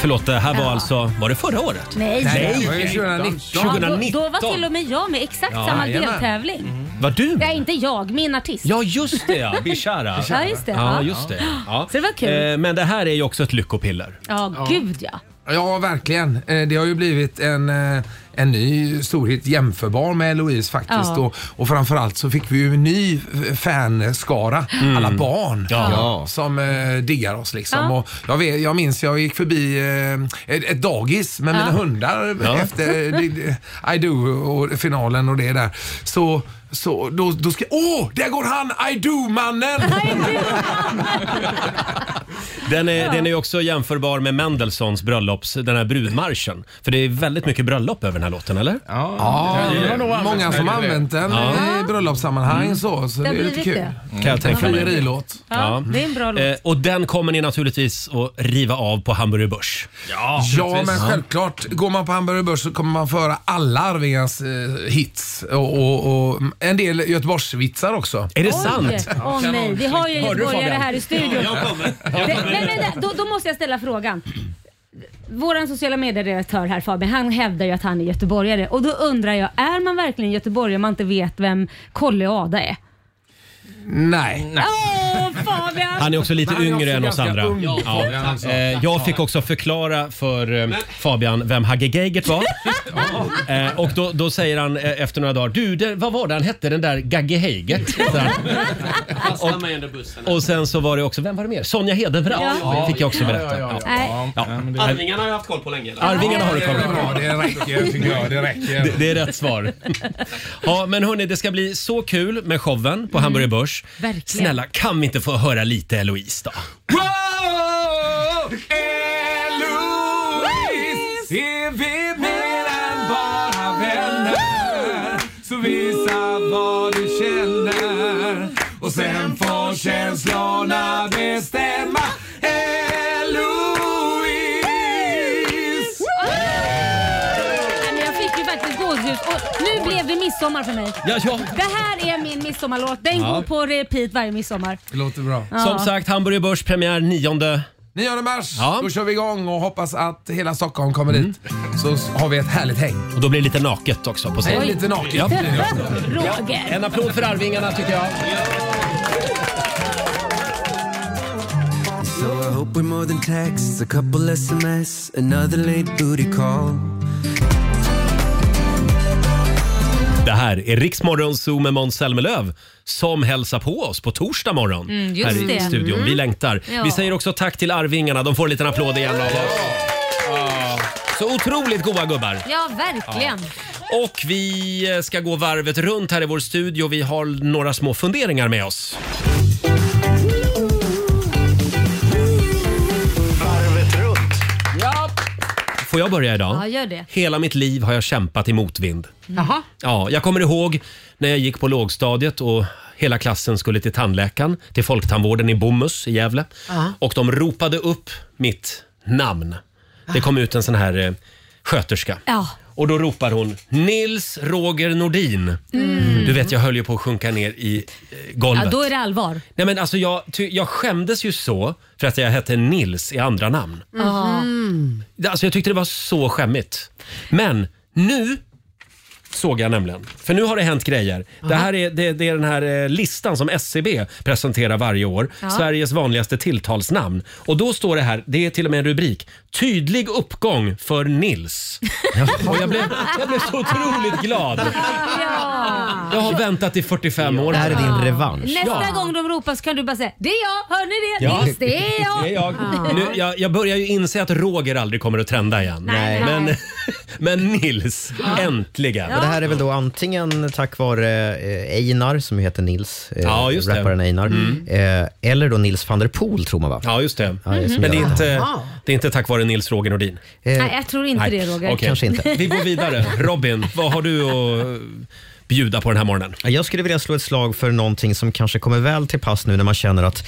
[SPEAKER 1] Förlåt, det här var alltså, var det förra året?
[SPEAKER 2] Nej,
[SPEAKER 1] Nej.
[SPEAKER 2] det var ju
[SPEAKER 1] 2019.
[SPEAKER 2] Ja, då, då var till och med jag med i exakt
[SPEAKER 1] Ja,
[SPEAKER 2] samma
[SPEAKER 1] jajamän.
[SPEAKER 2] deltävling.
[SPEAKER 1] Var du?
[SPEAKER 2] Nej, inte jag, min artist.
[SPEAKER 1] Ja, just det ja. Bishara.
[SPEAKER 2] Ja, just det.
[SPEAKER 1] Ja, just det. Ja.
[SPEAKER 2] Så det var kul.
[SPEAKER 1] Eh, Men det här är ju också ett lyckopiller.
[SPEAKER 2] Ja, gud ja.
[SPEAKER 13] Ja, verkligen. Eh, Det har ju blivit en, eh, en ny storhet jämförbar med Eloise faktiskt.
[SPEAKER 2] Ja.
[SPEAKER 13] Och, och framförallt så fick vi ju en ny f- fanskara,
[SPEAKER 16] Mm.
[SPEAKER 13] alla barn
[SPEAKER 16] Ja. Ja.
[SPEAKER 13] som eh, diggar oss. Liksom.
[SPEAKER 16] Ja.
[SPEAKER 13] Och jag, vet, jag minns jag gick förbi eh, ett, ett dagis med
[SPEAKER 16] Ja.
[SPEAKER 13] mina hundar
[SPEAKER 16] Ja.
[SPEAKER 13] efter eh, det- I do och finalen och det där. Så, så då, då ska Åh, där går han! I do-mannen!
[SPEAKER 1] Den är, den är ju också jämförbar med Mendelssohns bröllops, den här brudmarschen. För det är väldigt mycket bröllop över den här låten, eller? Ja,
[SPEAKER 13] Ja, många som använt den i bröllopssammanhang
[SPEAKER 1] Mm.
[SPEAKER 13] så, så
[SPEAKER 2] Det
[SPEAKER 13] det,
[SPEAKER 2] har
[SPEAKER 13] är lite
[SPEAKER 2] blivit
[SPEAKER 13] kul.
[SPEAKER 2] det.
[SPEAKER 1] Kan jag tänka mig.
[SPEAKER 13] En friidrottslåt.
[SPEAKER 2] Ja, det är en bra låt.
[SPEAKER 1] Eh, och den kommer ni naturligtvis att riva av på Hamburger Börs.
[SPEAKER 13] Ja, men självklart. Går man på Hamburger Börs så kommer man få höra alla Arvingens eh, hits och, och, och en del Göteborgsvitsar också.
[SPEAKER 1] Är
[SPEAKER 2] Oj, Åh nej, vi har ju
[SPEAKER 13] Hör du,
[SPEAKER 2] göteborgare
[SPEAKER 13] Fabian?
[SPEAKER 2] här i studion.
[SPEAKER 13] Ja, jag kommer. Jag
[SPEAKER 2] Det-
[SPEAKER 13] kommer.
[SPEAKER 2] Men vänta, då, då måste jag ställa frågan. Vår sociala medieredaktör här Fabian, han hävdar ju att han är göteborgare och då undrar jag, är man verkligen göteborgare om man inte vet vem Kolle och Ada är?
[SPEAKER 13] Nej.
[SPEAKER 2] Åh Fabian!
[SPEAKER 1] Han är också lite
[SPEAKER 2] Han är
[SPEAKER 1] yngre
[SPEAKER 2] också
[SPEAKER 1] än oss
[SPEAKER 2] ganska
[SPEAKER 1] andra.
[SPEAKER 2] ung.
[SPEAKER 1] Ja.
[SPEAKER 2] Ja.
[SPEAKER 1] Eh, Jag fick också förklara för eh, Fabian vem Hagge Geigert var. Eh, Och då, då säger han eh, efter några dagar, du det, vad var det han hette den där Gagge Heigert? Så här.
[SPEAKER 11] Fastnar mig under bussen.
[SPEAKER 1] Och sen så var det också, vem var det mer? Sonja Hedenbrant
[SPEAKER 11] Ja.
[SPEAKER 1] fick jag också
[SPEAKER 11] Ja,
[SPEAKER 1] berätta.
[SPEAKER 11] ja, ja, ja.
[SPEAKER 1] Ja. Ja.
[SPEAKER 11] Arvingarna har jag haft koll på länge. eller?
[SPEAKER 1] Arvingarna har du koll
[SPEAKER 13] på. Det räcker, tycker jag. Det räcker.
[SPEAKER 1] Det, det är rätt svar. Ja, men hörni, det ska bli så kul med showen på Hamburger Börs.
[SPEAKER 2] Verkligen.
[SPEAKER 1] Snälla, kan vi inte få höra lite Eloise då?
[SPEAKER 13] Wow! Eloise är vi mer än bara vänner Så visa vad du känner Och sen får känslorna bestämma Eloise
[SPEAKER 2] Ah! Nej, men Jag fick ju faktiskt gåshud och nu blev det midsommar för mig.
[SPEAKER 1] Ja, ja.
[SPEAKER 2] Det här är min midsommarlåt. Den
[SPEAKER 1] Ja.
[SPEAKER 2] går på repeat varje midsommar.
[SPEAKER 13] Det låter bra.
[SPEAKER 2] Ja.
[SPEAKER 1] Som sagt, Hamburger Börs premiär 9.
[SPEAKER 13] 9 mars,
[SPEAKER 1] Ja. Mm.
[SPEAKER 13] då kör vi igång och hoppas att hela Stockholm kommer dit. Så har vi ett härligt häng.
[SPEAKER 1] Och då blir det lite naket också på scen.
[SPEAKER 13] Det är lite naket.
[SPEAKER 1] Ja.
[SPEAKER 2] Roger.
[SPEAKER 1] En applåd för Arvingarna tycker jag.
[SPEAKER 16] So I hope we're more than texts, a couple SMS, another late booty call.
[SPEAKER 1] Det här är Riksmorgon Zoo med Måns Zelmerlöw som hälsar på oss på torsdag morgon
[SPEAKER 2] Mm, just
[SPEAKER 1] här i
[SPEAKER 2] det.
[SPEAKER 1] studion.
[SPEAKER 2] Mm.
[SPEAKER 1] Vi längtar.
[SPEAKER 2] Ja.
[SPEAKER 1] Vi säger också tack till Arvingarna. De får en liten applåd igen av oss. Ja. Så otroligt goa gubbar.
[SPEAKER 2] Ja, verkligen.
[SPEAKER 1] Och vi eh, ska gå varvet runt här i vår studio. Vi har några små funderingar med oss.
[SPEAKER 3] Varvet runt.
[SPEAKER 2] Ja.
[SPEAKER 1] Får jag börja idag?
[SPEAKER 2] Ja, gör det.
[SPEAKER 1] Hela mitt liv har jag kämpat i motvind.
[SPEAKER 6] Jaha.
[SPEAKER 1] Ja, jag kommer ihåg när jag gick på lågstadiet och hela klassen skulle till tandläkaren, till folktandvården i Bomhus i Gävle.
[SPEAKER 6] Ja.
[SPEAKER 1] Och de ropade upp mitt namn. Det kom ut en sån här eh, sköterska.
[SPEAKER 2] Ja.
[SPEAKER 1] Och då ropar hon Nils Roger Nordin.
[SPEAKER 2] Mm.
[SPEAKER 1] Du vet, jag höll ju på att sjunka ner i eh, golvet.
[SPEAKER 2] Ja, då är det allvar.
[SPEAKER 1] Nej, men alltså, jag, ty, jag skämdes ju så för att jag hette Nils i andra namn. Det- Alltså jag tyckte det var så skämmigt. Men nu såg jag nämligen. För nu har det hänt grejer. Det här är, det, det är den här eh, listan som SCB presenterar varje år.
[SPEAKER 16] Ja.
[SPEAKER 1] Sveriges vanligaste tilltalsnamn. Och då står det här, det är till och med en rubrik. Tydlig uppgång för Nils. och jag blev, jag blev så otroligt glad.
[SPEAKER 2] Ja.
[SPEAKER 1] Jag har väntat i 45 år.
[SPEAKER 12] Det här är din revansch.
[SPEAKER 2] Nästa gång de ropar så kan du bara säga det är jag, hör ni det?
[SPEAKER 1] Ja.
[SPEAKER 2] Nils, det är jag.
[SPEAKER 1] Det är jag. Nu, jag, jag börjar ju inse att Roger aldrig kommer att trenda igen.
[SPEAKER 2] Nej.
[SPEAKER 1] Men, men Nils,
[SPEAKER 12] Ja.
[SPEAKER 1] äntligen.
[SPEAKER 12] Och det här är väl då antingen tack vare eh, Einar, som heter Nils, eh,
[SPEAKER 1] Ja, just det.
[SPEAKER 12] rapparen Einar,
[SPEAKER 1] Mm.
[SPEAKER 12] eh, eller då Nils van der Poel tror man va?
[SPEAKER 1] Ja, just det. Mm.
[SPEAKER 12] Ja, det är som
[SPEAKER 1] Men det är,
[SPEAKER 12] gör det här.
[SPEAKER 1] inte, det är inte tack vare Nils Roger Nordin?
[SPEAKER 12] Eh,
[SPEAKER 2] Nej, jag tror inte det Roger.
[SPEAKER 1] Okej. Vi går vidare. Robin, vad har du att bjuda på den här morgonen?
[SPEAKER 12] Jag skulle vilja slå ett slag för någonting som kanske kommer väl till pass nu när man känner att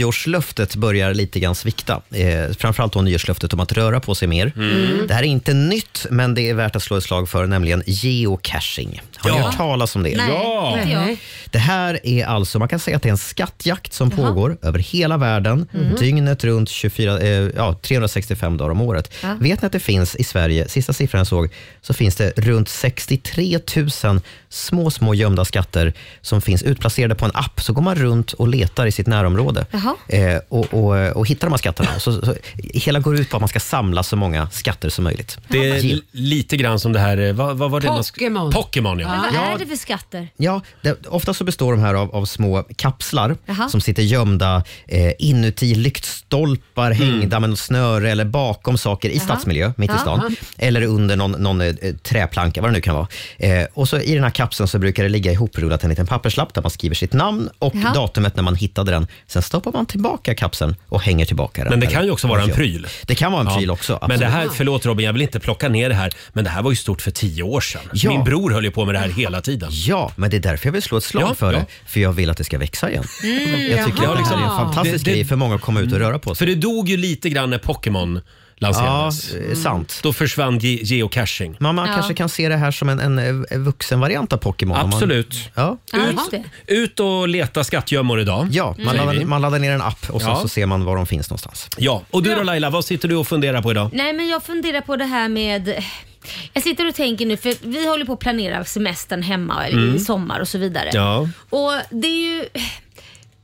[SPEAKER 12] nyårslöftet börjar lite grann svikta. Eh, framförallt då nyårslöftet om att röra på sig mer.
[SPEAKER 16] Mm.
[SPEAKER 12] Det här är inte nytt, men det är värt att slå ett slag för, nämligen geocaching. Har ni
[SPEAKER 16] Ja.
[SPEAKER 12] hört talas om det?
[SPEAKER 16] Nej, Ja. inte jag.
[SPEAKER 12] Det här är alltså, man kan säga att det är en skattjakt som pågår över hela världen,
[SPEAKER 16] Mhm.
[SPEAKER 12] dygnet runt 24, eh, ja, 365 dagar om året.
[SPEAKER 16] Ja.
[SPEAKER 12] Vet ni att det finns i Sverige, sista siffran jag såg, så finns det runt 63 000 små, små gömda skatter som finns utplacerade på en app. Så går man runt och letar i sitt närområde
[SPEAKER 2] Jaha.
[SPEAKER 12] eh, och, och, och hittar de här skatterna. Så, så, hela går ut på att man ska samla så många skatter som möjligt.
[SPEAKER 1] Det är li- lite grann som det här, eh, vad, vad var det? man sk-
[SPEAKER 12] Pokémon.
[SPEAKER 1] Pokémon ja.
[SPEAKER 2] Men vad
[SPEAKER 12] Ja.
[SPEAKER 2] är det för skatter?
[SPEAKER 12] Ja, det, ofta så består de här av, av små kapslar
[SPEAKER 2] Jaha.
[SPEAKER 12] som sitter gömda eh, inuti
[SPEAKER 1] Mm.
[SPEAKER 12] lyktstolpar hängda med något snöre eller bakom saker i
[SPEAKER 8] Jaha.
[SPEAKER 12] stadsmiljö mitt i stan.
[SPEAKER 8] Jaha.
[SPEAKER 12] Eller under någon, någon eh, träplanka, vad det nu kan vara. Eh, och så I den här kapseln så brukar det ligga ihoprullat en liten papperslapp där man skriver sitt namn och
[SPEAKER 2] Jaha.
[SPEAKER 12] datumet när man hittade den. Sen stoppar man tillbaka kapseln och hänger tillbaka den.
[SPEAKER 1] Men det kan
[SPEAKER 12] Eller-
[SPEAKER 1] ju också vara en
[SPEAKER 12] Ja.
[SPEAKER 1] pryl.
[SPEAKER 12] Det kan vara en pryl
[SPEAKER 1] Ja.
[SPEAKER 12] också.
[SPEAKER 1] Men det
[SPEAKER 12] absolut.
[SPEAKER 1] här, förlåt Robin, jag vill inte plocka ner det här, men det här var ju stort för tio år sedan.
[SPEAKER 12] Ja.
[SPEAKER 1] Min bror höll ju på med det här hela tiden.
[SPEAKER 12] Ja, men det är därför jag vill slå ett slag
[SPEAKER 1] Ja,
[SPEAKER 12] för
[SPEAKER 1] ja.
[SPEAKER 12] det. För jag vill att det ska växa igen.
[SPEAKER 1] Mm,
[SPEAKER 12] jag tycker
[SPEAKER 1] jaha.
[SPEAKER 12] att det är en fantastisk
[SPEAKER 1] Det- det-
[SPEAKER 12] grej för många att komma ut och röra på sig.
[SPEAKER 1] Mm. För det dog ju lite grann när Pokémon lanserades. Mm.
[SPEAKER 12] Ja, eh, sant.
[SPEAKER 1] Då försvann ge- geocaching.
[SPEAKER 12] Men man
[SPEAKER 1] Ja.
[SPEAKER 12] kanske kan se det här som en, en, eh, vuxen variant av Pokémon. om man-
[SPEAKER 1] Absolut.
[SPEAKER 12] Ja.
[SPEAKER 2] Ut,
[SPEAKER 1] ut och leta skattgömmor idag.
[SPEAKER 12] Ja, man, laddar, man laddar ner en app och sen
[SPEAKER 1] Ja.
[SPEAKER 12] så ser man var de finns någonstans.
[SPEAKER 1] Ja, och du då Laila, vad sitter du och funderar på idag?
[SPEAKER 2] Nej men jag funderar på det här med jag sitter och tänker nu, för vi håller på att planera semestern hemma
[SPEAKER 1] Mm.
[SPEAKER 2] i sommar och så vidare.
[SPEAKER 1] Ja.
[SPEAKER 2] Och det är ju...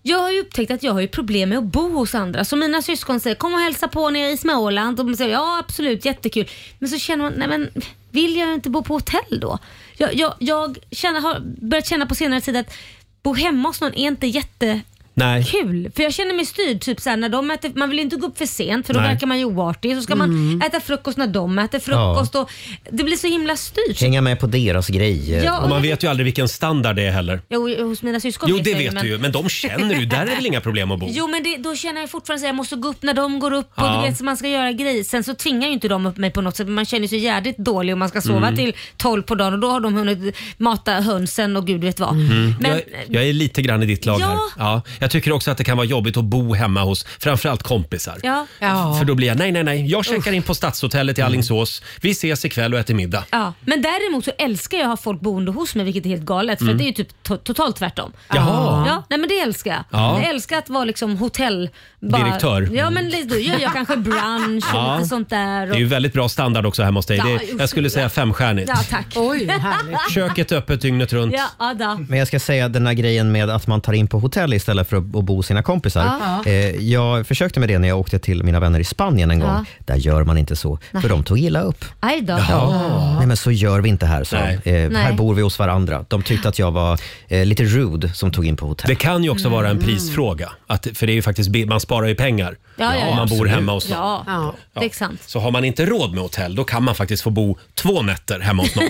[SPEAKER 2] Jag har ju upptäckt att jag har ju problem med att bo hos andra. Så mina syskon säger kom och hälsa på nere i Småland. Och de säger ja absolut, jättekul. Men så känner man, nej men vill jag inte bo på hotell då? Jag, jag, jag känner, har börjat känna på senare tid att bo hemma hos någon är inte jätte
[SPEAKER 1] Nej.
[SPEAKER 2] kul. För jag känner mig styrd. Typ såhär, när de äter, man vill ju inte gå upp för sent för då
[SPEAKER 12] Nej.
[SPEAKER 2] verkar man ju oartig. Så ska
[SPEAKER 12] Mm.
[SPEAKER 2] man äta frukost när de äter frukost. Och det blir så himla styrt.
[SPEAKER 12] Hänga med på deras grejer.
[SPEAKER 2] Ja, och
[SPEAKER 1] och man
[SPEAKER 2] jag-
[SPEAKER 1] vet ju aldrig vilken standard det är heller.
[SPEAKER 2] Jo, hos mina syskon
[SPEAKER 1] Jo,
[SPEAKER 2] vet
[SPEAKER 1] det
[SPEAKER 2] jag
[SPEAKER 1] vet du ju, men de känner du. Där är det väl inga problem att bo?
[SPEAKER 2] Jo men det, då känner jag fortfarande att jag måste gå upp när de går upp och
[SPEAKER 1] Ja.
[SPEAKER 2] du vet så man ska göra grejer. Sen så tvingar ju inte de upp mig på något sätt men man känner sig jävligt dålig och man ska sova
[SPEAKER 1] Mm.
[SPEAKER 2] till 12 på dagen och då har de hunnit mata hönsen och gud vet vad.
[SPEAKER 1] Mm.
[SPEAKER 2] Men, eh,
[SPEAKER 1] jag, jag är lite grann i ditt lag
[SPEAKER 2] Ja.
[SPEAKER 1] här. Ja, jag tycker också att det kan vara jobbigt att bo hemma hos framförallt kompisar.
[SPEAKER 2] ja. Ja. Mm.
[SPEAKER 1] För då blir jag, nej, nej, nej. Jag checkar in på Stadshotellet i Alingsås. Vi ses ikväll och äter middag.
[SPEAKER 2] Ja, men däremot så älskar jag att ha folk boende hos mig vilket är helt galet för
[SPEAKER 1] Mm.
[SPEAKER 2] det är ju typ to- totalt tvärtom.
[SPEAKER 1] Jaha.
[SPEAKER 2] Ja, nej men det älskar jag.
[SPEAKER 1] Ja.
[SPEAKER 2] Jag älskar att vara liksom hotell... bara-
[SPEAKER 1] Direktör.
[SPEAKER 2] Ja men lite- då gör jag kanske brunch och
[SPEAKER 1] Ja.
[SPEAKER 2] lite sånt där.
[SPEAKER 1] Det
[SPEAKER 2] Och...
[SPEAKER 1] är ju väldigt bra standard också hemma hos dig. Det
[SPEAKER 2] Ja,
[SPEAKER 1] är, jag skulle säga femstjärnigt.
[SPEAKER 2] Ja tack. Oj, härligt.
[SPEAKER 1] Köket öppet dygnet runt.
[SPEAKER 2] Ja, ja, då.
[SPEAKER 12] Men jag ska säga den här grejen med att man tar in på hotell istället för att att bo hos sina kompisar.
[SPEAKER 2] Ja.
[SPEAKER 12] Eh, jag försökte med det när jag åkte till mina vänner i Spanien en gång.
[SPEAKER 2] Ja.
[SPEAKER 12] Där gör man inte så,
[SPEAKER 2] Nej.
[SPEAKER 12] för de tog illa upp.
[SPEAKER 2] Aj då.
[SPEAKER 12] Ja. Nej men så gör vi inte här, så. Eh, Här
[SPEAKER 2] Nej.
[SPEAKER 12] bor vi hos varandra. De tyckte att jag var eh, lite rude som tog in på hotell.
[SPEAKER 1] Det kan ju också
[SPEAKER 2] Mm.
[SPEAKER 1] vara en prisfråga. Att, för det är ju faktiskt, bi- man sparar ju pengar
[SPEAKER 2] Ja, ja, ja.
[SPEAKER 1] om man bor
[SPEAKER 2] Absolut.
[SPEAKER 1] hemma hos någon.
[SPEAKER 2] Ja, det är sant.
[SPEAKER 1] Så har man inte råd med hotell, då kan man faktiskt få bo två nätter hemma hos någon.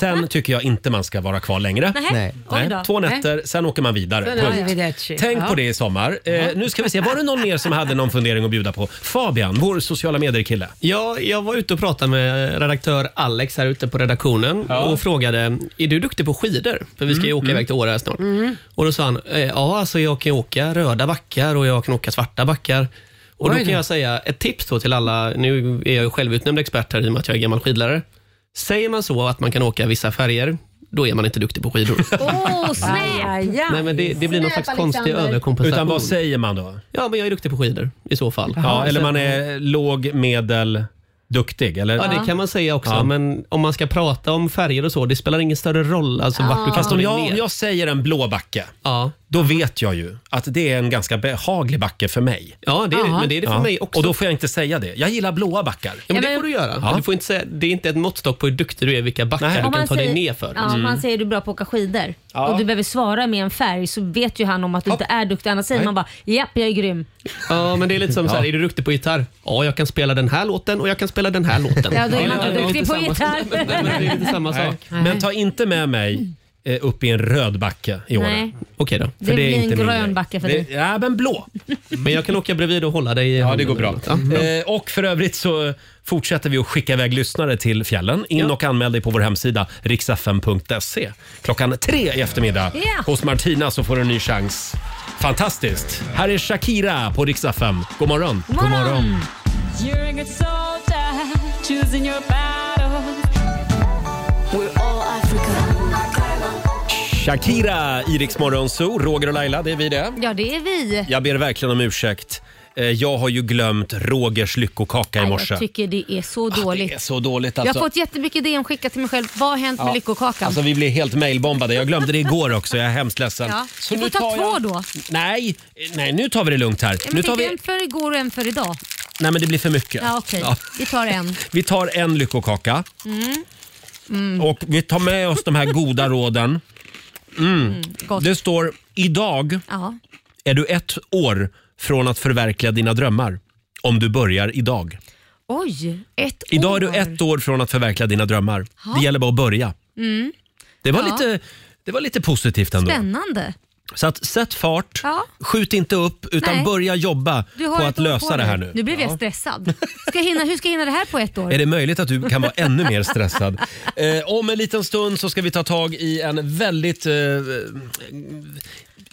[SPEAKER 1] Sen tycker jag inte man ska vara kvar längre.
[SPEAKER 2] Nej. Nej. Oj då.
[SPEAKER 1] Två nätter, sen åker man vidare.
[SPEAKER 6] Sen
[SPEAKER 1] Punkt.
[SPEAKER 6] arrivederci.
[SPEAKER 1] Tänk
[SPEAKER 6] Ja.
[SPEAKER 1] på det i sommar. Eh, nu ska vi se, var det någon mer som hade någon fundering att bjuda på? Fabian, vår sociala medier-kille.
[SPEAKER 11] Ja, jag var ute och pratade med redaktör Alex här ute på redaktionen och frågade, är du duktig på skidor? För vi ska
[SPEAKER 1] Mm,
[SPEAKER 11] ju åka iväg till Åre här snart.
[SPEAKER 5] Mm.
[SPEAKER 11] Och då sa han, eh, ja alltså jag kan åka röda backar och jag kan åka svarta backar. Och då
[SPEAKER 15] Oj då.
[SPEAKER 11] kan jag säga ett tips då till alla, nu är jag ju självutnämnd expert här i och med att jag är gammal skidlärare. Säger man så att man kan åka vissa färger, då är man inte duktig på skidor.
[SPEAKER 2] Åh, snäpp!
[SPEAKER 11] Nej, men det, det blir någon slags konstig överkompensation.
[SPEAKER 1] Utan vad säger man då?
[SPEAKER 11] Ja, men jag är duktig på skidor i så fall.
[SPEAKER 1] Ja, eller
[SPEAKER 11] Så-
[SPEAKER 1] man är låg, medel, duktig? Eller?
[SPEAKER 11] Ja, det kan man säga också.
[SPEAKER 1] Ja.
[SPEAKER 11] Men om man ska prata om färger och så, det spelar ingen större roll alltså, vart
[SPEAKER 2] Ah.
[SPEAKER 11] du
[SPEAKER 1] Fast om
[SPEAKER 11] kastar
[SPEAKER 1] jag,
[SPEAKER 11] jag,
[SPEAKER 1] om
[SPEAKER 11] ner.
[SPEAKER 1] jag säger en blå backe,
[SPEAKER 11] ja.
[SPEAKER 1] då vet jag ju att det är en ganska behaglig backe för mig.
[SPEAKER 11] Ja, det är det. Men det är det för mig också.
[SPEAKER 1] Och då får jag inte säga det. Jag gillar blåa backar.
[SPEAKER 11] Ja, men det får du göra.
[SPEAKER 1] Ja.
[SPEAKER 11] Men Du får inte säga, det är inte ett måttstock på hur duktig du är, vilka backar du
[SPEAKER 2] Om
[SPEAKER 11] kan
[SPEAKER 2] man
[SPEAKER 11] ta dig
[SPEAKER 2] säger-
[SPEAKER 11] ner för.
[SPEAKER 2] Ja, om
[SPEAKER 1] Mm.
[SPEAKER 2] man säger du är bra på att åka skidor
[SPEAKER 11] Ja.
[SPEAKER 2] och du behöver svara med en färg så vet ju han om att du inte är duktig. Annars säger
[SPEAKER 11] Nej.
[SPEAKER 2] man bara japp, jag är grym.
[SPEAKER 11] Ja, men det är lite som så här,
[SPEAKER 2] Ja.
[SPEAKER 11] är du duktig på gitarr? Ja, jag kan spela den här låten och jag kan spela den här låten.
[SPEAKER 2] Ja, då är man
[SPEAKER 11] det
[SPEAKER 2] inte
[SPEAKER 11] inte
[SPEAKER 2] duktig på
[SPEAKER 11] samma-
[SPEAKER 2] gitarr.
[SPEAKER 11] Nej, men det är inte samma
[SPEAKER 1] Nej.
[SPEAKER 11] sak.
[SPEAKER 1] Men ta inte med mig eh, upp i en röd backe i år.
[SPEAKER 2] Nej.
[SPEAKER 11] Okej då.
[SPEAKER 2] Det blir en
[SPEAKER 1] min
[SPEAKER 2] grön
[SPEAKER 1] grej.
[SPEAKER 2] backe för
[SPEAKER 1] Det-
[SPEAKER 2] dig.
[SPEAKER 1] Ja, men blå.
[SPEAKER 11] Men jag kan åka bredvid och hålla dig i
[SPEAKER 1] Ja, det går bra. Eh, och för övrigt så fortsätter vi att skicka iväg lyssnare till fjällen. In och anmäl dig på vår hemsida riksfm.se. Klockan tre i eftermiddag
[SPEAKER 2] Ja.
[SPEAKER 1] hos Martina så får du en ny chans. Fantastiskt! Här är Shakira på Rix FM. God morgon!
[SPEAKER 5] God morgon. You're a good soldier, choosing your battles. We're all Africa.
[SPEAKER 1] Shakira i Rix Morgon Zoo. Roger och Laila, det är vi det.
[SPEAKER 2] Ja, det är vi.
[SPEAKER 1] Jag ber verkligen om ursäkt. Eh, Jag har ju glömt Rogers lyckokaka i
[SPEAKER 2] Nej,
[SPEAKER 1] morse. Ah,
[SPEAKER 2] Jag tycker det är så dåligt.
[SPEAKER 1] Det är så dåligt alltså.
[SPEAKER 2] Jag har fått jättemycket DM skickat till mig själv. Vad har hänt med
[SPEAKER 1] Ja.
[SPEAKER 2] lyckokakan?
[SPEAKER 1] Alltså vi blev helt mailbombade. Jag glömde det igår också. Jag är hemskt ledsen.
[SPEAKER 2] ja.
[SPEAKER 1] Så
[SPEAKER 2] Du får
[SPEAKER 1] nu
[SPEAKER 2] ta
[SPEAKER 1] tar
[SPEAKER 2] två
[SPEAKER 1] jag...
[SPEAKER 2] då.
[SPEAKER 1] Nej, Eh, nej nu tar vi det lugnt här.
[SPEAKER 2] Ja,
[SPEAKER 1] Nu
[SPEAKER 2] men
[SPEAKER 1] tar
[SPEAKER 2] fick
[SPEAKER 1] vi...
[SPEAKER 2] En för igår och en för idag.
[SPEAKER 1] Nej men det blir för mycket.
[SPEAKER 2] Ja, okej.
[SPEAKER 1] Ja.
[SPEAKER 2] Vi tar en.
[SPEAKER 1] Vi tar en lyckokaka
[SPEAKER 2] Mm. Mm.
[SPEAKER 1] och vi tar med oss de här goda råden. Mm. Det står idag
[SPEAKER 2] Ja.
[SPEAKER 1] är du ett år från att förverkliga dina drömmar. Om du börjar idag.
[SPEAKER 2] Oj, ett
[SPEAKER 1] Idag är
[SPEAKER 2] år.
[SPEAKER 1] du ett år från att förverkliga dina drömmar.
[SPEAKER 2] Ja.
[SPEAKER 1] Det gäller bara att börja.
[SPEAKER 2] Mm.
[SPEAKER 1] Det var,
[SPEAKER 2] Ja.
[SPEAKER 1] lite, det var lite positivt ändå.
[SPEAKER 2] Spännande.
[SPEAKER 1] Så att sätt fart,
[SPEAKER 2] Ja.
[SPEAKER 1] skjut inte upp utan
[SPEAKER 2] Nej.
[SPEAKER 1] börja jobba
[SPEAKER 2] Du har
[SPEAKER 1] på
[SPEAKER 2] ett
[SPEAKER 1] att
[SPEAKER 2] år
[SPEAKER 1] lösa
[SPEAKER 2] på
[SPEAKER 1] det här
[SPEAKER 2] dig.
[SPEAKER 1] nu.
[SPEAKER 2] Nu blev jag stressad. Ska jag hinna, hur ska jag hinna det här på ett år?
[SPEAKER 1] Är det möjligt att du kan vara ännu mer stressad? Eh, om en liten stund så ska vi ta tag i en väldigt eh,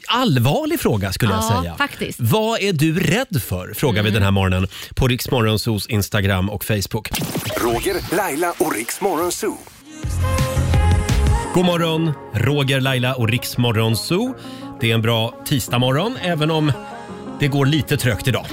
[SPEAKER 1] allvarlig fråga skulle
[SPEAKER 2] ja,
[SPEAKER 1] jag säga.
[SPEAKER 2] faktiskt. Mm.
[SPEAKER 1] Vad är du rädd för? Frågar vi den här morgonen på Riksmorgonsos Instagram och Facebook.
[SPEAKER 3] Roger, Laila och Riks Morgonzoo.
[SPEAKER 1] God morgon, Roger, Laila och Riksmorgonso. Det är en bra tisdagmorgon, även om det går lite trögt idag.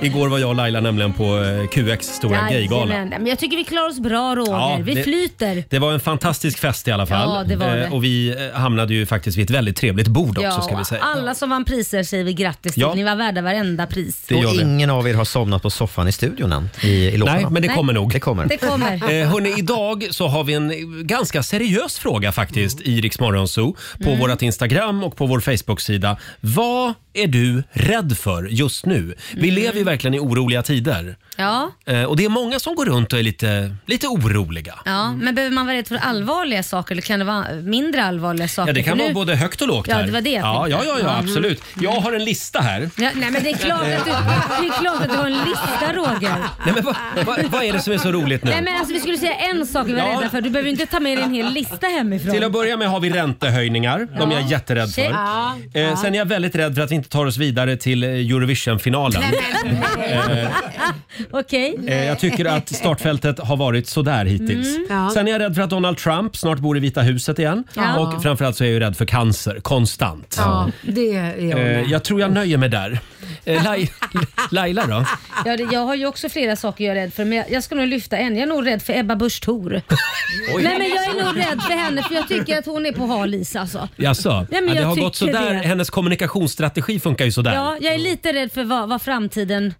[SPEAKER 1] Igår var jag och Laila nämligen på eh, QX stora gaygala.
[SPEAKER 2] Jajamän. Men jag tycker vi klarar oss bra Roger.
[SPEAKER 1] Ja,
[SPEAKER 2] vi
[SPEAKER 1] det-
[SPEAKER 2] flyter.
[SPEAKER 1] Det var en fantastisk fest i alla fall.
[SPEAKER 2] Ja, det var det.
[SPEAKER 1] Eh, Och vi eh, hamnade ju faktiskt vid ett väldigt trevligt bord också ska vi säga.
[SPEAKER 2] Alla som vann priser säger vi grattis till.
[SPEAKER 12] Ja.
[SPEAKER 2] Ni var värda varenda pris.
[SPEAKER 12] och ingen av er har somnat på soffan i studion än? I, i låtarna.
[SPEAKER 1] Nej, men det
[SPEAKER 2] Nej.
[SPEAKER 1] kommer nog.
[SPEAKER 12] Det kommer.
[SPEAKER 2] Det kommer.
[SPEAKER 1] Eh, hörni, idag så har vi en eh, ganska seriös fråga faktiskt i Rix Morgon Zoo på
[SPEAKER 2] Mm.
[SPEAKER 1] vårt Instagram och på vår Facebook-sida. Vad är du rädd för just nu? Vi
[SPEAKER 2] Mm.
[SPEAKER 1] lever ju verkligen i oroliga tider.
[SPEAKER 2] Ja.
[SPEAKER 1] Eh, och det är många som går runt och är lite, lite oroliga.
[SPEAKER 2] Ja, men behöver man vara rädd för allvarliga saker eller kan det vara mindre allvarliga saker?
[SPEAKER 1] Ja, det kan
[SPEAKER 2] För
[SPEAKER 1] vara
[SPEAKER 2] nu-
[SPEAKER 1] både högt och lågt
[SPEAKER 2] Ja,
[SPEAKER 1] här.
[SPEAKER 2] det var det jag
[SPEAKER 1] ja, ja,
[SPEAKER 2] tänkte.
[SPEAKER 1] ja, ja,
[SPEAKER 2] Mm.
[SPEAKER 1] absolut. Jag har en lista här.
[SPEAKER 2] Ja, nej men det är klart att du, det är klart att du har en lista Roger.
[SPEAKER 1] Nej, men vad, vad, vad är det som är så roligt nu?
[SPEAKER 2] Nej men alltså vi skulle säga en sak vi var
[SPEAKER 1] Ja.
[SPEAKER 2] rädda för. Du behöver ju inte ta med dig en hel lista hemifrån.
[SPEAKER 1] Till att börja med har vi räntehöjningar. De är jag jätterädd för.
[SPEAKER 2] Ja.
[SPEAKER 1] Eh, sen är jag väldigt rädd för att vi inte tar oss vidare till eh, Eurovision-finalen. Eh,
[SPEAKER 2] Okej.
[SPEAKER 1] eh, jag tycker att startfältet har varit sådär hittills.
[SPEAKER 2] Mm. Ja.
[SPEAKER 1] Sen är jag rädd för att Donald Trump snart bor i Vita huset igen.
[SPEAKER 6] Ja.
[SPEAKER 1] Och framförallt så är jag ju rädd för cancer, konstant.
[SPEAKER 6] Ja, det är jag med.
[SPEAKER 1] Eh, jag tror jag nöjer mig där. Eh, Lai- Laila då?
[SPEAKER 2] Ja, det, jag har ju också flera saker jag är rädd för men jag, jag ska nog lyfta en. Jag är nog rädd för Ebba Busch Thor.
[SPEAKER 1] Oj.
[SPEAKER 2] Nej men jag är nog rädd för henne för jag tycker att hon är på hal is alltså.
[SPEAKER 1] Jaså?
[SPEAKER 2] men
[SPEAKER 1] Ja, det
[SPEAKER 2] jag
[SPEAKER 1] har gått
[SPEAKER 2] tycker
[SPEAKER 1] sådär.
[SPEAKER 2] det.
[SPEAKER 1] Hennes kommunikationsstrategi funkar ju sådär.
[SPEAKER 2] Ja, jag är lite rädd för vad, vad framtiden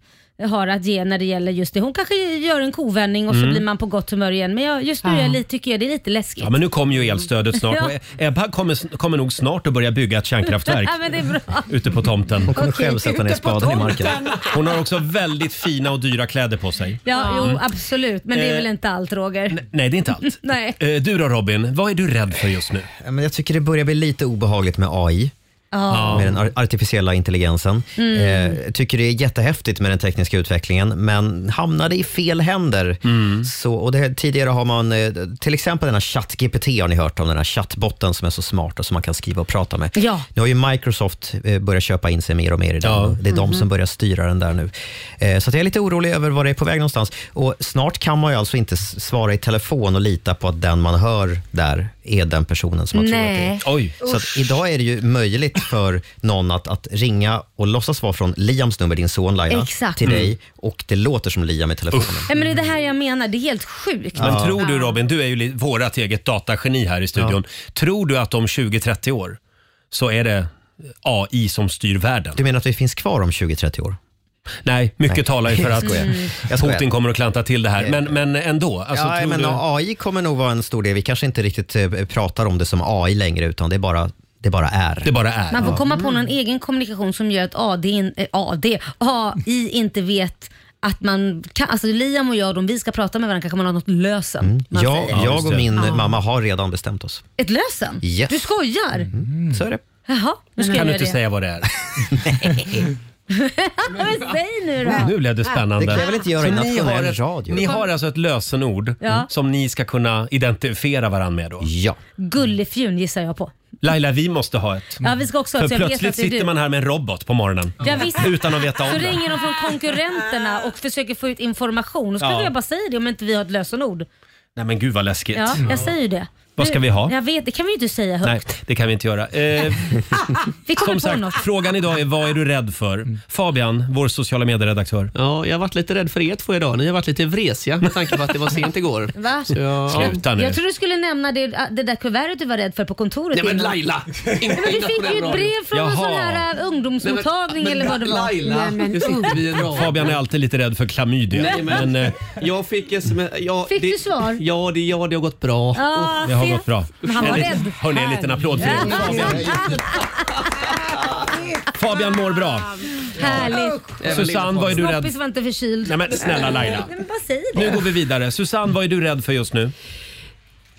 [SPEAKER 2] har att ge när det gäller just det. Hon kanske gör en kovändning och
[SPEAKER 1] Mm.
[SPEAKER 2] så blir man på gott humör igen. Men jag, just nu är jag lite, tycker jag det är lite läskigt.
[SPEAKER 1] Ja, men nu kommer ju elstödet snart.
[SPEAKER 2] Ja.
[SPEAKER 1] och Ebba kommer, kommer nog snart att börja bygga ett kärnkraftverk
[SPEAKER 2] ja, men det är bra.
[SPEAKER 1] ute på tomten. Hon
[SPEAKER 2] kommer Okej. själv sätta ner Ute på spaden i marken. tomten.
[SPEAKER 1] Hon har också väldigt fina och dyra kläder på sig.
[SPEAKER 2] Ja, jo,
[SPEAKER 1] Mm.
[SPEAKER 2] absolut. Men det är
[SPEAKER 1] Eh,
[SPEAKER 2] väl inte allt Roger?
[SPEAKER 1] Nej, det är inte allt.
[SPEAKER 2] Nej.
[SPEAKER 1] Eh, Du då Robin, vad är du rädd för just nu?
[SPEAKER 12] Ja, Men jag tycker det börjar bli lite obehagligt med AI.
[SPEAKER 2] Ja.
[SPEAKER 12] Med den ar- artificiella intelligensen.
[SPEAKER 2] Mm.
[SPEAKER 12] Eh, jag tycker det är jättehäftigt med den tekniska utvecklingen, men hamnar det i fel händer. Så, och det, här- tidigare har man, eh, till exempel den här ChatGPT har ni hört om, den här chattbotten som är så smart och som man kan skriva och prata med.
[SPEAKER 2] Ja.
[SPEAKER 12] Nu har ju Microsoft eh, börjat köpa in sig mer och mer i den. och Det är de
[SPEAKER 2] Mhm.
[SPEAKER 12] som börjar styra den där nu. Eh, Så att jag är lite orolig över var det är på väg någonstans. Och snart kan man ju alltså inte s- svara i telefon och lita på att den man hör där är den personen som man tror
[SPEAKER 2] Nej.
[SPEAKER 12] att det är.
[SPEAKER 2] Oj.
[SPEAKER 12] Så att idag är det ju möjligt för någon att, att ringa och låtsas vara från Liams nummer, din son Laila,
[SPEAKER 2] Exakt.
[SPEAKER 12] till
[SPEAKER 2] Mm.
[SPEAKER 12] dig och det låter som Liam i telefonen.
[SPEAKER 2] Nej, men det är det här jag menar. Det är helt sjukt.
[SPEAKER 1] Men tror du Robin, du är ju li- vårat eget datageni här i studion. Tror du att om 20-30 år så är det AI som styr världen?
[SPEAKER 12] Du menar att vi finns kvar om 20-30 år?
[SPEAKER 1] Nej, mycket
[SPEAKER 12] Nej.
[SPEAKER 1] talar ju för
[SPEAKER 12] Jag
[SPEAKER 1] att
[SPEAKER 12] skojar.
[SPEAKER 2] Mm.
[SPEAKER 12] Jag skojar.
[SPEAKER 1] Putin kommer att klanta till det här. Men, men ändå. Alltså,
[SPEAKER 12] ja,
[SPEAKER 1] tror
[SPEAKER 12] men
[SPEAKER 1] du...
[SPEAKER 12] AI kommer nog vara en stor del. Vi kanske inte riktigt eh, pratar om det som AI längre, utan det är bara, det bara är. Mm.
[SPEAKER 1] Det bara är.
[SPEAKER 2] Man får komma på någon e- egen kommunikation som gör att AD, in- eh, AD, AI inte vet att man kan, alltså Liam och jag, om vi ska prata med varandra kanske man har något lösen.
[SPEAKER 1] Mm.
[SPEAKER 2] Man
[SPEAKER 12] Jag,
[SPEAKER 2] säger.
[SPEAKER 12] jag och min
[SPEAKER 2] Ja.
[SPEAKER 12] mamma har redan bestämt oss.
[SPEAKER 2] Ett lösen?
[SPEAKER 12] Yes.
[SPEAKER 2] Du skojar?
[SPEAKER 1] Mm.
[SPEAKER 12] Så är det.
[SPEAKER 2] Jaha, nu ska
[SPEAKER 1] kan
[SPEAKER 2] jag
[SPEAKER 1] du
[SPEAKER 2] göra
[SPEAKER 1] inte
[SPEAKER 2] det.
[SPEAKER 1] säga vad det är?
[SPEAKER 2] Men säg nu då.
[SPEAKER 1] Nu blev det spännande.
[SPEAKER 12] Det kan jag väl inte göra
[SPEAKER 1] Så
[SPEAKER 12] i
[SPEAKER 1] ni har
[SPEAKER 12] nationell
[SPEAKER 1] ett,
[SPEAKER 12] radio.
[SPEAKER 1] Ni har alltså ett lösenord
[SPEAKER 2] Ja.
[SPEAKER 1] som ni ska kunna identifiera varandra med då?
[SPEAKER 12] Ja.
[SPEAKER 2] Gullifjun gissar jag på.
[SPEAKER 1] Laila, vi måste ha ett.
[SPEAKER 2] Ja, vi ska också ha
[SPEAKER 1] För
[SPEAKER 2] ett, så jag vet
[SPEAKER 1] plötsligt
[SPEAKER 2] att det är
[SPEAKER 1] sitter
[SPEAKER 2] du.
[SPEAKER 1] man här med en robot på morgonen.
[SPEAKER 2] Ja, visst.
[SPEAKER 1] Utan att veta om
[SPEAKER 2] Så
[SPEAKER 1] det.
[SPEAKER 2] ringer de från konkurrenterna och försöker få ut information. Och så
[SPEAKER 1] Ja.
[SPEAKER 2] kanske jag bara säger det om inte vi har ett lösenord.
[SPEAKER 1] Nej men gud vad läskigt.
[SPEAKER 2] Ja, jag säger ju det.
[SPEAKER 1] Vad ska
[SPEAKER 2] Nu-
[SPEAKER 1] vi ha?
[SPEAKER 2] Jag vet, det kan vi ju inte säga högt.
[SPEAKER 1] Nej, det kan vi inte göra. Eh,
[SPEAKER 2] Vi kommer
[SPEAKER 1] som
[SPEAKER 2] på
[SPEAKER 1] sagt,
[SPEAKER 2] något.
[SPEAKER 1] frågan idag är vad är du rädd för? Fabian, vår sociala medieredaktör.
[SPEAKER 11] Mm. Ja, jag har varit lite rädd för er två idag. Ni har varit lite vresiga med tanke på att det var sent igår.
[SPEAKER 2] Va?
[SPEAKER 11] Så jag-
[SPEAKER 1] Sluta
[SPEAKER 2] Jag tror du skulle nämna det, ah, det där kuvertet du var rädd för på kontoret.
[SPEAKER 11] Nej men
[SPEAKER 2] innan.
[SPEAKER 11] Laila!
[SPEAKER 2] Nej, men du fick ju ett brev från en
[SPEAKER 1] Jaha.
[SPEAKER 2] sån här äh,
[SPEAKER 11] Nej,
[SPEAKER 2] ungdomsmottagning
[SPEAKER 11] men-
[SPEAKER 2] eller vad det var.
[SPEAKER 11] Laila,
[SPEAKER 2] Nej, men,
[SPEAKER 11] nu sitter vi i en
[SPEAKER 2] usch.
[SPEAKER 11] rad.
[SPEAKER 1] Fabian är alltid lite rädd för klamydia.
[SPEAKER 11] Nej, men-
[SPEAKER 1] men, eh,
[SPEAKER 11] Jag fick sms... Eh, Ja,
[SPEAKER 2] Fick
[SPEAKER 11] det,
[SPEAKER 2] du svar?
[SPEAKER 11] Ja det, ja, det har gått bra.
[SPEAKER 2] Ja,
[SPEAKER 1] det har
[SPEAKER 2] se.
[SPEAKER 1] gått bra.
[SPEAKER 2] Men han var
[SPEAKER 1] En liten-
[SPEAKER 2] rädd.
[SPEAKER 1] Hörni, en liten applåd för
[SPEAKER 2] Ja.
[SPEAKER 1] er. Fabian, Fabian mår bra.
[SPEAKER 2] Härligt.
[SPEAKER 1] Susanne, vad är du rädd
[SPEAKER 2] Snoppis var inte förkyld.
[SPEAKER 1] Nej, men snälla Laila.
[SPEAKER 2] Nej, men bara säg det.
[SPEAKER 1] Nu går vi vidare. Susanne, vad är du rädd för just nu?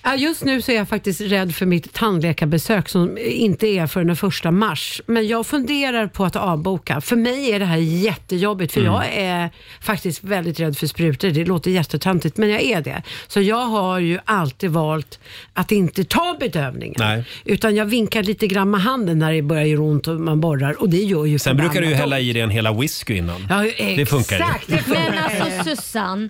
[SPEAKER 6] Ja, just nu så är jag faktiskt rädd för mitt tandläkarbesök som inte är förrän den första mars. Men jag funderar på att avboka. För mig är det här jättejobbigt för
[SPEAKER 8] Mm.
[SPEAKER 6] jag är faktiskt väldigt rädd för sprutor. Det låter jättetantigt men jag är det. Så jag har ju alltid valt att inte ta bedövningen.
[SPEAKER 1] Nej.
[SPEAKER 6] Utan jag vinkar lite grann med handen när det börjar göra ont och man borrar. Och det gör ju
[SPEAKER 1] Sen brukar du ju
[SPEAKER 6] förbannat
[SPEAKER 1] hälla i dig en hela whisky innan.
[SPEAKER 6] Ja,
[SPEAKER 1] det funkar ju.
[SPEAKER 6] exakt.
[SPEAKER 2] Men alltså
[SPEAKER 6] Eh.
[SPEAKER 2] Susanne,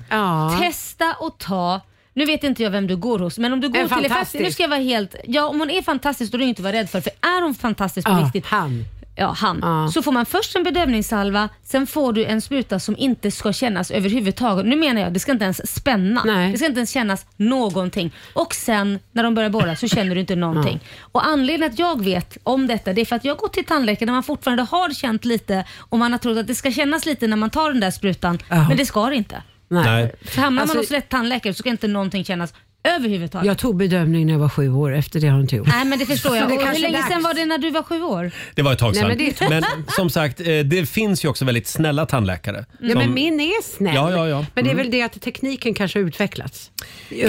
[SPEAKER 2] testa och ta nu vet inte jag vem du går hos, men om du går
[SPEAKER 6] En
[SPEAKER 2] till
[SPEAKER 6] fantastisk.
[SPEAKER 2] Nu ska jag vara helt... Ja, om hon är fantastisk då är du inte att vara rädd för. För är hon fantastisk på
[SPEAKER 6] Ja,
[SPEAKER 2] riktigt...
[SPEAKER 6] Han.
[SPEAKER 2] Ja, han. Så får man först en bedövningssalva, sen får du en spruta som inte ska kännas överhuvudtaget. Nu menar jag, det ska inte ens spänna. Det ska inte ens kännas någonting. Och sen när de börjar borra så känner du inte någonting. Och anledningen att jag vet om detta, det är för att jag har gått till tandläkaren där man fortfarande har känt lite och man har trott att det ska kännas lite när man tar den där sprutan.
[SPEAKER 6] Ja.
[SPEAKER 2] Men det ska det inte.
[SPEAKER 6] Nej.
[SPEAKER 2] För hamnar
[SPEAKER 6] Alltså-
[SPEAKER 2] man hos rätt tandläkare så ska inte någonting kännas överhuvudtaget.
[SPEAKER 6] Jag tog bedömning när jag var sju år. Efter det har jag inte gjort.
[SPEAKER 2] Nej men det förstår
[SPEAKER 6] Så
[SPEAKER 2] jag.
[SPEAKER 6] det
[SPEAKER 2] och hur
[SPEAKER 6] kanske är
[SPEAKER 2] länge
[SPEAKER 6] dags.
[SPEAKER 2] sedan var det när du var sju år?
[SPEAKER 1] Det var ett tag
[SPEAKER 6] Nej,
[SPEAKER 1] sedan.
[SPEAKER 6] men det är ett tag
[SPEAKER 1] men,
[SPEAKER 6] sedan.
[SPEAKER 1] som sagt, eh, det finns ju också väldigt snälla tandläkare.
[SPEAKER 6] Nej, men min är snäll.
[SPEAKER 1] Ja, ja, ja.
[SPEAKER 6] Men det är
[SPEAKER 1] Mm.
[SPEAKER 6] väl det att tekniken kanske har utvecklats.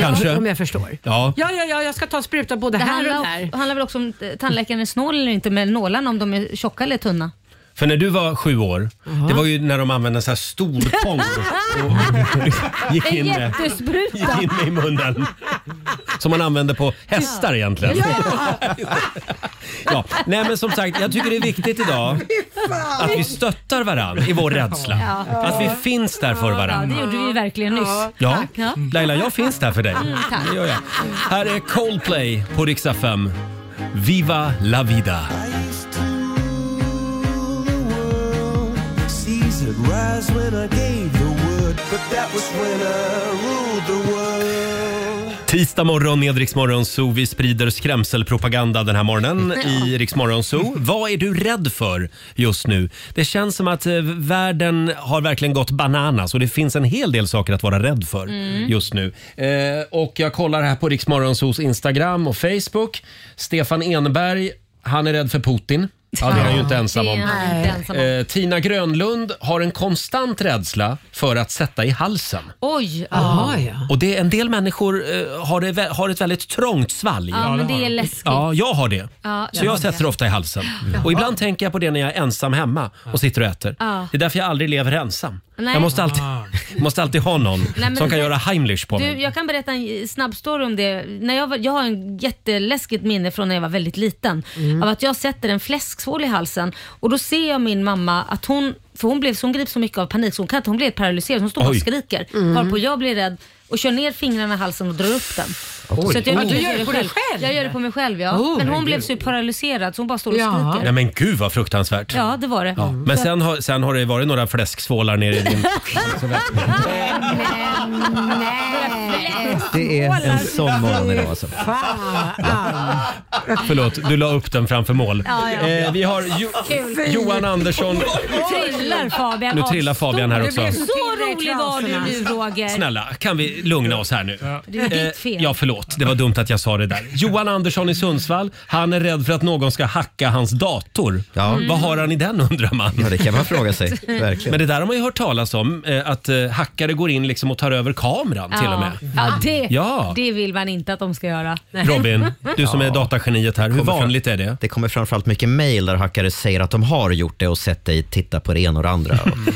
[SPEAKER 1] Kanske.
[SPEAKER 6] Om jag förstår.
[SPEAKER 1] Ja.
[SPEAKER 6] Ja, ja, ja, jag ska ta spruta både
[SPEAKER 2] Det
[SPEAKER 6] här och
[SPEAKER 2] handlar,
[SPEAKER 6] där.
[SPEAKER 2] det handlar väl också om eh, tandläkaren är snål eller inte med nålarna, om de är tjocka eller tunna.
[SPEAKER 1] För när du var sju år, det var ju när de använde en sån här stor pong och gick in,
[SPEAKER 2] en
[SPEAKER 1] med,
[SPEAKER 2] jättespruta.
[SPEAKER 1] gick in med i munnen. Som man använde på hästar egentligen. Ja. Nej men som sagt, jag tycker det är viktigt idag att vi stöttar varandra i vår rädsla.
[SPEAKER 2] Ja.
[SPEAKER 1] Att vi finns där för
[SPEAKER 2] Ja, det
[SPEAKER 1] varandra.
[SPEAKER 2] gjorde vi ju verkligen nyss.
[SPEAKER 1] Ja, Mm,
[SPEAKER 2] Ja.
[SPEAKER 1] Laila jag finns där för dig.
[SPEAKER 2] Mm, tack.
[SPEAKER 1] Det gör jag. Här är Coldplay på riksdag 5. Viva la vida.
[SPEAKER 5] Caesar rise when I gave the word, but that was when I ruled the world.
[SPEAKER 1] Tisdag morgon med Rix Morgon Zoo. Vi sprider skrämselpropaganda den här morgonen i Rix Morgon Zoo. Vad är du rädd för just nu? Det känns som att eh, världen har verkligen gått bananas och det finns en hel del saker att vara rädd för
[SPEAKER 17] Mm.
[SPEAKER 1] just nu. Eh, och jag kollar här på Rix Morgon Zoos Instagram och Facebook. Stefan Enberg, han är rädd för Putin. Ja, det är han ju inte ensam
[SPEAKER 2] Det är
[SPEAKER 1] om.
[SPEAKER 2] han inte ensam om.
[SPEAKER 1] Eh, Tina Grönlund har en konstant rädsla för att sätta i halsen.
[SPEAKER 2] Oj!
[SPEAKER 1] Jaha,
[SPEAKER 2] ja.
[SPEAKER 1] Och det, en del människor eh, har, det, vä- har ett väldigt trångt svalg.
[SPEAKER 2] Ja, men det är läskigt.
[SPEAKER 1] Ja, jag har det.
[SPEAKER 2] Ja,
[SPEAKER 1] så jag sätter det ofta i halsen. Och ibland tänker jag på det när jag är ensam hemma och sitter och äter.
[SPEAKER 2] Ja.
[SPEAKER 1] Det är därför jag aldrig lever ensam.
[SPEAKER 2] Nej.
[SPEAKER 1] Jag måste alltid,
[SPEAKER 2] Ah.
[SPEAKER 1] måste alltid ha någon
[SPEAKER 2] men
[SPEAKER 1] som kan
[SPEAKER 2] du-
[SPEAKER 1] göra Heimlich på
[SPEAKER 2] Du,
[SPEAKER 1] mig.
[SPEAKER 2] jag kan berätta en snabb story om det. När jag, var, jag har en jätteläskigt minne från när jag var väldigt liten.
[SPEAKER 8] Mm.
[SPEAKER 2] Av att jag sätter en fläsksvål i halsen och då ser jag min mamma att hon, för hon, blev, så hon grips så mycket av panik så hon kan inte, hon blir helt paralyserad. Hon står bara och
[SPEAKER 8] Oj.
[SPEAKER 2] skriker.
[SPEAKER 8] Mm.
[SPEAKER 2] Varpå jag blir rädd och kör ner fingrarna i halsen och drar upp den.
[SPEAKER 1] Oj.
[SPEAKER 2] att jag,
[SPEAKER 1] Ja, du
[SPEAKER 6] gör det på dig själv?
[SPEAKER 2] Jag gör det på mig själv ja.
[SPEAKER 6] Oh,
[SPEAKER 2] men hon
[SPEAKER 6] herregud.
[SPEAKER 2] blev så paralyserad så hon bara står och
[SPEAKER 6] Ja.
[SPEAKER 1] Nej
[SPEAKER 2] skriker.
[SPEAKER 1] men gud vad fruktansvärt.
[SPEAKER 2] Ja det var det.
[SPEAKER 1] Ja. Men sen har, sen har det varit några fläsksvålar nere i din...
[SPEAKER 12] Det är en sån morgon idag alltså.
[SPEAKER 1] Förlåt, du la upp den framför mål.
[SPEAKER 2] Ja, ja.
[SPEAKER 1] Eh, vi har jo Johan Andersson.
[SPEAKER 2] Nu trillar Fabian
[SPEAKER 1] Nu
[SPEAKER 2] av
[SPEAKER 1] trillar Fabian här
[SPEAKER 2] stolen.
[SPEAKER 1] också.
[SPEAKER 2] Så rolig var du nu Roger.
[SPEAKER 1] Snälla, kan vi lugna oss här nu?
[SPEAKER 2] Det är ditt fel.
[SPEAKER 1] Eh, ja, förlåt. Det var dumt att jag sa det där. Johan Andersson i Sundsvall, han är rädd för att någon ska hacka hans dator.
[SPEAKER 12] Mm.
[SPEAKER 1] Vad har han i den undrar man?
[SPEAKER 12] Ja, det kan man fråga sig. Verkligen.
[SPEAKER 1] Men det där har man ju hört talas om, eh, att eh, hackare går in liksom och tar över kameran till och med.
[SPEAKER 2] Ja, det,
[SPEAKER 1] Ja.
[SPEAKER 2] det vill man inte att de ska göra.
[SPEAKER 1] Robin, du som är datageniet här, hur vanligt är det?
[SPEAKER 12] Det kommer framförallt mycket mejl där hackare säger att de har gjort det och sett dig titta på det ena och det andra
[SPEAKER 2] Mm.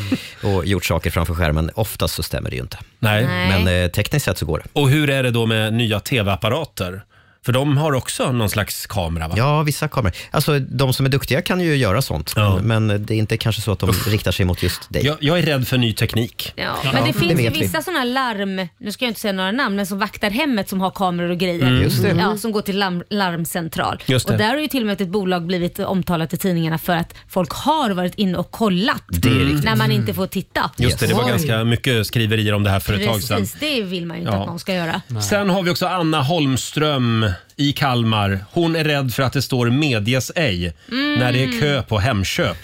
[SPEAKER 12] och, och gjort saker framför skärmen. Oftast så stämmer det ju inte.
[SPEAKER 1] Nej.
[SPEAKER 12] Men eh, tekniskt sett så går det.
[SPEAKER 1] Och hur är det då med nya tv-apparater? För de har också någon slags kamera va?
[SPEAKER 12] Ja, vissa kameror. Alltså, de som är duktiga kan ju göra sånt, men det är inte kanske så att de riktar sig mot just dig.
[SPEAKER 1] Jag, är rädd för ny teknik.
[SPEAKER 2] Ja, men det finns ju
[SPEAKER 12] vet vi.
[SPEAKER 2] vissa sådana larm, nu ska jag inte säga några namn, men som vaktar hemmet som har kameror och grejer.
[SPEAKER 12] Mm. Just det.
[SPEAKER 2] Ja, som går till larm, larmcentral.
[SPEAKER 12] Just det.
[SPEAKER 2] Och där har ju till och med ett bolag blivit omtalat i tidningarna för att folk har varit inne och kollat
[SPEAKER 1] Det är riktigt.
[SPEAKER 2] när man inte får titta.
[SPEAKER 1] Just det, det var
[SPEAKER 2] Oj.
[SPEAKER 1] ganska mycket skriverier om det här för ett tag sedan.
[SPEAKER 2] Precis, det vill man ju inte
[SPEAKER 1] Ja.
[SPEAKER 2] att någon ska göra.
[SPEAKER 1] Sen har vi också Anna Holmström i Kalmar. Hon är rädd för att det står medges ej
[SPEAKER 2] Mm.
[SPEAKER 1] när det är kö på Hemköp.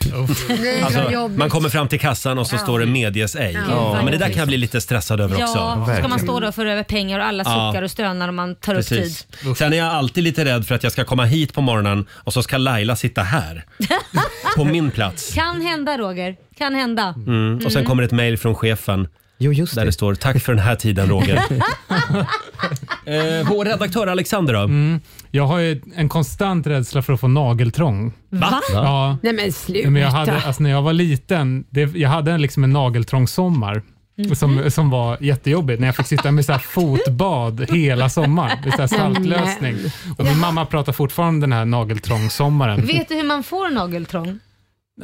[SPEAKER 2] Nej, vad
[SPEAKER 1] Alltså,
[SPEAKER 2] jobbigt.
[SPEAKER 1] man kommer fram till kassan och så
[SPEAKER 2] Ja.
[SPEAKER 1] står det medges ej.
[SPEAKER 2] Ja, vad
[SPEAKER 1] Men det där
[SPEAKER 2] jobbigt.
[SPEAKER 1] kan jag bli lite stressad över också.
[SPEAKER 2] Ja, ska man stå då för över pengar och alla
[SPEAKER 1] Ja.
[SPEAKER 2] suckar och stönar om man tar upp tid.
[SPEAKER 1] Precis. Sen är jag alltid lite rädd för att jag ska komma hit på morgonen och så ska Laila sitta här. på min plats.
[SPEAKER 2] Kan hända Roger, kan hända.
[SPEAKER 1] Mm. Och sen
[SPEAKER 2] Mm.
[SPEAKER 1] kommer ett mejl från chefen. där det. står “Tack för den här tiden Roger”. eh, vår redaktör Alexander då?
[SPEAKER 9] Mm. Jag har ju en konstant rädsla för att få nageltrång.
[SPEAKER 6] Va?
[SPEAKER 9] Ja.
[SPEAKER 6] Nej men sluta.
[SPEAKER 9] Nej, Men jag hade, alltså när jag var liten, det, jag hade en- liksom en nageltrångssommar.
[SPEAKER 6] Mhm.
[SPEAKER 9] Som, som var jättejobbigt när jag fick sitta med så här fotbad hela sommaren. Med så här saltlösning. Och min mamma pratar fortfarande om den här nageltrångssommaren.
[SPEAKER 2] Vet du hur man får nageltrång?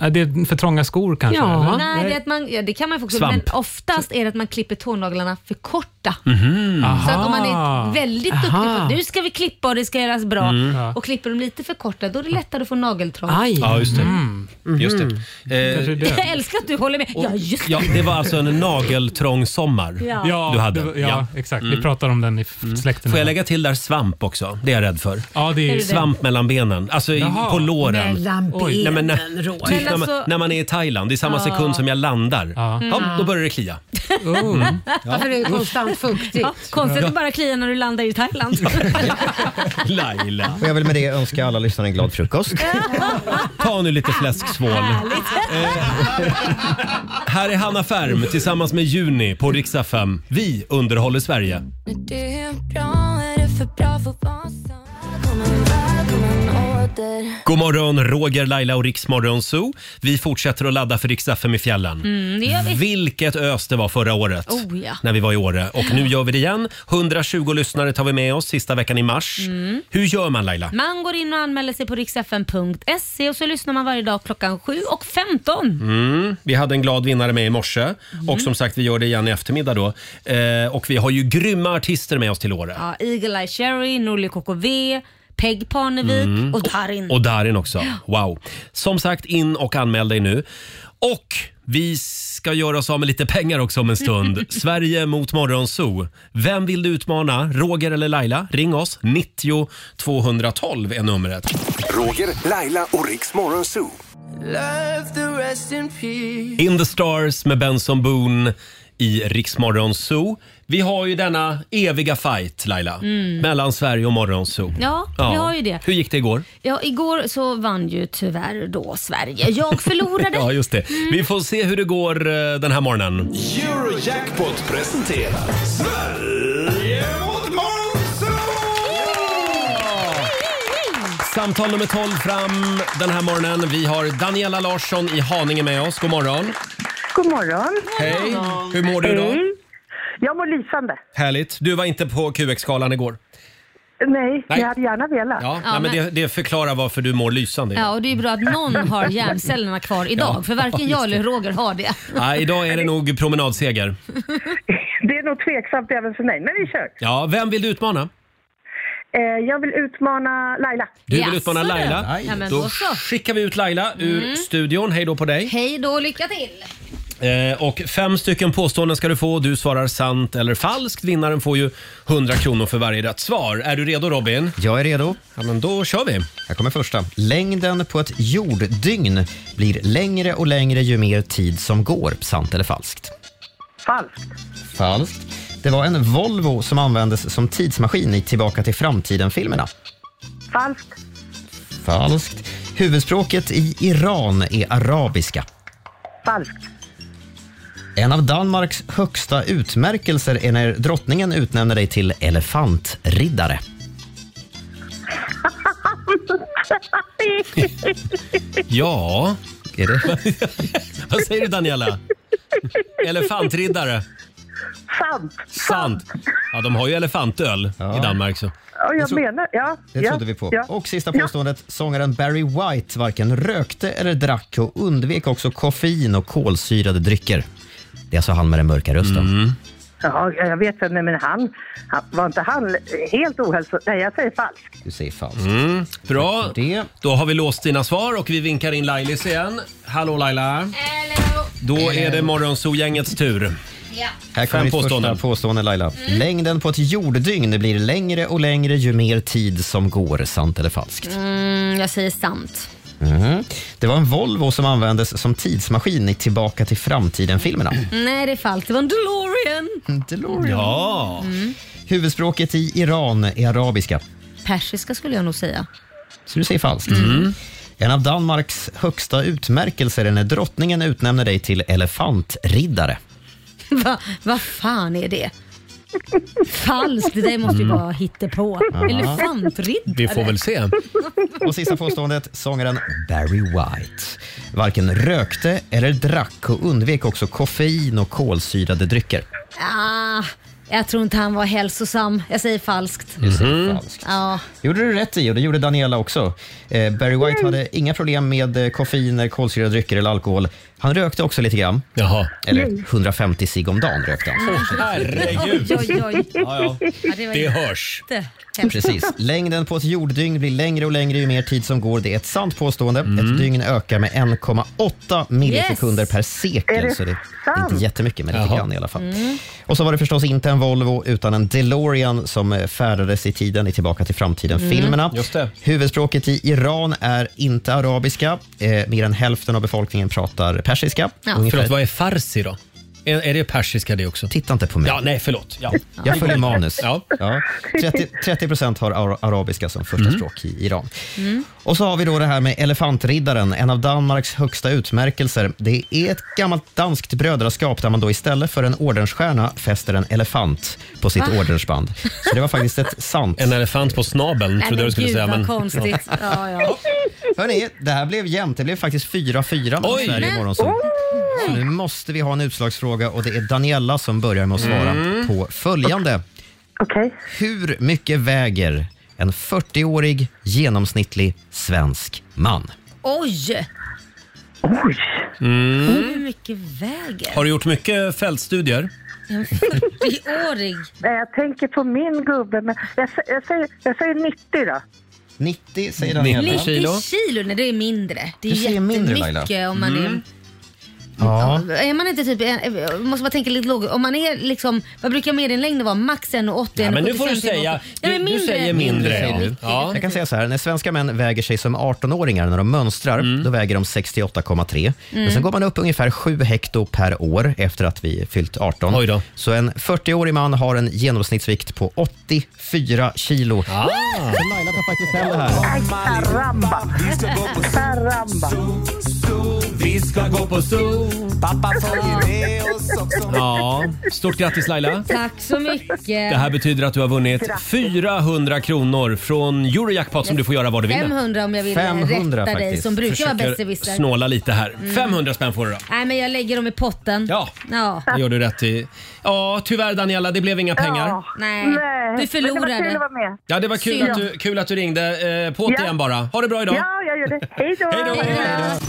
[SPEAKER 9] Är det är för trånga skor kanske? eller?
[SPEAKER 2] Nej, det, är att man, ja, det kan man faktiskt.
[SPEAKER 9] Svamp.
[SPEAKER 2] Men oftast är det att man klipper tånaglarna för korta.
[SPEAKER 9] Mhm.
[SPEAKER 2] Mm. Så att om man är väldigt duktig på
[SPEAKER 9] Aha.
[SPEAKER 2] att nu ska vi klippa och det ska göras bra
[SPEAKER 1] Mm. Ja.
[SPEAKER 2] och klipper de lite för korta då är det lättare att få nageltrång.
[SPEAKER 1] Ja, just det.
[SPEAKER 2] Mm.
[SPEAKER 1] Just Mm. det. Eh,
[SPEAKER 2] Jag älskar att du håller med. Ja, just
[SPEAKER 1] Ja, det var alltså en nageltrång sommar
[SPEAKER 2] Ja.
[SPEAKER 9] Ja,
[SPEAKER 1] du hade.
[SPEAKER 9] det var- ja, exakt. Vi
[SPEAKER 1] pratar om den i släkten. Får jag lägga till där svamp också? Det är jag rädd för. Ja,
[SPEAKER 9] det är- Är det det?
[SPEAKER 1] Svamp mellan benen, alltså i,
[SPEAKER 9] Jaha.
[SPEAKER 1] på låren.
[SPEAKER 6] Mellan
[SPEAKER 1] Oj. Nej, men när-
[SPEAKER 6] benen,
[SPEAKER 1] Typ
[SPEAKER 6] Roger. Men
[SPEAKER 1] när, man,
[SPEAKER 6] alltså-
[SPEAKER 1] när man är i Thailand, i samma
[SPEAKER 6] Ja.
[SPEAKER 1] sekund som jag landar, ja.
[SPEAKER 2] Mm.
[SPEAKER 1] då börjar det klia. Mm. Ja.
[SPEAKER 6] Varför är det konstant fuktigt?
[SPEAKER 2] Oh. Konstigt att bara klia när du landar i Thailand.
[SPEAKER 1] Laila.
[SPEAKER 12] Och jag vill med det önska alla lyssnare en glad frukost.
[SPEAKER 1] Ta nu lite fläsksvål. Här är Hanna Färm tillsammans med Juni på riksdag 5. Vi underhåller Sverige.
[SPEAKER 10] Det är bra, är det för bra för att vara sant? Välkommen, välkommen åter
[SPEAKER 1] God morgon, Roger, Laila och Riksmorgon Zoo. Vi fortsätter att ladda för riks FM i fjällen.
[SPEAKER 2] Mm, det gör vi.
[SPEAKER 1] Vilket ös det var förra året
[SPEAKER 2] Oh, ja.
[SPEAKER 1] när vi var i Åre. Och nu gör vi det igen. 120 lyssnare tar vi med oss sista veckan i mars.
[SPEAKER 2] Mm.
[SPEAKER 1] Hur gör man Laila?
[SPEAKER 2] Man går in och anmäler sig på riksfn.se och så lyssnar man varje dag klockan 7 och 15.
[SPEAKER 1] Mm. Vi hade en glad vinnare med i morse
[SPEAKER 2] Mm.
[SPEAKER 1] och som sagt vi gör det igen i eftermiddag då. Eh, och vi har ju grymma artister med oss till Åre.
[SPEAKER 2] Ja, Eagle Eye Cherry, Norli KKV, Peg Parnevik
[SPEAKER 1] Mm.
[SPEAKER 2] och Darin.
[SPEAKER 1] Och Darin också. Wow. Som sagt, in och anmäl dig nu. Och vi ska göra oss av med lite pengar också om en stund. Sverige mot Morgonzoo. Vem vill du utmana? Roger eller Laila? Ring oss. 90 212 är numret.
[SPEAKER 3] Roger, Laila och Riks Morgonzoo.
[SPEAKER 5] Love the rest in peace.
[SPEAKER 1] In the Stars med Benson Boone i Riksmorgonzoo. Vi har ju denna eviga fight, Laila,
[SPEAKER 2] Mm.
[SPEAKER 1] mellan Sverige och Morgonzoo.
[SPEAKER 2] Ja, vi har ju det.
[SPEAKER 1] Hur gick det igår?
[SPEAKER 2] Ja, igår så vann ju tyvärr då Sverige. Jag förlorade.
[SPEAKER 1] ja, just det. Vi får se hur det går eh, den här morgonen.
[SPEAKER 3] Eurojackpot presenterar Sverige mot
[SPEAKER 1] Samtal nummer 12 fram den här morgonen. Vi har Daniela Larsson i Haninge med oss. God morgon.
[SPEAKER 8] God morgon.
[SPEAKER 1] Hej. Hur mår du idag?
[SPEAKER 8] Hej. Jag mår lysande.
[SPEAKER 1] Härligt. Du var inte på QX-galan igår.
[SPEAKER 8] Nej,
[SPEAKER 1] Nej.
[SPEAKER 8] jag hade gärna velat.
[SPEAKER 1] Ja, nej, men det, det förklarar varför du mår lysande.
[SPEAKER 2] Ja, och det är ju bra att någon har hjärncellerna kvar idag,
[SPEAKER 1] Ja,
[SPEAKER 2] för varken jag
[SPEAKER 1] just det.
[SPEAKER 2] eller Roger har det.
[SPEAKER 1] Nej, idag är det nog promenadseger.
[SPEAKER 8] Det är nog tveksamt även för mig, men vi kör.
[SPEAKER 1] Ja, vem vill du utmana?
[SPEAKER 8] Eh, jag vill utmana Laila.
[SPEAKER 1] Du vill utmana Laila.
[SPEAKER 2] Ja, men
[SPEAKER 1] Då
[SPEAKER 2] då så.
[SPEAKER 1] skickar vi ut Laila ur
[SPEAKER 2] Mm.
[SPEAKER 1] studion. Hej då på dig.
[SPEAKER 2] Hej då, lycka till!
[SPEAKER 1] Eh, och fem stycken påståenden ska du få. Du svarar sant eller falskt. Vinnaren får ju 100 kronor för varje rätt svar. Är du redo Robin?
[SPEAKER 12] Jag är redo.
[SPEAKER 1] Ja, men då kör vi.
[SPEAKER 12] Här kommer första. Längden på ett jorddygn blir längre och längre ju mer tid som går. Sant eller falskt?
[SPEAKER 8] Falskt.
[SPEAKER 12] Falskt. Det var en Volvo som användes som tidsmaskin i Tillbaka till framtiden-filmerna.
[SPEAKER 8] Falskt.
[SPEAKER 12] Falskt. Huvudspråket i Iran är arabiska.
[SPEAKER 8] Falskt.
[SPEAKER 12] En av Danmarks högsta utmärkelser är när drottningen utnämner dig till elefantriddare.
[SPEAKER 1] Ja. Är det? Vad säger du Daniela? Elefantriddare.
[SPEAKER 8] Sant.
[SPEAKER 1] Sant. Ja, de har ju elefantöl i Danmark. Så.
[SPEAKER 8] Ja,
[SPEAKER 12] Det
[SPEAKER 8] jag
[SPEAKER 12] tro-
[SPEAKER 8] menar, ja.
[SPEAKER 12] Det
[SPEAKER 8] ja,
[SPEAKER 12] trodde vi på.
[SPEAKER 8] Ja.
[SPEAKER 12] Och sista påståendet. Sångaren Barry White varken rökte eller drack och undvek också koffein och kolsyrade drycker. Det är alltså han med den mörka rösten.
[SPEAKER 1] Mm.
[SPEAKER 8] Ja, jag vet vem det är, men han, han, var inte han helt ohälso... Nej, jag säger falskt.
[SPEAKER 12] Du säger falskt.
[SPEAKER 1] Mm. Bra, då har vi låst dina svar och vi vinkar in Lailis igen. Hallå Laila! Då
[SPEAKER 8] Eh.
[SPEAKER 1] är det Morgonzoo-gängets tur.
[SPEAKER 2] Ja.
[SPEAKER 12] Här kommer
[SPEAKER 1] Fem
[SPEAKER 12] mitt
[SPEAKER 1] påståenden.
[SPEAKER 12] första påstående Laila.
[SPEAKER 8] Mm.
[SPEAKER 12] Längden på ett jorddygn blir längre och längre ju mer tid som går. Sant eller falskt?
[SPEAKER 2] Mm, jag säger sant.
[SPEAKER 12] Mhm. Det var en Volvo som användes som tidsmaskin i Tillbaka till framtiden-filmerna.
[SPEAKER 2] Nej, det är falskt. Det var en DeLorean. Mm.
[SPEAKER 12] DeLorean. Ja. Huvudspråket i Iran är arabiska.
[SPEAKER 2] Persiska skulle jag nog säga.
[SPEAKER 12] Så du säger falskt. En av Danmarks högsta utmärkelser är när drottningen utnämner dig till elefantriddare.
[SPEAKER 2] Va, vad fan är det? Falskt. Det där måste ju
[SPEAKER 12] Mm.
[SPEAKER 2] vara hittepå.
[SPEAKER 12] Ja.
[SPEAKER 2] Elefantriddare.
[SPEAKER 12] se. Och sista påståendet, sångaren Barry White. Varken rökte eller drack och undvek också koffein och kolsyrade drycker.
[SPEAKER 2] Ah, jag tror inte han var hälsosam. Jag säger falskt.
[SPEAKER 12] Du säger falskt.
[SPEAKER 2] Ja.
[SPEAKER 12] gjorde du rätt i och det gjorde Daniela också. Eh, Barry White hade inga problem med eh, koffeiner, kolsyrade drycker eller alkohol. Han rökte också lite grann. Eller 150 cigg om dagen rökte han.
[SPEAKER 2] herregud. Oj, oj, oj.
[SPEAKER 12] Ja, ja.
[SPEAKER 2] Ja, var
[SPEAKER 12] Det hörs.
[SPEAKER 2] jätte-
[SPEAKER 12] Precis. Längden på ett jorddygn blir längre och längre ju mer tid som går. Det är ett sant påstående.
[SPEAKER 1] Mm.
[SPEAKER 12] Ett dygn ökar med 1,8 millisekunder per
[SPEAKER 5] Är
[SPEAKER 12] sekel.
[SPEAKER 5] det
[SPEAKER 12] så det är inte jättemycket, men lite
[SPEAKER 5] Jaha.
[SPEAKER 12] grann i alla fall.
[SPEAKER 2] Mm.
[SPEAKER 8] Mm.
[SPEAKER 12] Och så var det förstås inte en Volvo utan en DeLorean som eh, färdades i tiden i Tillbaka till framtiden-filmerna.
[SPEAKER 1] Mm. Just det.
[SPEAKER 12] Huvudspråket i Iran är inte arabiska. Eh, mer än hälften av befolkningen pratar persiska.
[SPEAKER 1] Ja. Förlåt, vad är farsi då? Är, är det persiska det också?
[SPEAKER 12] Titta inte på mig.
[SPEAKER 1] Ja, nej, förlåt. Ja.
[SPEAKER 12] Jag följer manus.
[SPEAKER 1] Ja.
[SPEAKER 12] Ja. 30 procent har ara- arabiska som första språk i Iran.
[SPEAKER 5] Mm.
[SPEAKER 12] Och så har vi då det här med Elefantriddaren, en av Danmarks högsta utmärkelser. Det är ett gammalt danskt brödraskap där man då istället för en ordensstjärna fäster en elefant på sitt
[SPEAKER 2] Va?
[SPEAKER 12] ordensband. Så det var faktiskt ett sant... En
[SPEAKER 1] elefant på snabeln
[SPEAKER 2] Nej, men gud vad konstigt. Ja, ja.
[SPEAKER 12] Hörni, det här blev jämnt. Det blev faktiskt 4-4
[SPEAKER 5] Oj!
[SPEAKER 12] mot Sverige
[SPEAKER 5] Men-
[SPEAKER 12] imorgon. Så
[SPEAKER 2] Oh.
[SPEAKER 12] så nu måste vi ha en utslagsfråga och det är Daniela som börjar med att svara på följande.
[SPEAKER 8] Okej.
[SPEAKER 12] Hur mycket väger en 40-årig genomsnittlig svensk man?
[SPEAKER 2] Oj!
[SPEAKER 1] Mm.
[SPEAKER 2] Hur mycket väger
[SPEAKER 1] Har du gjort mycket fältstudier?
[SPEAKER 2] en 40-årig?
[SPEAKER 8] Nej, jag tänker på min gubbe, men jag, sä- jag, säger, jag säger 90 då.
[SPEAKER 12] 90 säger
[SPEAKER 2] 90
[SPEAKER 12] Daniela.
[SPEAKER 2] kilo? Nej, det är mindre. Det är
[SPEAKER 12] Du säger mindre, Laila.
[SPEAKER 2] jättemycket om man
[SPEAKER 12] Mm.
[SPEAKER 2] är...
[SPEAKER 12] Ja.
[SPEAKER 2] Är man inte typ, jag måste bara tänka lite lågt. Om man är liksom, vad brukar medianlängden vara? Max 1,80?
[SPEAKER 12] Ja, men nu
[SPEAKER 2] 1,75,
[SPEAKER 12] får du säga-
[SPEAKER 2] 1,80. Nej, men
[SPEAKER 12] du- du
[SPEAKER 2] mindre.
[SPEAKER 12] säger mindre, säger du.
[SPEAKER 2] Ja.
[SPEAKER 12] Jag kan säga så här, när svenska män väger sig som 18-åringar när de mönstrar, då väger de 68,3. Men
[SPEAKER 5] Mm.
[SPEAKER 12] sen går man upp ungefär 7 hekto per år efter att vi fyllt 18. Så en 40-årig man har en genomsnittsvikt på 84 kilo. Så Laila tar faktiskt hem det här.
[SPEAKER 8] Aj, Caramba! Caramba!
[SPEAKER 3] Vi ska gå på zoo. Pappa följer med oss också.
[SPEAKER 1] Ja. Stort grattis Laila.
[SPEAKER 2] Tack så mycket.
[SPEAKER 1] Det här betyder att du har vunnit
[SPEAKER 2] Grattis.
[SPEAKER 1] 400 kronor från Eurojackpot som du får göra vad du vill. med.
[SPEAKER 2] 500 om jag vill eh,
[SPEAKER 1] 500
[SPEAKER 2] rätta dig
[SPEAKER 1] faktiskt.
[SPEAKER 2] som brukar vara
[SPEAKER 1] Försöker
[SPEAKER 2] besserwisser.
[SPEAKER 1] snåla lite här.
[SPEAKER 2] Mm.
[SPEAKER 1] 500 spänn får du då.
[SPEAKER 2] Nej, men jag lägger dem i potten.
[SPEAKER 1] Ja.
[SPEAKER 2] ja.
[SPEAKER 1] Det gör du rätt i. Ja, tyvärr Daniela, det blev inga pengar.
[SPEAKER 2] Nej.
[SPEAKER 8] men
[SPEAKER 2] du
[SPEAKER 8] det var kul
[SPEAKER 2] förlorade.
[SPEAKER 8] att vara med.
[SPEAKER 1] Ja, det var kul
[SPEAKER 8] Synd.
[SPEAKER 1] att du, kul att du ringde. Eh, på
[SPEAKER 8] Ja.
[SPEAKER 1] igen bara. Ha det bra idag.
[SPEAKER 8] Ja, jag gör det. Hej då!